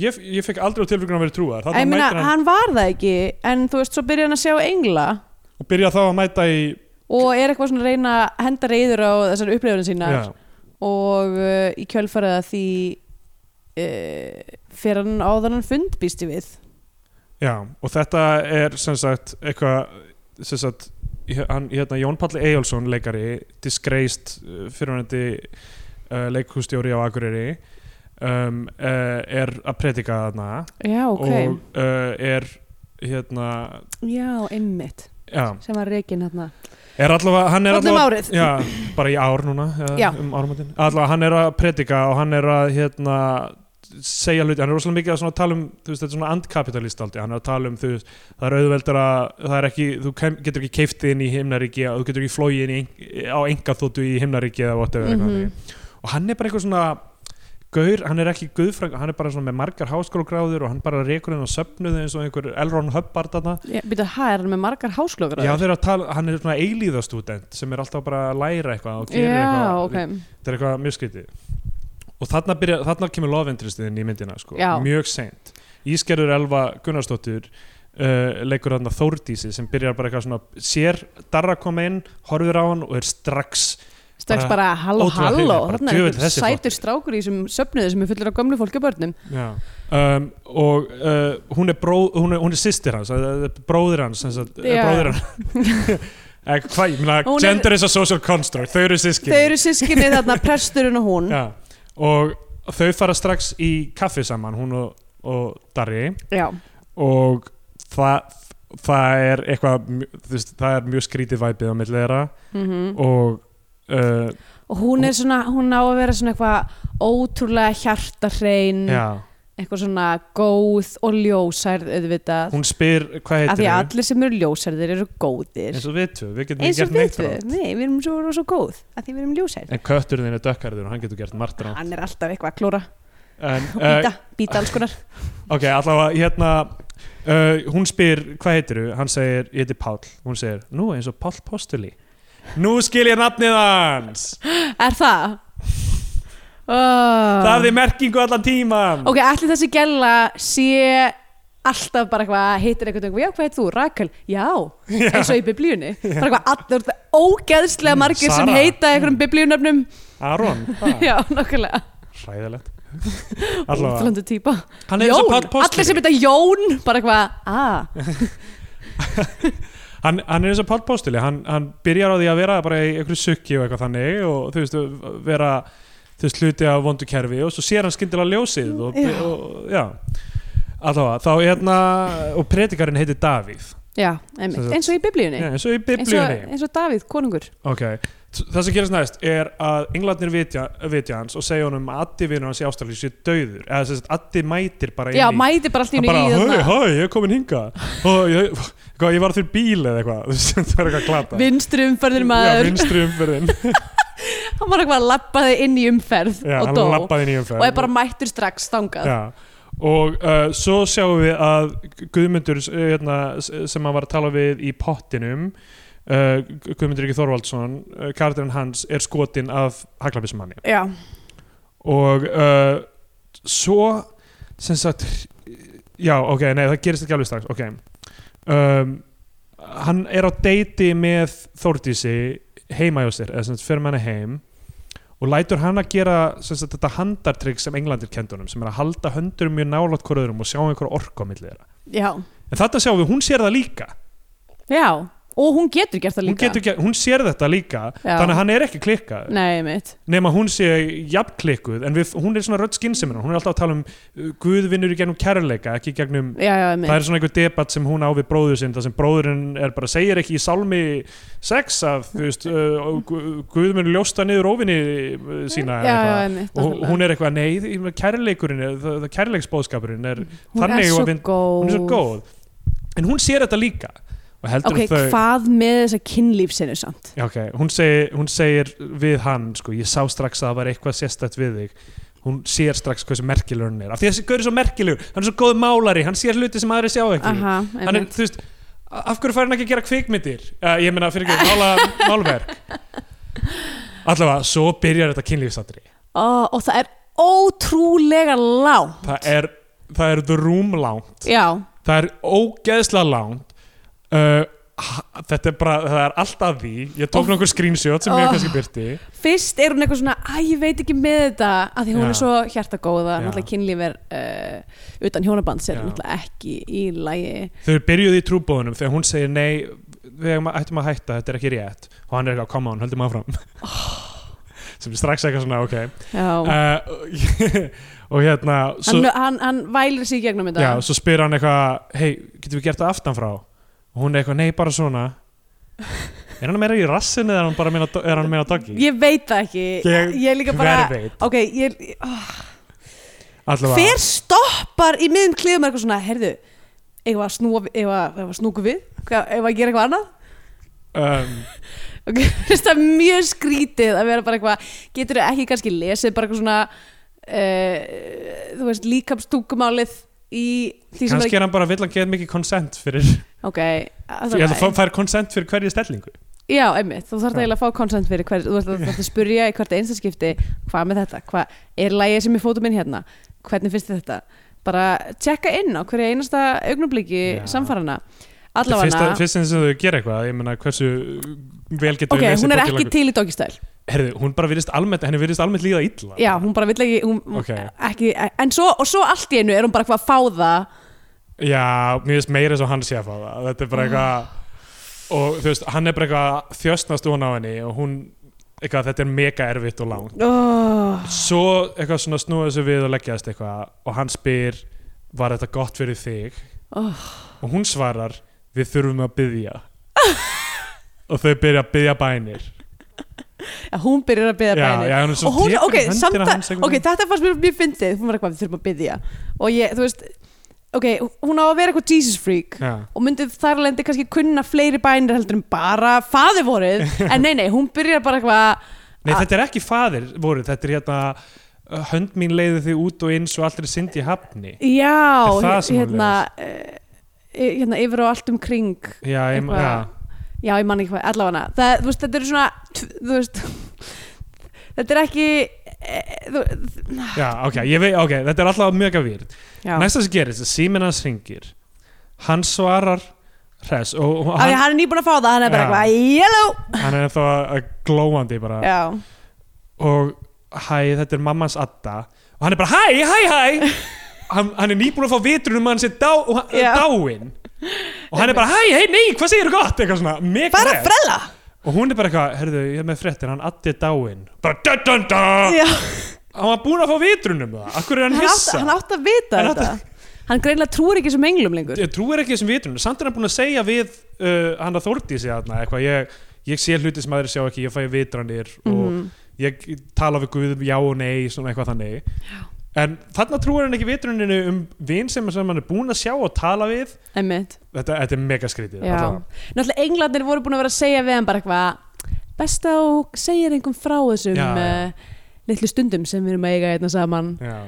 [SPEAKER 2] ég, ég fekk aldrei á tilfengjum að vera trúar
[SPEAKER 3] Ég
[SPEAKER 2] þannig
[SPEAKER 3] meina,
[SPEAKER 2] mætir hann
[SPEAKER 3] hann var það ekki en þú veist, svo byrjar hann að sjá engla
[SPEAKER 2] og byrja þá að mæta í
[SPEAKER 3] og er eitthvað svona að reyna að henda reyður á þessar upplifun sínar
[SPEAKER 2] já,
[SPEAKER 3] og uh, í kjölfarið að því uh, fyrir hann á þannan fund býst ég við
[SPEAKER 2] já, og þetta er sem sagt eitthvað sem sagt, hér- hann, hérna, Jón Palli Eyjálsson leikari, disgraced uh, fyrirvændi uh, leikhústjóri á Akureyri um, uh, er að predika þarna
[SPEAKER 3] Já, ok,
[SPEAKER 2] og uh, er hérna
[SPEAKER 3] já, einmitt
[SPEAKER 2] já,
[SPEAKER 3] sem var reygin hérna
[SPEAKER 2] er allavega hann er
[SPEAKER 3] Öllum
[SPEAKER 2] allavega
[SPEAKER 3] árið
[SPEAKER 2] Já, bara í ár núna eða
[SPEAKER 3] Já.
[SPEAKER 2] um áramótin Alla, hann er að predika og hann er að hérna, segja hluti, hann er rosalega mikið að svona tala um þú veist, þetta er svona andkapitalist aldrei hann er að tala um, þú veist, það er auðveldara það er ekki, þú kem, getur ekki keiftið inn í himnaríki og þú getur ekki flóið inn í, ein- á enga þóttu í himnaríki eða whatever mm
[SPEAKER 3] Mhm.
[SPEAKER 2] og hann er bara eitthvað svona gaur, hann er ekki guðfræng hann er bara svona með margar háskólagráður og hann bara rekur henn á söfnuði eins og einhver Elron Hubbard þarna
[SPEAKER 3] Já, Býta, hæ, er hann með margar háslöfur
[SPEAKER 2] Já, þeir eru að tala, hann er svona eilíðastudent sem er alltaf bara að læra eitthvað og gerir
[SPEAKER 3] já
[SPEAKER 2] eitthvað,
[SPEAKER 3] ok
[SPEAKER 2] þetta er eitthvað mjög skrítið og þarna, byrja, þarna kemur love interestið inn í myndina sko,
[SPEAKER 3] Já.
[SPEAKER 2] mjög seint Ískerður Elva Gunnarsdóttur uh, leikur þarna Þórdísi sem byrjar bara eitthvað svona, sér Darra koma inn, horfir á hann og er strax
[SPEAKER 3] strax
[SPEAKER 2] Bara
[SPEAKER 3] bara halló
[SPEAKER 2] ótrúlega
[SPEAKER 3] halló
[SPEAKER 2] hrifin, bara
[SPEAKER 3] þarna er
[SPEAKER 2] djöfull
[SPEAKER 3] einhver
[SPEAKER 2] þessi
[SPEAKER 3] sætur
[SPEAKER 2] flottur.
[SPEAKER 3] strákur í þessum söfnuði sem er fullur af gömlu fólki og börnum
[SPEAKER 2] um, og uh, hún, er bró, hún, er, hún er systir hans eh, eh, bróðir hans, sem sagt, eh,
[SPEAKER 3] Já.
[SPEAKER 2] bróðir hans. Eh, hvað, ég meina,
[SPEAKER 3] Hún er-
[SPEAKER 2] gender is a social construct þau eru sískinni
[SPEAKER 3] þau eru sískinni þarna presturinn og hún já,
[SPEAKER 2] Já, og þau fara strax í kaffi saman, hún og, og Darri og það, það er eitthvað, mj- þú veist, það er mjög skrítið væpið á milli þeirra
[SPEAKER 3] Mhm.
[SPEAKER 2] og uh,
[SPEAKER 3] og hún er svona hún á að vera svona eitthvað ótrúlega hjartarhrein
[SPEAKER 2] já,
[SPEAKER 3] eitthvað svona góð og ljósærð auðvitað,
[SPEAKER 2] hún spyr hvað
[SPEAKER 3] af því
[SPEAKER 2] heitir
[SPEAKER 3] að allir sem eru ljósærðir eru góðir
[SPEAKER 2] eins og við tvö, við getum
[SPEAKER 3] eins
[SPEAKER 2] ekki
[SPEAKER 3] og
[SPEAKER 2] gert neitt
[SPEAKER 3] við
[SPEAKER 2] rátt.
[SPEAKER 3] við, nei, við erum svo, erum svo góð af því við erum ljósærð
[SPEAKER 2] En kötturinn þinn er dökkarður og hann getur gert margt rátt.
[SPEAKER 3] hann er alltaf eitthvað að klóra
[SPEAKER 2] En,
[SPEAKER 3] og
[SPEAKER 2] eh,
[SPEAKER 3] býta, býta alls konar
[SPEAKER 2] ok, allavega, hérna, uh, hún spyr, hvað heitir þú? Hann segir, ég heiti Páll. Hún segir, nú eins og Páll Postuli. Nú skil ég nafnið hans!
[SPEAKER 3] er það? Oh.
[SPEAKER 2] Það hafði merkingu allan tíman
[SPEAKER 3] Ok, allir þessi gæla sé alltaf bara eitthvað, heitir eitthvað, eitthvað, já, hvað heit þú, Rakel? Já, eins og í biblíunni. Bara eitthvað, allir, það er ógeðslega margir sem
[SPEAKER 2] Sara. Mm.
[SPEAKER 3] heita einhverjum biblíunöfnum.
[SPEAKER 2] Aron, ha,
[SPEAKER 3] Já, nokkulega.
[SPEAKER 2] hræðilegt Allavega,
[SPEAKER 3] Útlöndu týpa.
[SPEAKER 2] hann er eins og
[SPEAKER 3] Jón,
[SPEAKER 2] Páll
[SPEAKER 3] allir sem
[SPEAKER 2] Postuli
[SPEAKER 3] heita Jón, bara eitthvað, a,
[SPEAKER 2] hann, hann er eins og Páll Postuli hann, hann byrjar á því að vera bara í einhverju sukki og eitthvað þannig og þú veist, vera þú veist, hluti af vondu kerfi og svo sér hann skyndilega ljósið og,
[SPEAKER 3] Já.
[SPEAKER 2] og já Allavega, þá hérna og predikarinn heitir Davíð
[SPEAKER 3] já, einmitt, eins og í biblíunni.
[SPEAKER 2] Já, eins og í
[SPEAKER 3] Eins og,
[SPEAKER 2] biblíunni
[SPEAKER 3] eins og Davíð, konungur.
[SPEAKER 2] Ok, það sem gerast næst er að englarnir vitja, vitja hans og segja honum að Addi vinur hans í Ástralíu sé döður eða þess að Addi mætir bara inn
[SPEAKER 3] Já,
[SPEAKER 2] í
[SPEAKER 3] mæti bara allt í
[SPEAKER 2] hann
[SPEAKER 3] hennu
[SPEAKER 2] bara,
[SPEAKER 3] í
[SPEAKER 2] hei,
[SPEAKER 3] þarna.
[SPEAKER 2] hei, ég er komin hinga og ég, hvað, ég var þurr bíl eða eitthvað þú veist, það var eitthvað glata
[SPEAKER 3] Vinstri umferðin
[SPEAKER 2] Já,
[SPEAKER 3] maður,
[SPEAKER 2] vinstri umferðin
[SPEAKER 3] hann var eitthvað að labbaði inn í umferð
[SPEAKER 2] Já,
[SPEAKER 3] og
[SPEAKER 2] hann
[SPEAKER 3] dó og
[SPEAKER 2] labbaði inn í umferð
[SPEAKER 3] er bara mættur strax stangað.
[SPEAKER 2] Já, og uh, svo sjáum við að Guðmundur uh, hérna, s- sem hann var að tala við í pottinum uh, Gu- Guðmundur Ríki Þorvaldsson uh, karakterinn hans er skotin af haglabismanni
[SPEAKER 3] Já.
[SPEAKER 2] og uh, svo sem sagt já ok, nei það gerist ekki alveg strax ok um, hann er á deiti með Þórdísi heima hjá sér eða sem sagt fyrir með hana heim og lætur hann að gera sem sagt, þetta handartrygg sem englandir kendunum sem er að halda höndurum mjög nálátt hver öðrum og sjá einhver orku á milli þeirra
[SPEAKER 3] Já,
[SPEAKER 2] en þetta sjáum við, hún sér það líka,
[SPEAKER 3] já, og hún getur gert það
[SPEAKER 2] Hún,
[SPEAKER 3] líka
[SPEAKER 2] getur, ekki- hún sér þetta líka
[SPEAKER 3] Já.
[SPEAKER 2] þannig að hann er ekki klikkað
[SPEAKER 3] Nei, mitt
[SPEAKER 2] nema hún sé jafnklikkuð en við, hún er svona rödd skynseminar hún er alltaf að tala um uh, Guð vinnur í gegnum kærleika ekki í gegnum,
[SPEAKER 3] Já, já, mitt
[SPEAKER 2] það er svona einhver debatt sem hún á við bróður sinn, það sem bróðurinn er bara segir ekki í sálmi 6 af, þú veist, uh, Gu- Guð vinnur ljósta niður óvinni uh, sína eða
[SPEAKER 3] Já,
[SPEAKER 2] eitthvað.
[SPEAKER 3] já, mitt
[SPEAKER 2] og hún- hún er eitthvað, nei, ég meina, kærleikurinn er, það, það kærleiksbóðskapurinn er,
[SPEAKER 3] er
[SPEAKER 2] þannig
[SPEAKER 3] svo
[SPEAKER 2] að vind-
[SPEAKER 3] góð
[SPEAKER 2] hún er svo góð en hún sér þetta líka og heldur
[SPEAKER 3] Ok,
[SPEAKER 2] að þau
[SPEAKER 3] hvað með þessa kynlífsinu samt?
[SPEAKER 2] Já, ok, hún segir, hún segir við hann, sko, ég sá strax að það var eitthvað sérstætt við þig hún sér strax hversu merkilegur hann er af því að þessi gaur er svo merkilegur, hann er svo góð málari hann sér hluti sem aðri sjá ekki
[SPEAKER 3] Aha,
[SPEAKER 2] hann er,
[SPEAKER 3] einmitt
[SPEAKER 2] þú veist, a- af hverju fær hann ekki að gera kvikmyndir uh, ég meina, fyrir ekki, mála málverk allavega, svo byrjar þetta kynlífsatri
[SPEAKER 3] Ó, Og það er ótrúlega lág
[SPEAKER 2] það er það er The Room langt
[SPEAKER 3] já,
[SPEAKER 2] það er ógeðslega langt uh, ha- þetta er bara það er allt að því, ég tók
[SPEAKER 3] Óf.
[SPEAKER 2] nokkur screenshot sem ég
[SPEAKER 3] Oh.
[SPEAKER 2] kannski byrti
[SPEAKER 3] fyrst er hún eitthvað svona æ, ég veit ekki með þetta af því hún
[SPEAKER 2] Já.
[SPEAKER 3] er svo hjartagóða,
[SPEAKER 2] Já.
[SPEAKER 3] náttúrulega kynlíf er uh, utan hjónabands er
[SPEAKER 2] Já.
[SPEAKER 3] náttúrulega ekki í lægi
[SPEAKER 2] þau byrjuðu í trúbóðunum þegar hún segir nei við eigum að- ættum að hætta, þetta er ekki rétt og hann er eitthvað, come on, höldum áfram
[SPEAKER 3] Oh.
[SPEAKER 2] sem er strax eitthvað svona, ok
[SPEAKER 3] já,
[SPEAKER 2] uh, og hérna svo,
[SPEAKER 3] Oh. hann, hann, hann vælir sig í gegnum þetta
[SPEAKER 2] já, svo spyr hann eitthvað hei, getum við gert það aftanfrá og hún er eitthvað, nei, bara svona er hann meira í rassinu eða er hann bara að meina, er hann meina doggi?
[SPEAKER 3] ég veit það ekki
[SPEAKER 2] Ég-
[SPEAKER 3] ég er líka bara
[SPEAKER 2] hver veit,
[SPEAKER 3] ok, ég, oh,
[SPEAKER 2] allavega
[SPEAKER 3] hver stoppar í miðum klifum eitthvað svona, heyrðu eigum við að snúa, eigum við að- eigum við að snúku við Hvað- eigum við að gera eitthvað annað
[SPEAKER 2] um,
[SPEAKER 3] Ok, finnst það mjög skrítið að vera bara eitthvað, getur þau ekki kannski lesið bara eitthvað svona uh, þú veist, líkamstungumálið í því sem
[SPEAKER 2] kannski er hann bara vill að geða mikið konsent fyrir,
[SPEAKER 3] ok, að
[SPEAKER 2] fyrir það
[SPEAKER 3] það
[SPEAKER 2] fær konsent fyrir hverju stellingu
[SPEAKER 3] já, einmitt, þú þarf
[SPEAKER 2] Já.
[SPEAKER 3] eiginlega að fá konsent fyrir hver, þú þarf að, að spurja í hvert einstaskipti hvað með þetta, hvað er lægið sem er fótum minn hérna, hvernig finnst þið þetta bara tjekka inn á hverja einasta augnabliki
[SPEAKER 2] Já.
[SPEAKER 3] samfarana
[SPEAKER 2] fyrst,
[SPEAKER 3] allavega,
[SPEAKER 2] fyrst sem þau gera eitthvað ég meina hversu vel getur
[SPEAKER 3] ok,
[SPEAKER 2] við lesið
[SPEAKER 3] hún er
[SPEAKER 2] bókina
[SPEAKER 3] ekki
[SPEAKER 2] lengur.
[SPEAKER 3] til í doggistæl
[SPEAKER 2] Herðu, hún bara virðist almennt, henni virðist almennt líða illa
[SPEAKER 3] Já, hún bara vill ekki, hún,
[SPEAKER 2] Ok.
[SPEAKER 3] ekki En svo, og svo allt í einu er hún bara eitthvað að fá það
[SPEAKER 2] Já, mér finnst meira eins og hann sé að fá það Þetta
[SPEAKER 3] Ah.
[SPEAKER 2] er bara eitthvað Og þú veist, hann er bara eitthvað að þjösnast hún á henni Og hún, eitthvað, þetta er mega erfitt og langt
[SPEAKER 3] oh.
[SPEAKER 2] Svo eitthvað svona snúa þessu við og leggjaðast eitthvað Og hann spyr, var þetta gott fyrir þig?
[SPEAKER 3] Oh.
[SPEAKER 2] Og hún svarar, við þurfum að byðja Og þau byrja að byðja bænir
[SPEAKER 3] Hún byrjar að byggja
[SPEAKER 2] Já,
[SPEAKER 3] bænir
[SPEAKER 2] já, hún er svo
[SPEAKER 3] Og hún,
[SPEAKER 2] tekur
[SPEAKER 3] ok,
[SPEAKER 2] í höndina
[SPEAKER 3] samt
[SPEAKER 2] hans
[SPEAKER 3] að
[SPEAKER 2] einhvern
[SPEAKER 3] Ok,
[SPEAKER 2] veginn.
[SPEAKER 3] þetta fannst mér mjög fyndið Hún var eitthvað, við þurfum að byggja Og ég, þú veist, ok, hún á að vera eitthvað Jesus freak
[SPEAKER 2] Já,
[SPEAKER 3] Og myndi þar lendi kannski kunna fleiri bænir heldur en bara faði vorið En nei, nei, hún byrjar bara eitthvað
[SPEAKER 2] Nei,
[SPEAKER 3] Ah.
[SPEAKER 2] þetta er ekki faðir voru, þetta er hérna uh, hönd mín leiði þig út og inn svo allir syndi hafni.
[SPEAKER 3] Já,
[SPEAKER 2] Er það sem hún
[SPEAKER 3] hérna eh, Hérna yfir og allt um kring
[SPEAKER 2] Já, ég,
[SPEAKER 3] Eitthvað.
[SPEAKER 2] já.
[SPEAKER 3] Já, ég man ekki hvað, allavega það, þú veist, þetta er svona tv- þú veist, þetta er ekki e, þú,
[SPEAKER 2] Já, ok, ég vei, ok, þetta er alltaf mjög að výrt.
[SPEAKER 3] já,
[SPEAKER 2] Næsta sem gerist, síminn hans hringir, hann svarar hress og og
[SPEAKER 3] hann,
[SPEAKER 2] hann,
[SPEAKER 3] hann er nýbúin að fá það, hann er bara
[SPEAKER 2] Já.
[SPEAKER 3] eitthvað yellow,
[SPEAKER 2] hann er ennþá uh, glóandi bara
[SPEAKER 3] já,
[SPEAKER 2] og hæ, þetta er mammans Adda og hann er bara hæ, hæ, hæ hann, hann er nýbúin að fá vitrunum að hann sé dá, og hann-
[SPEAKER 3] Já.
[SPEAKER 2] dáinn og hann er bara hæ, hei, nei, hvað segir þú gott eitthvað svona, mega
[SPEAKER 3] bara
[SPEAKER 2] hress.
[SPEAKER 3] frella
[SPEAKER 2] og hún er bara eitthvað, herðu, ég er með fréttir, hann Addi er dáinn bara dun dun dun
[SPEAKER 3] já,
[SPEAKER 2] hann var búin að fá vitrunum það, akkur er hann
[SPEAKER 3] hann, átt,
[SPEAKER 2] hissa
[SPEAKER 3] hann átt að vita
[SPEAKER 2] Hann átti-
[SPEAKER 3] þetta hann greinlega trúir ekki sem englum lengur
[SPEAKER 2] ég trúir ekki þessum vitrunum samt er hann búin að segja við uh, hann að Þórdísi þarna eitthvað ég, ég sé hluti sem aðrir sjá ekki, ég fæ vitranir
[SPEAKER 3] Mhm.
[SPEAKER 2] og ég tala við Guðum já og nei, svona eitthvað þannig en þarna trúir hann ekki vitruninu um vin sem, sem hann er búin að sjá og tala við
[SPEAKER 3] einmitt,
[SPEAKER 2] þetta, þetta er mega skrítið
[SPEAKER 3] já
[SPEAKER 2] allavega.
[SPEAKER 3] náttúrulega englarnir voru búin að vera að segja við hann bara eitthvað best á segir einhver frá þessum
[SPEAKER 2] Já, já.
[SPEAKER 3] eh, litlu stundum sem við erum að eiga einna saman
[SPEAKER 2] Já.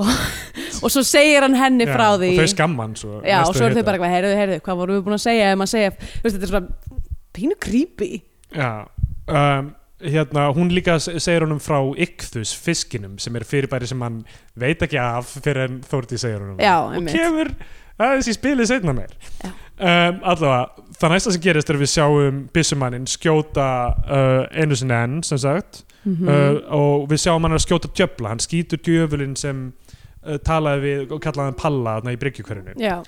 [SPEAKER 3] og svo segir hann henni
[SPEAKER 2] Já,
[SPEAKER 3] frá því
[SPEAKER 2] og þau skamman svo,
[SPEAKER 3] Já,
[SPEAKER 2] næstu
[SPEAKER 3] og svo eru
[SPEAKER 2] hita.
[SPEAKER 3] þau bara eitthvað, heyrðu, heyrðu, hvað vorum við búin að segja um að segja, þú veist, þetta er svona pínu creepy
[SPEAKER 2] Já, um, hérna, hún líka se- segir honum frá ykþus fiskinum sem er fyrirbæri sem hann veit ekki af fyrir en Þórti segir honum
[SPEAKER 3] Já,
[SPEAKER 2] og
[SPEAKER 3] einmitt.
[SPEAKER 2] kemur aðeins í spilið seinna meir
[SPEAKER 3] Já.
[SPEAKER 2] um, allavega, það næsta sem gerist er að við sjáum byssumanninn skjóta uh, einu sinni enn sem sagt
[SPEAKER 3] Mhm.
[SPEAKER 2] uh, og við sjáum hann er að skjóta djöfla hann skýtur djöfulinn sem uh, talaði við og kallaði hann Palla þarna í bryggjukverfinu
[SPEAKER 3] Já,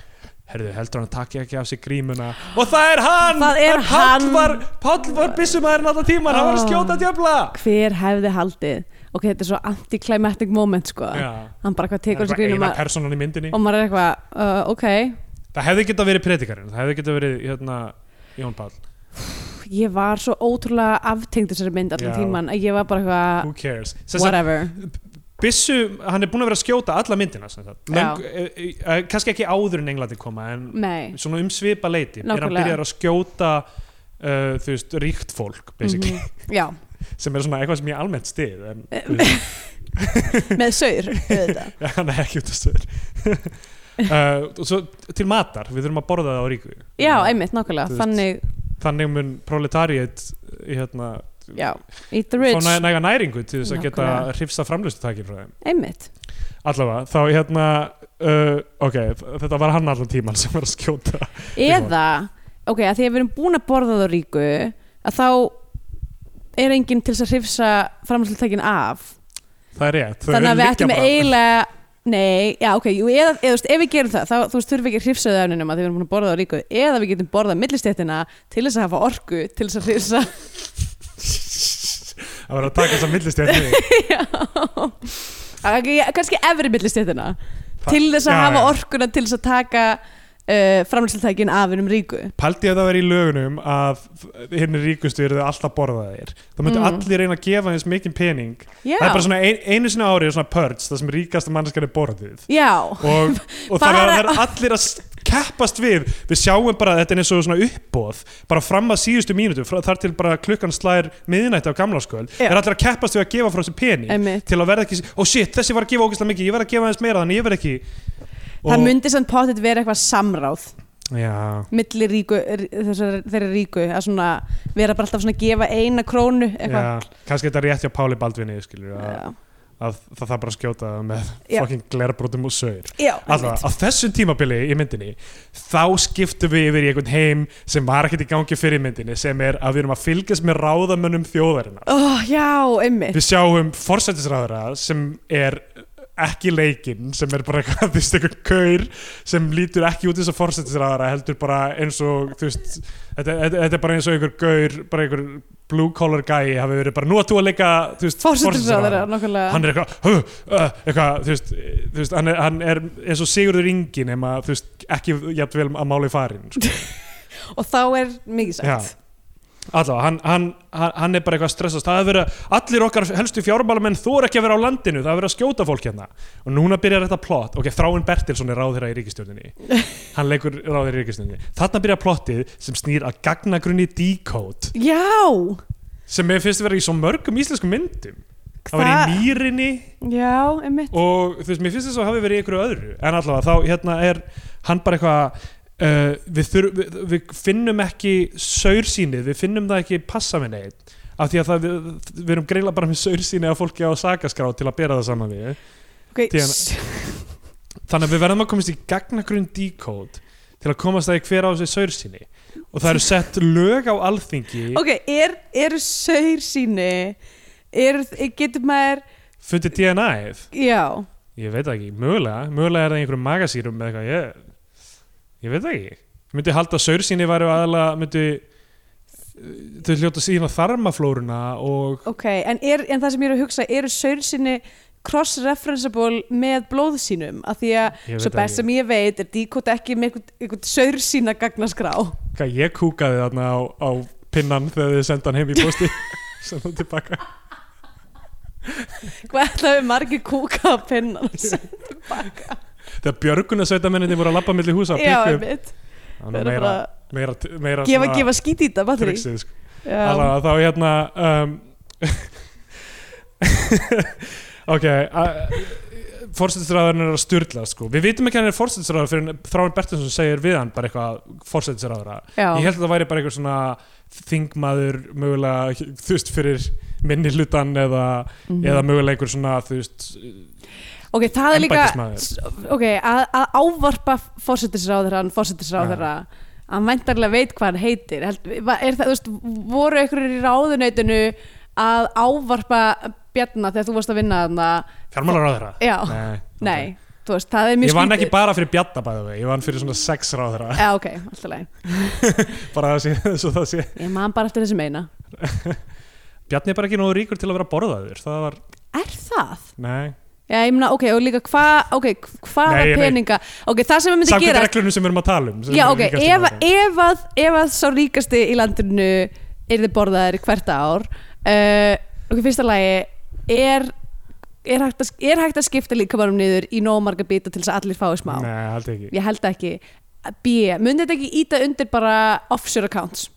[SPEAKER 2] herðu, heldur hann takki ekki af sig grímuna og það er hann!
[SPEAKER 3] Það er
[SPEAKER 2] Páll
[SPEAKER 3] hann!
[SPEAKER 2] var, Páll var byssumæðurinn alltaf tíman, hann var að
[SPEAKER 3] Oh.
[SPEAKER 2] skjóta djöfla
[SPEAKER 3] hver hefði haldið ok, þetta er svo anticlimactic moment sko,
[SPEAKER 2] Já,
[SPEAKER 3] hann bara hvað
[SPEAKER 2] það
[SPEAKER 3] tekur
[SPEAKER 2] er
[SPEAKER 3] þessu
[SPEAKER 2] bara
[SPEAKER 3] grínum
[SPEAKER 2] eina
[SPEAKER 3] að-
[SPEAKER 2] personan í myndinni
[SPEAKER 3] og maður er eitthvað, uh, ok
[SPEAKER 2] það hefði geta verið predikarinn, það hefði geta verið hérna, Jón Páll,
[SPEAKER 3] Pff, ég var svo ótrúlega aftengt þessari mynd allan
[SPEAKER 2] Já.
[SPEAKER 3] tíman að ég var bara eitthvað
[SPEAKER 2] who cares sem sagt,
[SPEAKER 3] whatever,
[SPEAKER 2] byssu, hann er búin að vera að skjóta alla myndina, sem sagt Löng, e, e, e, kannski ekki áður en Englandi koma en
[SPEAKER 3] nei
[SPEAKER 2] svona um svipa leiti er hann
[SPEAKER 3] Mm. Nákvæmlega.
[SPEAKER 2] byrjar að skjóta uh, þú veist, ríkt fólk basically,
[SPEAKER 3] Mhm. Eh, Já,
[SPEAKER 2] sem er svona eitthvað sem ég almennt stið en, þú veist,
[SPEAKER 3] með saur auðvitað.
[SPEAKER 2] Já, hann er ekki út af stöður uh, og svo til matar, við þurfum að borða það á ríku
[SPEAKER 3] Já, einmitt, nákvæmlega,
[SPEAKER 2] Þú veist.
[SPEAKER 3] þannig
[SPEAKER 2] þannig mun proletariat uh, hérna,
[SPEAKER 3] já, eat the
[SPEAKER 2] fá
[SPEAKER 3] rich,
[SPEAKER 2] næ, næga næringu til þess að geta
[SPEAKER 3] Nákvæmlega.
[SPEAKER 2] hrifsa framlustutækin frá þeim
[SPEAKER 3] einmitt
[SPEAKER 2] allavega, þá hérna uh, ok, þetta var hann allan tíman sem var að skjóta
[SPEAKER 3] eða, ok, að því að við erum búin að borða þá ríku að þá er enginn til þess að hrifsa framhaldslutekin af
[SPEAKER 2] það er rétt, þau
[SPEAKER 3] þannig að við
[SPEAKER 2] liggja
[SPEAKER 3] ættum
[SPEAKER 2] bara-
[SPEAKER 3] eiginlega nei, já ok, jú, eða, eða þú veist, ef við gerum það þá þú veist, þurfum við ekki að hrifsa þau af neinum að því við erum búin að borða þá ríku eða við getum borðað millistéttina til þess að hafa orku til þess að hrifsa
[SPEAKER 2] að vera að taka þess að millist ég
[SPEAKER 3] já Ok, kannski efri millistéttina til þess að
[SPEAKER 2] já,
[SPEAKER 3] hafa
[SPEAKER 2] já.
[SPEAKER 3] orkuna til þess að taka uh, framhaldslutekin af einum ríku
[SPEAKER 2] paldi að það veri í lögunum að hérna ríkustu eru þau alltaf borðaðir þá myndu
[SPEAKER 3] Mm.
[SPEAKER 2] allir reyna að gefa eins mikinn pening
[SPEAKER 3] já,
[SPEAKER 2] það er bara svona ein, einu sinni ári er svona purge, það sem ríkasta mannskar er borðið
[SPEAKER 3] já
[SPEAKER 2] og, og það
[SPEAKER 3] Bara-
[SPEAKER 2] er- það er allir að s- keppast við við sjáum bara að þetta er eins og svona uppbóð bara fram að síðustu mínútu frá- þar til bara klukkan slær miðnætti á gamlasköld
[SPEAKER 3] Já.
[SPEAKER 2] er allir að keppast við að gefa frá þessu peni
[SPEAKER 3] Einmitt.
[SPEAKER 2] til að verða ekki, ó shit þessi var að gefa ógæslega mikið ég verð að gefa aðeins meira þannig ég verð ekki
[SPEAKER 3] það myndi samt pottet vera eitthvað samráð
[SPEAKER 2] já,
[SPEAKER 3] milli ríku, þessar, þeirri ríku að svona vera bara alltaf svona að gefa eina krónu eitthvað
[SPEAKER 2] já, kannski þetta er rétt hjá Páli Baldvinni skilur, að,
[SPEAKER 3] Já.
[SPEAKER 2] að það þarf bara að skjóta með
[SPEAKER 3] Já.
[SPEAKER 2] fucking glerbrotum og saur
[SPEAKER 3] Já,
[SPEAKER 2] Alltaf,
[SPEAKER 3] einmitt.
[SPEAKER 2] á þessum tímabili í myndinni þá skiptum við yfir í einhvern heim sem var ekkert í gangi fyrir í myndinni sem er að við erum að fylgjast með ráðamönnum þjóðarinnar.
[SPEAKER 3] Ó, já, einmitt
[SPEAKER 2] Við sjáum forsætisráðara sem er ekki leikinn sem er bara eitthvað, þú veist, einhvern kaur sem lítur ekki út eins og forsætisráðara heldur bara eins og, þú veist þetta, þetta, þetta er bara eins og einhver gaur bara einhver blue collar guy hafi verið bara nú að þú að leika, þú veist,
[SPEAKER 3] Fórsetisráður,
[SPEAKER 2] forsætisráðherra."
[SPEAKER 3] nokkulega
[SPEAKER 2] hann er eitthvað, "Hö, uh, eitthvað þú veist, eh, þú veist, hann, er, hann er eins og Sigurður Ingi nema þú veist, ekki jafnvel að máli farin sko.
[SPEAKER 3] Og þá er mikið sagt
[SPEAKER 2] Allá, hann, hann, hann hann er bara eitthvað að stressast það er verið að allir okkar helstu fjármálamenn þú er ekki að vera á landinu, það er verið að skjóta fólk hérna og núna byrjar þetta plott ok, Þráin Bertilsson er ráðherra í ríkistjórninni hann leikur ráðherra í ríkistjórninni þarna byrjar plottið sem snýr að gagnagrunni decode
[SPEAKER 3] Já,
[SPEAKER 2] sem mér finnst að vera í svo mörgum íslenskum myndum það var
[SPEAKER 3] Hva-
[SPEAKER 2] í mýrinni
[SPEAKER 3] já, einmitt
[SPEAKER 2] og þú veist, mér finnst þess að hafi verið í einhverju öðru en allavega þá hérna er hann bara eitthvað uh, við, þur, við, við finnum ekki saursýnið, við finnum það ekki passa með neitt af því að það, við, við erum greinlega bara með saursýnið af fólki á sakaskrá til að bera það saman við
[SPEAKER 3] okay.
[SPEAKER 2] Díana.
[SPEAKER 3] s-
[SPEAKER 2] þannig að við verðum að komast í gagnagrunn decode til að komast að hver á þessi saursýni og það eru sett lög á alþingi
[SPEAKER 3] Ok, er, eru saur síni er, Getur maður
[SPEAKER 2] fundið DNA-ið
[SPEAKER 3] Já,
[SPEAKER 2] Ég veit það ekki, mögulega, mögulega er það í einhverjum magasýrum með eitthvað, ég, ég veit það ekki. Ég myndi halda að saursýni væri aðalega, myndi, þau hljóta síðan þarmaflóruna og
[SPEAKER 3] ok En, er, en það sem ég er að hugsa Eru saur síni cross-referenceable með blóðsýnum Af því að
[SPEAKER 2] ég
[SPEAKER 3] Svo
[SPEAKER 2] veit
[SPEAKER 3] best
[SPEAKER 2] það
[SPEAKER 3] sem
[SPEAKER 2] ekki.
[SPEAKER 3] ég veit er díkot ekki með einhvern, einhvern saur sína gagnaskrá.
[SPEAKER 2] Hvað ég kúkaði þarna á, á pinnan þegar þið senda hann heim í posti, sem þú tilbaka.
[SPEAKER 3] Hvað ætlaðu við margir kúka á pinnan og senda tilbaka?
[SPEAKER 2] Þegar björgunarsveitamenninni voru að labba milli húsa að
[SPEAKER 3] Já,
[SPEAKER 2] pikka upp,
[SPEAKER 3] einmitt.
[SPEAKER 2] það
[SPEAKER 3] Það
[SPEAKER 2] var
[SPEAKER 3] er bara
[SPEAKER 2] meira, meira, meira
[SPEAKER 3] gefa, gefa skít í þetta, batteri.
[SPEAKER 2] trixið, sko.
[SPEAKER 3] Já,
[SPEAKER 2] Alla, þá hérna um, ok fórsetisræðurinn er að styrla sko. við vitum ekki að hann er fórsetisræður fyrir Þráin Bertinsson segir við hann bara eitthvað fórsetisræðura
[SPEAKER 3] já.
[SPEAKER 2] ég held að það væri bara eitthvað svona þingmaður mögulega þú veist fyrir minni hlutan eða,
[SPEAKER 3] Mhm.
[SPEAKER 2] eða mögulega einhver svona þú veist
[SPEAKER 3] Ok, það er líka,
[SPEAKER 2] Embættismaður.
[SPEAKER 3] s- ok, að, að ávarpa fórsetisráðherran, fórsetisráðherra, að væntarlega veit hvað hann heitir. Held, va- er það, þú veist, voru ykkur í ráðuneytinu að ávarpa Bjarna þegar þú varst að vinna þarna?
[SPEAKER 2] fjármálaráðura
[SPEAKER 3] Já,
[SPEAKER 2] nei,
[SPEAKER 3] nei, þú veist, það er
[SPEAKER 2] ok.
[SPEAKER 3] mjög
[SPEAKER 2] ég vann
[SPEAKER 3] skrítið.
[SPEAKER 2] ekki bara fyrir Bjarna bæðu ég vann fyrir svona sex ráðura
[SPEAKER 3] Já, ok, alltaf leið.
[SPEAKER 2] bara að sé, svo það sé
[SPEAKER 3] Ég man bara eftir þessum eina.
[SPEAKER 2] Bjarni er bara ekki nógu ríkur til að vera borðaður það var,
[SPEAKER 3] Er það?
[SPEAKER 2] nei
[SPEAKER 3] Já, ég meina, ok, og líka hvað, ok, hvaða
[SPEAKER 2] Nei, ég veit.
[SPEAKER 3] peninga, ok, það sem við myndi
[SPEAKER 2] samkvæmt
[SPEAKER 3] gera,
[SPEAKER 2] reglunum sem við erum að tala um sem
[SPEAKER 3] já,
[SPEAKER 2] eru
[SPEAKER 3] ok,
[SPEAKER 2] ríkasta
[SPEAKER 3] ef,
[SPEAKER 2] maðurinn.
[SPEAKER 3] ef að, ef að sá ríkasti í landinu er þið borðaðir hvert ár, uh, ok, fyrsta lagi, er, er, hægt að, er hægt að skipta líkamanum niður í nóg marga bita til þess að allir fái smá?
[SPEAKER 2] nei, held ekki,
[SPEAKER 3] Ég held ekki. B, myndi þetta ekki íta undir bara offshore accounts?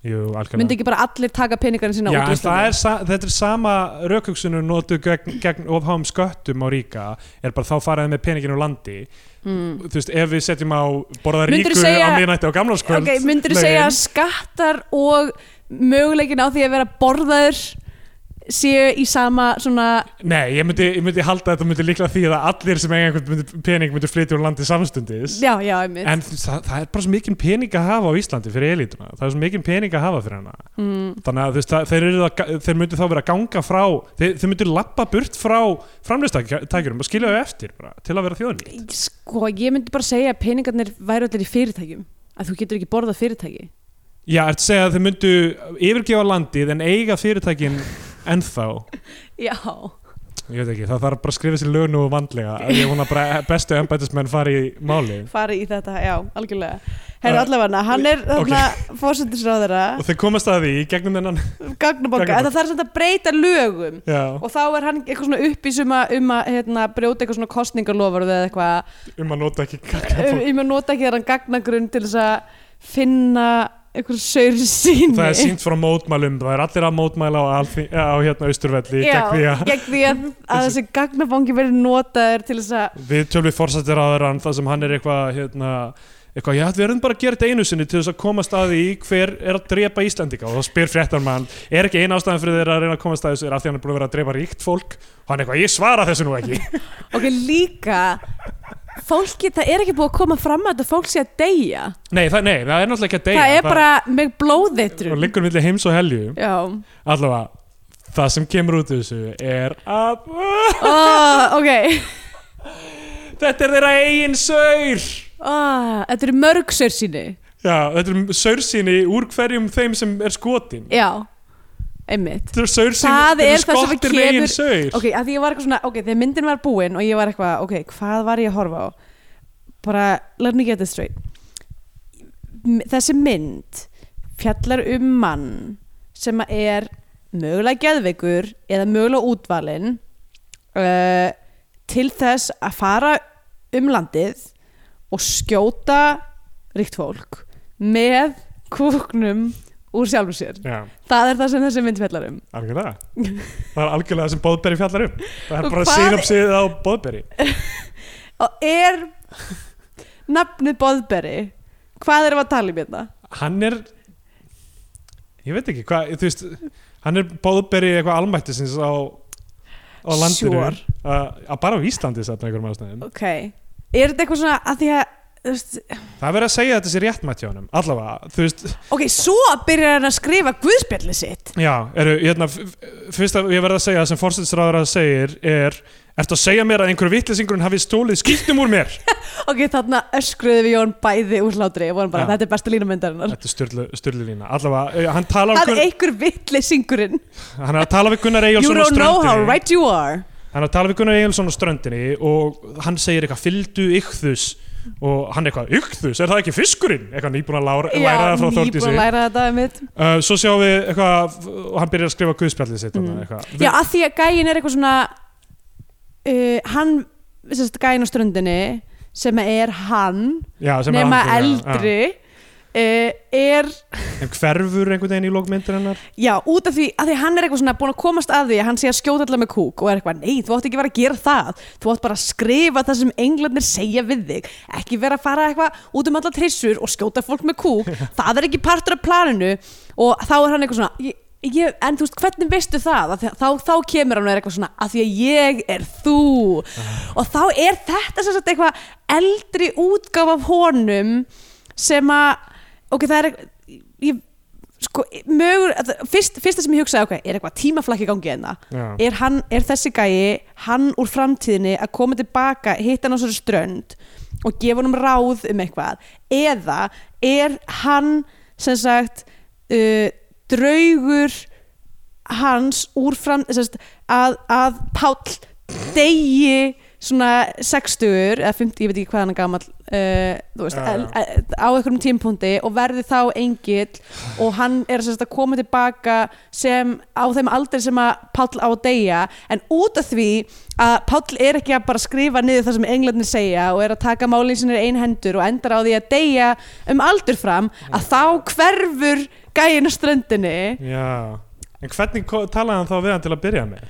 [SPEAKER 2] jú, algjörlega
[SPEAKER 3] Myndi ekki bara allir taka peningarinn sína
[SPEAKER 2] já,
[SPEAKER 3] út
[SPEAKER 2] en
[SPEAKER 3] úr
[SPEAKER 2] það
[SPEAKER 3] Íslandi?
[SPEAKER 2] er, sa- þetta er sama raukhugsunum notu gegn, gegn ofháum sköttum á ríka, er bara þá faraði með peningin úr landi,
[SPEAKER 3] Mm.
[SPEAKER 2] þú veist, ef við setjum á borða
[SPEAKER 3] Myndirðu
[SPEAKER 2] ríku á
[SPEAKER 3] segja-
[SPEAKER 2] miðnætti á gamlarskvöld
[SPEAKER 3] Ok, myndir þú segja að skattar og möguleikin á því að vera borðaður séu í sama svona
[SPEAKER 2] Nei, ég myndi, ég myndi halda að þetta myndi líklega því að allir sem eiga einhvern myndi, pening myndi flytja úr landi samstundis
[SPEAKER 3] já, já, einmitt
[SPEAKER 2] En það, það er bara svo mikinn pening að hafa á Íslandi fyrir elítuna Það er svo mikinn pening að hafa fyrir hana
[SPEAKER 3] mm,
[SPEAKER 2] Þannig að þú veist, það- þeir, eru það, þeir myndu þá vera að ganga frá Þeir, þeir myndu lappa burt frá framleistækjurum og skilja þau eftir bara, til að vera þjóðnýtt
[SPEAKER 3] sko, ég myndi bara segja að peningarnir væru allir í fyrirtækjum að þú getur ekki borðað fyrirtæki
[SPEAKER 2] Já, ertu að segja að þeir myndu yfirgefa landið en eiga fyrirtækin ennþá
[SPEAKER 3] já,
[SPEAKER 2] Ég veit ekki, það þarf bara að skrifa sér lög nú vandlega Ég vona bara bestu embætismenn fari í málið
[SPEAKER 3] farið í þetta, já, algjörlega
[SPEAKER 2] Uh,
[SPEAKER 3] herra allavega, hann er þarna okay. fórsöndisráðara,
[SPEAKER 2] Og þeir komast að því í gegnum þennan
[SPEAKER 3] gagnabokka
[SPEAKER 2] Gagnabók.
[SPEAKER 3] en það þarf samt að breyta lögum
[SPEAKER 2] Já,
[SPEAKER 3] og þá er hann eitthvað svona uppísum að- um að hérna, brjóta eitthvað svona kostningalofar eða eitthvað
[SPEAKER 2] um að nota ekki
[SPEAKER 3] um,
[SPEAKER 2] gagnabók
[SPEAKER 3] ég maður nota ekki þar hann gagnagrunn til þess að finna einhver saur síni
[SPEAKER 2] Það er sínt frá mótmælum, það er allir að mótmæla á, alþi, á hérna austurvelli
[SPEAKER 3] Já,
[SPEAKER 2] gegn því að
[SPEAKER 3] gegn því að, að þessi gagnabangi verið notaður til þess að
[SPEAKER 2] við tölum við forsættir á þeirra það sem hann er eitthvað hérna, eitthvað, já við erum bara að gera þetta einu sinni til þess að komast að því hver er að drepa Íslandika og þá spyr fréttarmann, er ekki eina ástæðan fyrir þeirra að reyna að komast að þessu er af því hann er búin að vera að drepa ríkt fólk og hann eitthvað, ég svara þessu nú ekki
[SPEAKER 3] ok, líka fólki, það er ekki búið að koma fram að þetta fólk sé að deyja
[SPEAKER 2] nei það, nei, það er náttúrulega ekki að deyja
[SPEAKER 3] það er bara með blóðitru
[SPEAKER 2] og liggur milli heims og helju
[SPEAKER 3] já,
[SPEAKER 2] allavega, það sem kemur út úr þessu er að
[SPEAKER 3] oh, ok
[SPEAKER 2] þetta er þeirra eigin saur
[SPEAKER 3] oh, þetta eru mörg saur síni
[SPEAKER 2] já, þetta er saursýni úr hverjum þeim sem er skotin
[SPEAKER 3] já, einmitt
[SPEAKER 2] þetta er saursýni,
[SPEAKER 3] Það
[SPEAKER 2] þetta er
[SPEAKER 3] er það sem
[SPEAKER 2] skottir
[SPEAKER 3] kemur-
[SPEAKER 2] með eigin saur
[SPEAKER 3] ok, að því ég var eitthvað svona, ok, þegar myndin var búin og ég var eitthvað, ok, hvað var ég að horfa á bara, let me get this straight M- þessi mynd fjallar um mann sem að er mögulega geðveikur eða mögulega útvalinn uh, til þess að fara um landið og skjóta ríkt fólk með kúknum úr sjálfum sér
[SPEAKER 2] Já,
[SPEAKER 3] það er það sem þessi mynd fjallar um
[SPEAKER 2] algjörlega Það er algjörlega það sem Bóðberi fjallar um Það er
[SPEAKER 3] Og
[SPEAKER 2] bara
[SPEAKER 3] hvað-
[SPEAKER 2] sínopsið á Bóðberi
[SPEAKER 3] og er nafnið Boðberi hvað erum við að tala um hérna?
[SPEAKER 2] Hann er Ég veit ekki, hvað, þú veist Hann er Bóðberi eitthvað almættisins á á landinu
[SPEAKER 3] Sure.
[SPEAKER 2] að, að bara á Íslandi satt með einhverjum ástæðum
[SPEAKER 3] ok, er þetta eitthvað svona að því að þú veist,
[SPEAKER 2] Það er verið að segja að þetta sé réttmætt hjá honum Allavega, þú veist,
[SPEAKER 3] ok, svo byrjar hann að skrifa guðspjallið sitt
[SPEAKER 2] já, eru, hérna f- f- Fyrst að ég verið að segja að sem fórstæðsráður segir er, ertu að segja mér að einhver vitlesingurinn hafi stólið skýttum úr mér
[SPEAKER 3] ok, þarna öskruðu við Jón bæði úr hlátri og vorum bara,
[SPEAKER 2] Já.
[SPEAKER 3] þetta er besta línamyndarinnar
[SPEAKER 2] Þetta er sturlu, sturlu lína Allavega, eh, hann talar
[SPEAKER 3] það
[SPEAKER 2] um
[SPEAKER 3] er einhver vitli singurinn
[SPEAKER 2] hann er að tala við Gunnar
[SPEAKER 3] you
[SPEAKER 2] Egilson á
[SPEAKER 3] don't know how
[SPEAKER 2] ströndinni
[SPEAKER 3] right you are
[SPEAKER 2] hann er að tala við Gunnar Egilson á ströndinni og hann segir eitthvað fylgdu ykþus og hann eitthvað ykþus, er það ekki fiskurinn eitthvað nýbúin að lára, læra það frá
[SPEAKER 3] nýbúin
[SPEAKER 2] Þórdísi
[SPEAKER 3] að læra þetta einmitt.
[SPEAKER 2] uh, svo sjáum við eitthvað og hann byrjar að skrifa guðspjallið sitt mm.
[SPEAKER 3] já, að því að gæin er eitthvað svona uh, hann sérst, gæin á ströndinni sem er hann
[SPEAKER 2] já, sem er
[SPEAKER 3] nema
[SPEAKER 2] andri, já,
[SPEAKER 3] eldri uh, er,
[SPEAKER 2] já. en hverfur einhvern veginn í lókmyndir hennar
[SPEAKER 3] já, út af því að því hann er eitthvað svona búin að komast að því að hann sé að skjóta allar með kúk og er eitthvað, nei, þú átt ekki að vera að gera það þú átt bara að skrifa það sem englarnir segja við þig, ekki vera að fara eitthvað út um allar trissur og skjóta fólk með kúk það er ekki partur af planinu og þá er hann eitthvað svona ég, ég, en þú veist, hvernig veistu það að þá, þá kemur hann og er eitthvað svona að því að ég er þú og þá er þetta sem sagt eitthvað eldri útgáf af honum sem að ok, það er ég, sko, mögur, að- fyrst, fyrsta sem ég hugsaði ok, er eitthvað tímaflakki í gangi enna
[SPEAKER 2] Já.
[SPEAKER 3] er, hann, er þessi gæi hann úr framtíðinni að koma tilbaka hitta hann á svo strönd og gefa hann ráð um eitthvað eða er hann sem sagt uh, draugur hans úr fram sem sagt, að, að Páll deyji svona 60 eða 50, ég veit ekki hvað hann er gamall uh, þú veist,
[SPEAKER 2] Já,
[SPEAKER 3] ja,
[SPEAKER 2] já.
[SPEAKER 3] á einhverjum tímpúndi og verði þá engill og hann er sem sagt, að koma tilbaka sem á þeim aldrei sem að Páll á að deyja en út af því að Páll er ekki að bara skrifa niður það sem englarnir segja og er að taka málin sinni ein hendur og endar á því að deyja um aldur fram að þá hverfur gæin á ströndinni
[SPEAKER 2] já. en hvernig ko- talaði hann þá við hann til að byrja með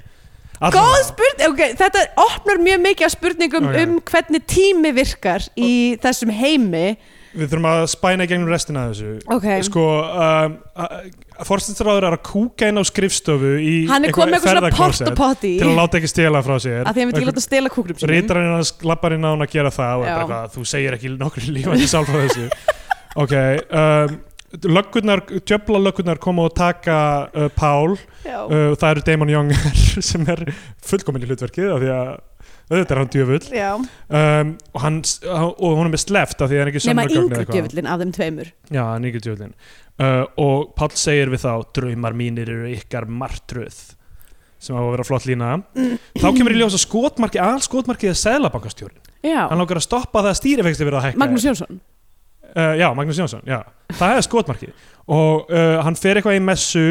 [SPEAKER 3] Góð
[SPEAKER 2] Allavega.
[SPEAKER 3] spurning, ok, þetta opnar mjög mikið af spurningum
[SPEAKER 2] Ok.
[SPEAKER 3] um hvernig tími virkar í þessum heimi
[SPEAKER 2] Við þurfum að spæna í gegnum restina af þessu
[SPEAKER 3] Ok,
[SPEAKER 2] Sko, um, forstænsráður er að kúka inn á skrifstofu í
[SPEAKER 3] hann er komið með eitthvað svona
[SPEAKER 2] ferðakonsept
[SPEAKER 3] porta potti
[SPEAKER 2] Til að láta ekki stela frá sér
[SPEAKER 3] að því hann veit ekki láta stela kúknum sínum
[SPEAKER 2] Rítarinn hans lappar inn á hann að gera það og er
[SPEAKER 3] Já.
[SPEAKER 2] bara eitthvað, þú segir ekki nokkru lífandi sálf á þessu Ok, um, löggurnar, djöfla löggurnar koma og taka uh, Pál
[SPEAKER 3] Já.
[SPEAKER 2] uh, Það eru Damon Young sem er fullkomin í hlutverkið af því að auðvitað er hann djöfull
[SPEAKER 3] Já.
[SPEAKER 2] um, og, hann, og hún er með sleft af því að hann er ekki
[SPEAKER 3] nema
[SPEAKER 2] sönnunargögn eða
[SPEAKER 3] yngri
[SPEAKER 2] eitthvað.
[SPEAKER 3] djöfullin af þeim tveimur
[SPEAKER 2] Já, hann er ekki djöfullin uh, og Páll segir við þá draumar mínir eru ykkar martröð sem á að vera flott lína þá kemur í ljós að skotmarki, all skotmarkið er seðlabankastjórin,
[SPEAKER 3] Já,
[SPEAKER 2] hann lókar að stoppa það að stýrifegsti verið að hækka
[SPEAKER 3] Magnús Jónsson
[SPEAKER 2] uh, já, Magnús Jónsson, já, það er skotmarkið og uh, hann fer eitthvað í messu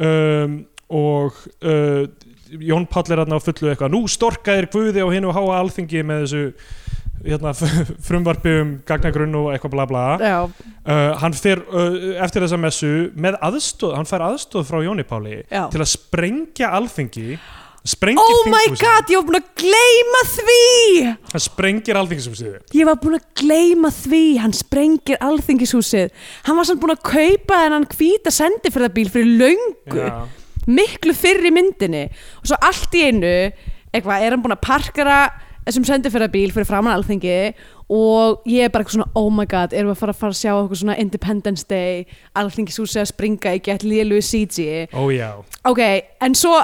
[SPEAKER 2] um, og uh, Jón Páll er hann á fullu eitthvað, nú storkaðir guði á hinu háa alþingi með þessu hérna, frumvarpi um gagnagrunn og eitthvað bla bla
[SPEAKER 3] Já,
[SPEAKER 2] uh, hann fer uh, eftir þessa messu með aðstóð, hann fær aðstóð frá Jóni Páli
[SPEAKER 3] já
[SPEAKER 2] til að sprengja alþingi sprengir
[SPEAKER 3] Oh my
[SPEAKER 2] þinghúsið.
[SPEAKER 3] god, ég var búin að gleyma því
[SPEAKER 2] hann sprengir alþingishúsið
[SPEAKER 3] Ég var búin að gleyma því Hann sprengir alþingishúsið Hann var samt búin að kaupa þennan hvíta sendifræðabíl fyrir löngu
[SPEAKER 2] Já.
[SPEAKER 3] miklu fyrr í myndinni og svo allt í einu eitthvað, er hann búin að parkara þessum sendifærabíl fyrir framann alþingi og ég er bara eitthvað svona oh my god, erum við að fara að fara að sjá eitthvað svona Independence Day, alþingishúsi að springa í gett lélu CG
[SPEAKER 2] ó já,
[SPEAKER 3] ok, en svo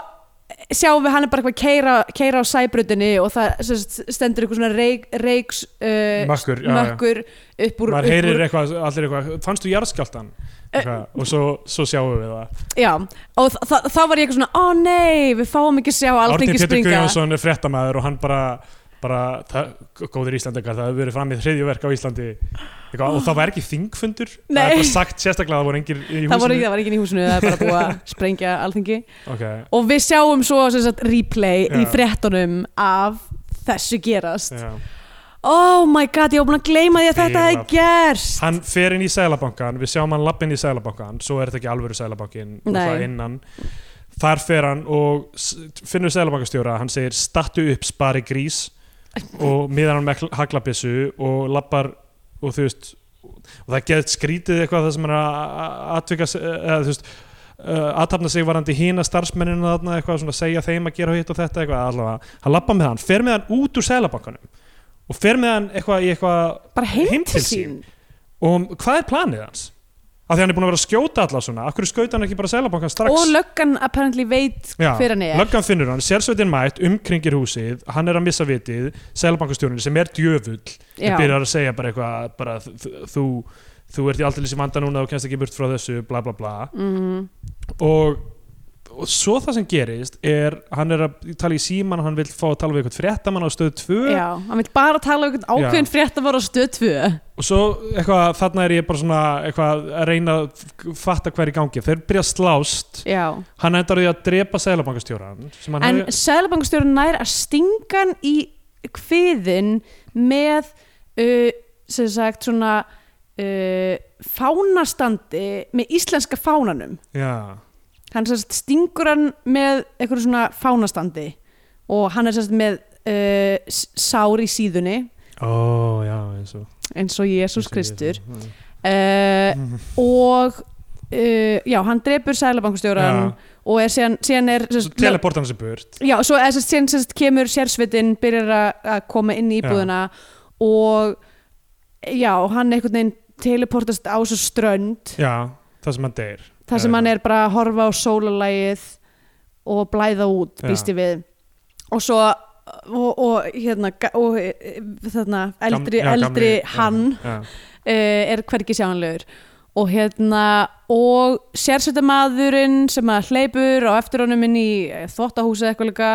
[SPEAKER 3] sjáum við hann er bara eitthvað keira, keira á sæbrutinni og það sem sagt, stendur eitthvað svona reik, reiks uh,
[SPEAKER 2] Mökkur, já, já.
[SPEAKER 3] mökkur upp
[SPEAKER 2] maður
[SPEAKER 3] úr, upp úr Eh.
[SPEAKER 2] heyrir eitthvað, allir eitthvað fannstu jarðskjáltan eitthvað, og svo, svo sjáum við það
[SPEAKER 3] já, og þa- þa- þá var ég eitthvað svona ó nei, við fáum ekki að sjá alþingi
[SPEAKER 2] Pétur
[SPEAKER 3] springa
[SPEAKER 2] Guðjónsson er fréttamaður og hann bara, bara það, góðir Íslandingar, það hefur verið fram í hriðjuverk á Íslandi eitthvað, og það var ekki þingfundur það
[SPEAKER 3] Nei.
[SPEAKER 2] er bara sagt sérstaklega að það voru engir í húsinu
[SPEAKER 3] það var, það var ekki í húsinu, það er bara búið að sprengja alþingi
[SPEAKER 2] okay,
[SPEAKER 3] og við sjáum svo sem sagt, replay í
[SPEAKER 2] Já.
[SPEAKER 3] fréttunum af þessu gerast
[SPEAKER 2] já.
[SPEAKER 3] oh my god, ég var búin að gleyma því að þetta
[SPEAKER 2] Bilað.
[SPEAKER 3] hefði gerst
[SPEAKER 2] hann fer inn í sælabankan við sjáum hann lapp inn í sælabankan svo er þetta ekki alvöru sælabankin
[SPEAKER 3] Nei.
[SPEAKER 2] innan þar fer hann og s- finnur sælabankastjóra hann segir statu upp spari grís og miðar hann með kl- haglabyssu og lappar og þú veist og það getur skrítið eitthvað það sem hann er að- að atvika s- eða þú veist Uh, aðtapna sig varandi hína starfsmenninu þarna eitthvað svona segja þeim að gera hitt og þetta eitthvað allavega, hann lappa með hann, fer með hann út úr sælabankanum og fer með hann eitthvað í eitthvað
[SPEAKER 3] bara heim
[SPEAKER 2] Heim
[SPEAKER 3] til
[SPEAKER 2] til
[SPEAKER 3] sín
[SPEAKER 2] og hvað er planið hans? af því hann er búin að vera að skjóta alla svona af hverju skauta hann ekki bara selabankan strax
[SPEAKER 3] og löggan apparently veit
[SPEAKER 2] Já,
[SPEAKER 3] hver hann er
[SPEAKER 2] löggan finnur hann, sérsveitin mætt umkringir húsið, hann er að missa vitið selabankastjórin sem er djöfull
[SPEAKER 3] Já.
[SPEAKER 2] hann byrjar að segja bara eitthvað bara, þ- þ- þú, þú ert í aldrei sem vanda núna og kennst ekki burt frá þessu, bla bla bla
[SPEAKER 3] Mhm.
[SPEAKER 2] og, og svo það sem gerist er, hann er að tala í síman hann vil fá að tala við eitthvað fréttamann á stöð 2
[SPEAKER 3] já, hann vil bara tala um einhvern
[SPEAKER 2] Já.
[SPEAKER 3] ákveðin frétt að voru á stöð 2
[SPEAKER 2] og svo eitthvað, þarna er ég bara svona eitthvað að reyna að f- fatta hver í gangi þeir byrja að slást
[SPEAKER 3] já.
[SPEAKER 2] hann endar á því að drepa sælabankastjóran sem hann
[SPEAKER 3] en
[SPEAKER 2] hefði
[SPEAKER 3] sæðlabankastjórun nær að stinga hann í kviðin með uh, sem sagt svona uh, fánastandi með íslenska fánanum
[SPEAKER 2] já,
[SPEAKER 3] hann sem sagt stingur hann með einhverju svona fánastandi og hann er sem sagt með uh, s- sár í síðunni
[SPEAKER 2] ó já eins og
[SPEAKER 3] eins og Jésús
[SPEAKER 2] eins og
[SPEAKER 3] Kristur
[SPEAKER 2] Jesús, já.
[SPEAKER 3] uh, og uh, já, hann drepur sælabankustjóran
[SPEAKER 2] Já.
[SPEAKER 3] og er síðan, síðan er sem
[SPEAKER 2] svo
[SPEAKER 3] sagt,
[SPEAKER 2] teleportar hann sem burt
[SPEAKER 3] já, svo er sem sagt, síðan sem sagt, kemur sérsvitin byrjar að- að koma inn í
[SPEAKER 2] Já.
[SPEAKER 3] íbúðuna og já, hann einhvern veginn teleportast á svo strönd
[SPEAKER 2] já, það sem hann deyr
[SPEAKER 3] þar sem
[SPEAKER 2] Já,
[SPEAKER 3] hann
[SPEAKER 2] já.
[SPEAKER 3] er bara að horfa á sólalægið og blæða út,
[SPEAKER 2] Já.
[SPEAKER 3] býst ég við og svo og, og hérna ga- og, e, e, þarna,
[SPEAKER 2] Gam-
[SPEAKER 3] eldri,
[SPEAKER 2] já, gamli-
[SPEAKER 3] eldri
[SPEAKER 2] já,
[SPEAKER 3] hann
[SPEAKER 2] já,
[SPEAKER 3] uh, er hvergi sjáanlegur og hérna og sérsveitamaðurinn sem að hleypur á eftir honum inn í eh, þvottahúsið eitthvað líka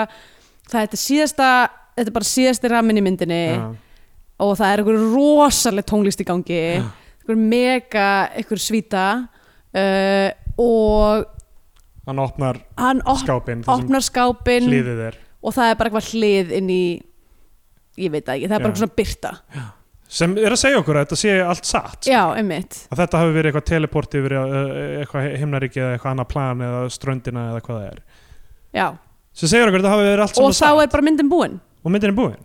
[SPEAKER 3] það er þetta síðasta þetta er bara síðasti ramin í myndinni
[SPEAKER 2] já.
[SPEAKER 3] og það er einhver rosaleg tónlist í gangi einhver mega einhver svíta uh, og
[SPEAKER 2] hann opnar
[SPEAKER 3] hann op
[SPEAKER 2] skápinn það sem
[SPEAKER 3] opnar skápinn
[SPEAKER 2] hliðið er
[SPEAKER 3] og það er bara eitthvað hlið inn í ég veit það ekki, það er bara
[SPEAKER 2] Já.
[SPEAKER 3] eitthvað svona byrta
[SPEAKER 2] sem er að segja okkur að þetta sé allt satt
[SPEAKER 3] já, einmitt
[SPEAKER 2] að þetta hafi verið eitthvað teleport yfir uh, eitthvað himnaríki eða eitthvað annað plan eða ströndina eða hvað það er
[SPEAKER 3] já.
[SPEAKER 2] sem segir okkur að þetta hafi verið allt
[SPEAKER 3] og
[SPEAKER 2] saman
[SPEAKER 3] þá
[SPEAKER 2] satt
[SPEAKER 3] er bara myndin búin
[SPEAKER 2] og myndin er búin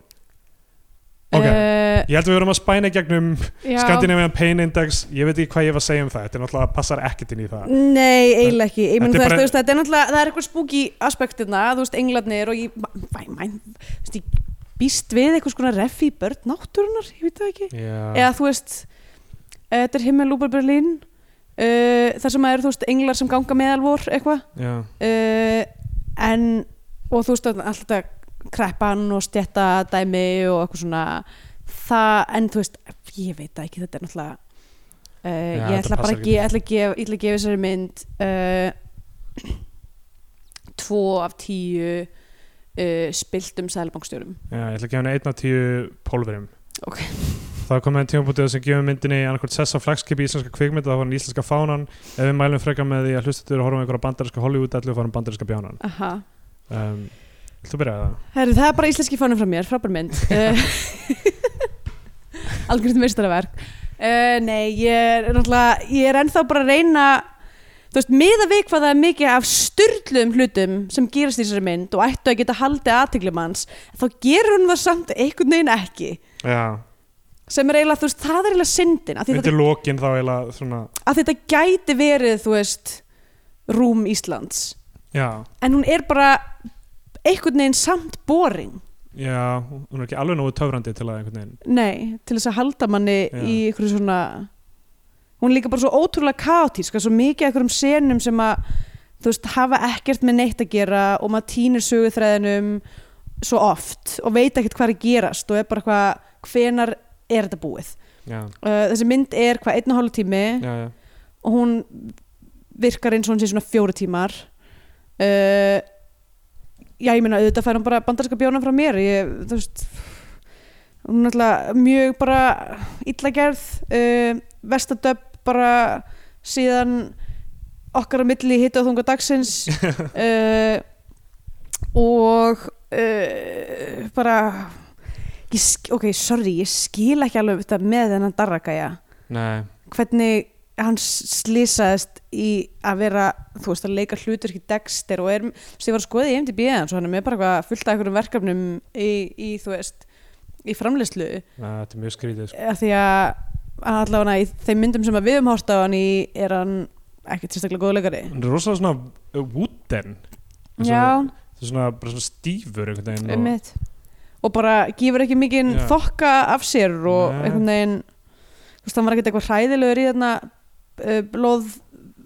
[SPEAKER 2] ok,
[SPEAKER 3] uh, uh,
[SPEAKER 2] Ég held að við verum að spæna í gegnum
[SPEAKER 4] Já.
[SPEAKER 2] Scandinavian Pain Index, ég veit ekki hvað ég var að segja um það þetta er náttúrulega passar ekkert inn í það
[SPEAKER 3] Nei, eiginlega ekki Ég mun,
[SPEAKER 2] Þetta er
[SPEAKER 3] þú veist,
[SPEAKER 2] bara-
[SPEAKER 3] þú veist, þetta er náttúrulega það er eitthvað spooky aspektirna, þú veist, englarnir og ég, bæ, mæ, þú veist, ég býst við eitthvað skona refi í börn náttúrunar, ég veit það ekki
[SPEAKER 2] Já,
[SPEAKER 3] eða þú veist eh, þetta er Himmelúber Berlín uh, þar sem er, þú veist, englar sem ganga meðalvor eitthvað
[SPEAKER 2] já,
[SPEAKER 3] uh, en, og þú veist, alltaf kreppan og stjætta dæmi og eitthvað svona það, en þú veist, ég veit það ekki þetta er náttúrulega uh,
[SPEAKER 2] Já,
[SPEAKER 3] ég
[SPEAKER 2] þetta
[SPEAKER 3] ætla bara
[SPEAKER 2] passar
[SPEAKER 3] að
[SPEAKER 2] ekki.
[SPEAKER 3] ge- ég ætla að gefa ég ætla að gefa þessari mynd uh, tvo af tíu uh, spiltum sælabankstjórum
[SPEAKER 2] já, ég ætla að gefa henni 1 af 10 pólverum
[SPEAKER 3] Ok.
[SPEAKER 2] Það kom með en tímabútið sem gefur myndinni annarkvæmt sess á flagskipi íslenska kvikmynda, það var hann íslenska fánan ef við mælum frekar með því að hlustatur horfum einhverja bandarinska Hollywood allir og farum bandarinska bjánan
[SPEAKER 3] aha
[SPEAKER 2] um, Vilt þú byrja það?
[SPEAKER 3] Herri, það er bara íslenski fánum frá mér, frábær mynd uh, Algjörðum meistaraverk uh, Nei, ég er náttúrulega ég er ennþá bara að reyna þú veist, miða við hvað það er mikið af styrlum hlutum sem gerast í þessari mynd og ættu að geta haldið aðteglum hans þá gerur hún það samt einhvern veginn ekki
[SPEAKER 2] Já,
[SPEAKER 3] sem er eiginlega, þú veist, það er eiginlega syndin af því,
[SPEAKER 2] undir
[SPEAKER 3] þetta,
[SPEAKER 2] lokin þá eiginlega svona,
[SPEAKER 3] að þetta gæti verið, þú veist rúm Íslands
[SPEAKER 2] já,
[SPEAKER 3] en hún er bara einhvern veginn samt boring
[SPEAKER 2] já hún er ekki alveg nógu töfrandi til að einhvern veginn
[SPEAKER 3] Nei, til þess að halda manni
[SPEAKER 2] Já.
[SPEAKER 3] í einhverju svona hún er líka bara svo ótrúlega kaotísk það er svo mikið af einhverjum senum sem að þú veist, hafa ekkert með neitt að gera og maður týnir söguþræðinum svo oft og veit ekkert hvað er að gerast og er bara hvað, hvenar er þetta búið
[SPEAKER 2] Já,
[SPEAKER 3] uh, þessi mynd er hvað, einn og hálf tími
[SPEAKER 2] já, já,
[SPEAKER 3] og hún virkar eins og hún sé svona fjóra tímar uh, já ég meina auðvitað fær hún bara bandarska bjónan frá mér ég, þú veist hún er alltaf mjög bara illa gerð uh, vestadöpp bara síðan okkar að milli hitta og þunga dagsins uh, og uh, bara ég, sk- ok, sorry, ég skil ekki alveg þetta með þennan darragæja
[SPEAKER 2] nei
[SPEAKER 3] hvernig hann slísaðist í að vera, þú veist, að leika hlutur ekki Dexter og er, þú veist, ég var að skoða í MDB hans og hann er með bara eitthvað fullt af einhverjum verkefnum í, í þú veist, í framleyslu
[SPEAKER 2] Nei, þetta er mjög skrítið sko.
[SPEAKER 3] af því að hann allavega í þeim myndum sem að við höfum hort á hann í er hann ekkert sérstaklega góðleikari
[SPEAKER 2] Hún er rosalega svona uh, wooden Eins og-
[SPEAKER 3] Já,
[SPEAKER 2] þetta er svona, bara svona stífur einhvern veginn
[SPEAKER 3] um
[SPEAKER 2] og,
[SPEAKER 3] mitt og bara gefur ekki mikinn
[SPEAKER 2] Já.
[SPEAKER 3] þokka af sér og
[SPEAKER 2] Nei.
[SPEAKER 3] einhvern veginn þú veist, hann var ekkert eitthvað hræðilegur í þarna uh, blóð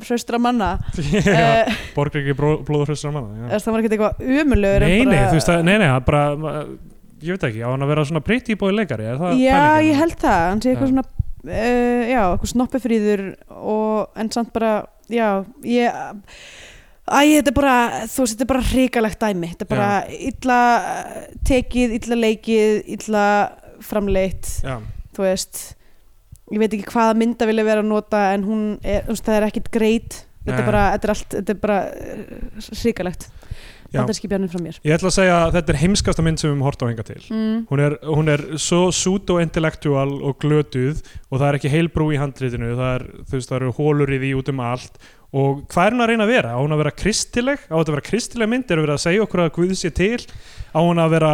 [SPEAKER 3] hraustra manna
[SPEAKER 2] Já,
[SPEAKER 3] uh,
[SPEAKER 2] borgar ekki blóðhrössar manna já.
[SPEAKER 3] Þess, það var ekkert eitthvað ömulegur
[SPEAKER 2] Nei, nei, þú veist að, nei, nei, það er bara ma- ég veit ekki, á hann að vera svona pretty boy leikari er það
[SPEAKER 3] Já,
[SPEAKER 2] pælingin?
[SPEAKER 3] ég held það, hann sé eitthvað
[SPEAKER 2] Já.
[SPEAKER 3] svona uh, já, eitthvað snoppifríður og, en samt bara, já ég, æ, þetta er bara þú veist, þetta er bara hrikalegt dæmi þetta er bara illa eh, tekið illa leikið, illa framleitt,
[SPEAKER 2] Já,
[SPEAKER 3] þú veist ég veit ekki hvaða mynda vilja vera að nota en hún, er, þú veist, það er ekkit greit þetta
[SPEAKER 2] Nei.
[SPEAKER 3] er bara, þetta er allt, þetta er bara uh, hrikalegt,
[SPEAKER 2] já.
[SPEAKER 3] þetta er skipjarnir frá mér
[SPEAKER 2] Ég ætla að segja að þetta er heimskasta mynd sem við höfum hort á hinga til
[SPEAKER 3] mm.
[SPEAKER 2] Hún er, hún er svo pseudo-intellektual og glötuð og það er ekki heilbrú í handritinu það, er, þú veist, það eru hólur í því út um allt og hvað er hún að reyna að vera? Á hún að vera kristileg? Á þetta að vera kristileg mynd? Er verið að segja okkur að Guð sé til? Á hún að vera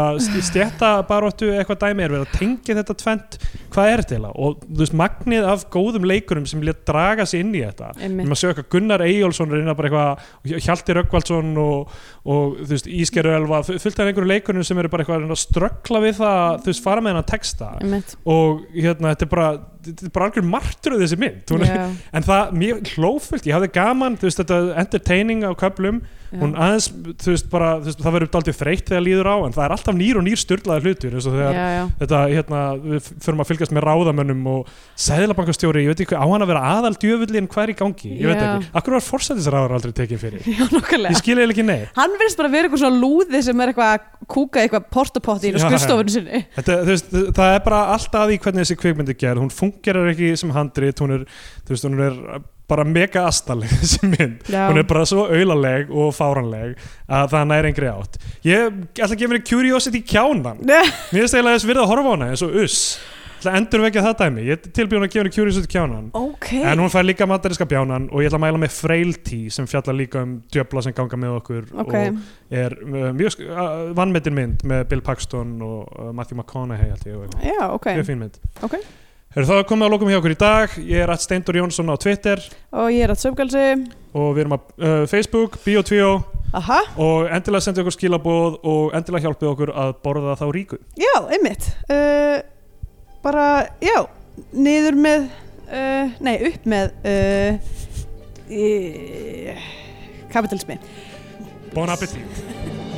[SPEAKER 2] stjættabaróttu eitthvað dæmi? Er verið að tengja þetta tvent? Hvað er þetta? eiginlega? Og þú veist, magnið af góðum leikurum sem lét draga sig inn í þetta
[SPEAKER 3] Einmitt.
[SPEAKER 2] Við maður sjá eitthvað Gunnar Eyjólfsson reyna bara eitthvað Hjalti Röggvaldsson og, og þú veist, Ískeru Elva fullt af einhverju leikunum sem eru bara eitthvað að reyna að ströggla við það þú veist, fara með hennar texta
[SPEAKER 3] Einmitt.
[SPEAKER 2] og hérna, þetta er bara, þetta er bara algjör martröð þessi mynd hún,
[SPEAKER 3] Já,
[SPEAKER 2] en það, mér hlófullt, ég hafði gaman þú veist, þetta entertaining á köflum
[SPEAKER 3] já.
[SPEAKER 2] hún aðeins, þú veist, bara, þú veist, það verður daldið þreytt þegar líður á, en það er alltaf nýr og nýr styrlaði hlutur, eins og þegar
[SPEAKER 3] já, já.
[SPEAKER 2] þetta, hérna, við förum að fylgjast með ráðamönnum og sæðlabankastjóri, ég veit ekki, á hann að vera aðal djöfullin hvað er í gangi, ég veit
[SPEAKER 3] Já.
[SPEAKER 2] ekki, akkur var forsætisráður aldrei tekið fyrir,
[SPEAKER 3] Já, nokkulega.
[SPEAKER 2] ég skil eða ekki nei
[SPEAKER 3] Hann verðist bara að vera eitthvað svona lúði sem er eitthvað að kúka eitthvað portapottin og
[SPEAKER 2] Já,
[SPEAKER 3] skurstofunni sinni.
[SPEAKER 2] þetta, þú veist, það er bara alltaf í hvernig þessi kvikmynd er gerð, hún fungerar ekki sem handrit, hún er, þú veist, hún er bara mega astaleg þessi mynd
[SPEAKER 3] Já.
[SPEAKER 2] hún er bara svo auðaleg og fáranleg að það næri engri átt ég ætla að gefa henni curiosity kjánan
[SPEAKER 3] Nei.
[SPEAKER 2] mér finnst eiginlega þess virða að horfa á hana eins og uss ætla að endur vekja það dæmi ég er tilbúin að gefa henni Curiosity kjánan
[SPEAKER 3] ok,
[SPEAKER 2] en hún fær líka matariska bjánan og ég ætla að mæla með Frailty sem fjallar líka um djöfla sem ganga með okkur
[SPEAKER 3] ok
[SPEAKER 2] og er uh, mjög sk- uh, vannmetin mynd með Bill Paxton og uh, Matthew McConaughey held ég og eitthvað.
[SPEAKER 3] já, ok,
[SPEAKER 2] mjög fín mynd
[SPEAKER 3] Ok.
[SPEAKER 2] Heyrðu, þá er komið að lokum hjá okkur í dag ég er að Steindur Jónsson á Twitter
[SPEAKER 3] og ég er að söfgalsi
[SPEAKER 2] og við erum á uh, Facebook, Bio2
[SPEAKER 3] aha,
[SPEAKER 2] og endilega sendið okkur skilaboð og endilega hjálpið okkur að borða þá ríku
[SPEAKER 3] já, einmitt uh, bara, já niður með uh, nei, upp með uh, í, kapitalismi
[SPEAKER 2] Bon appétit!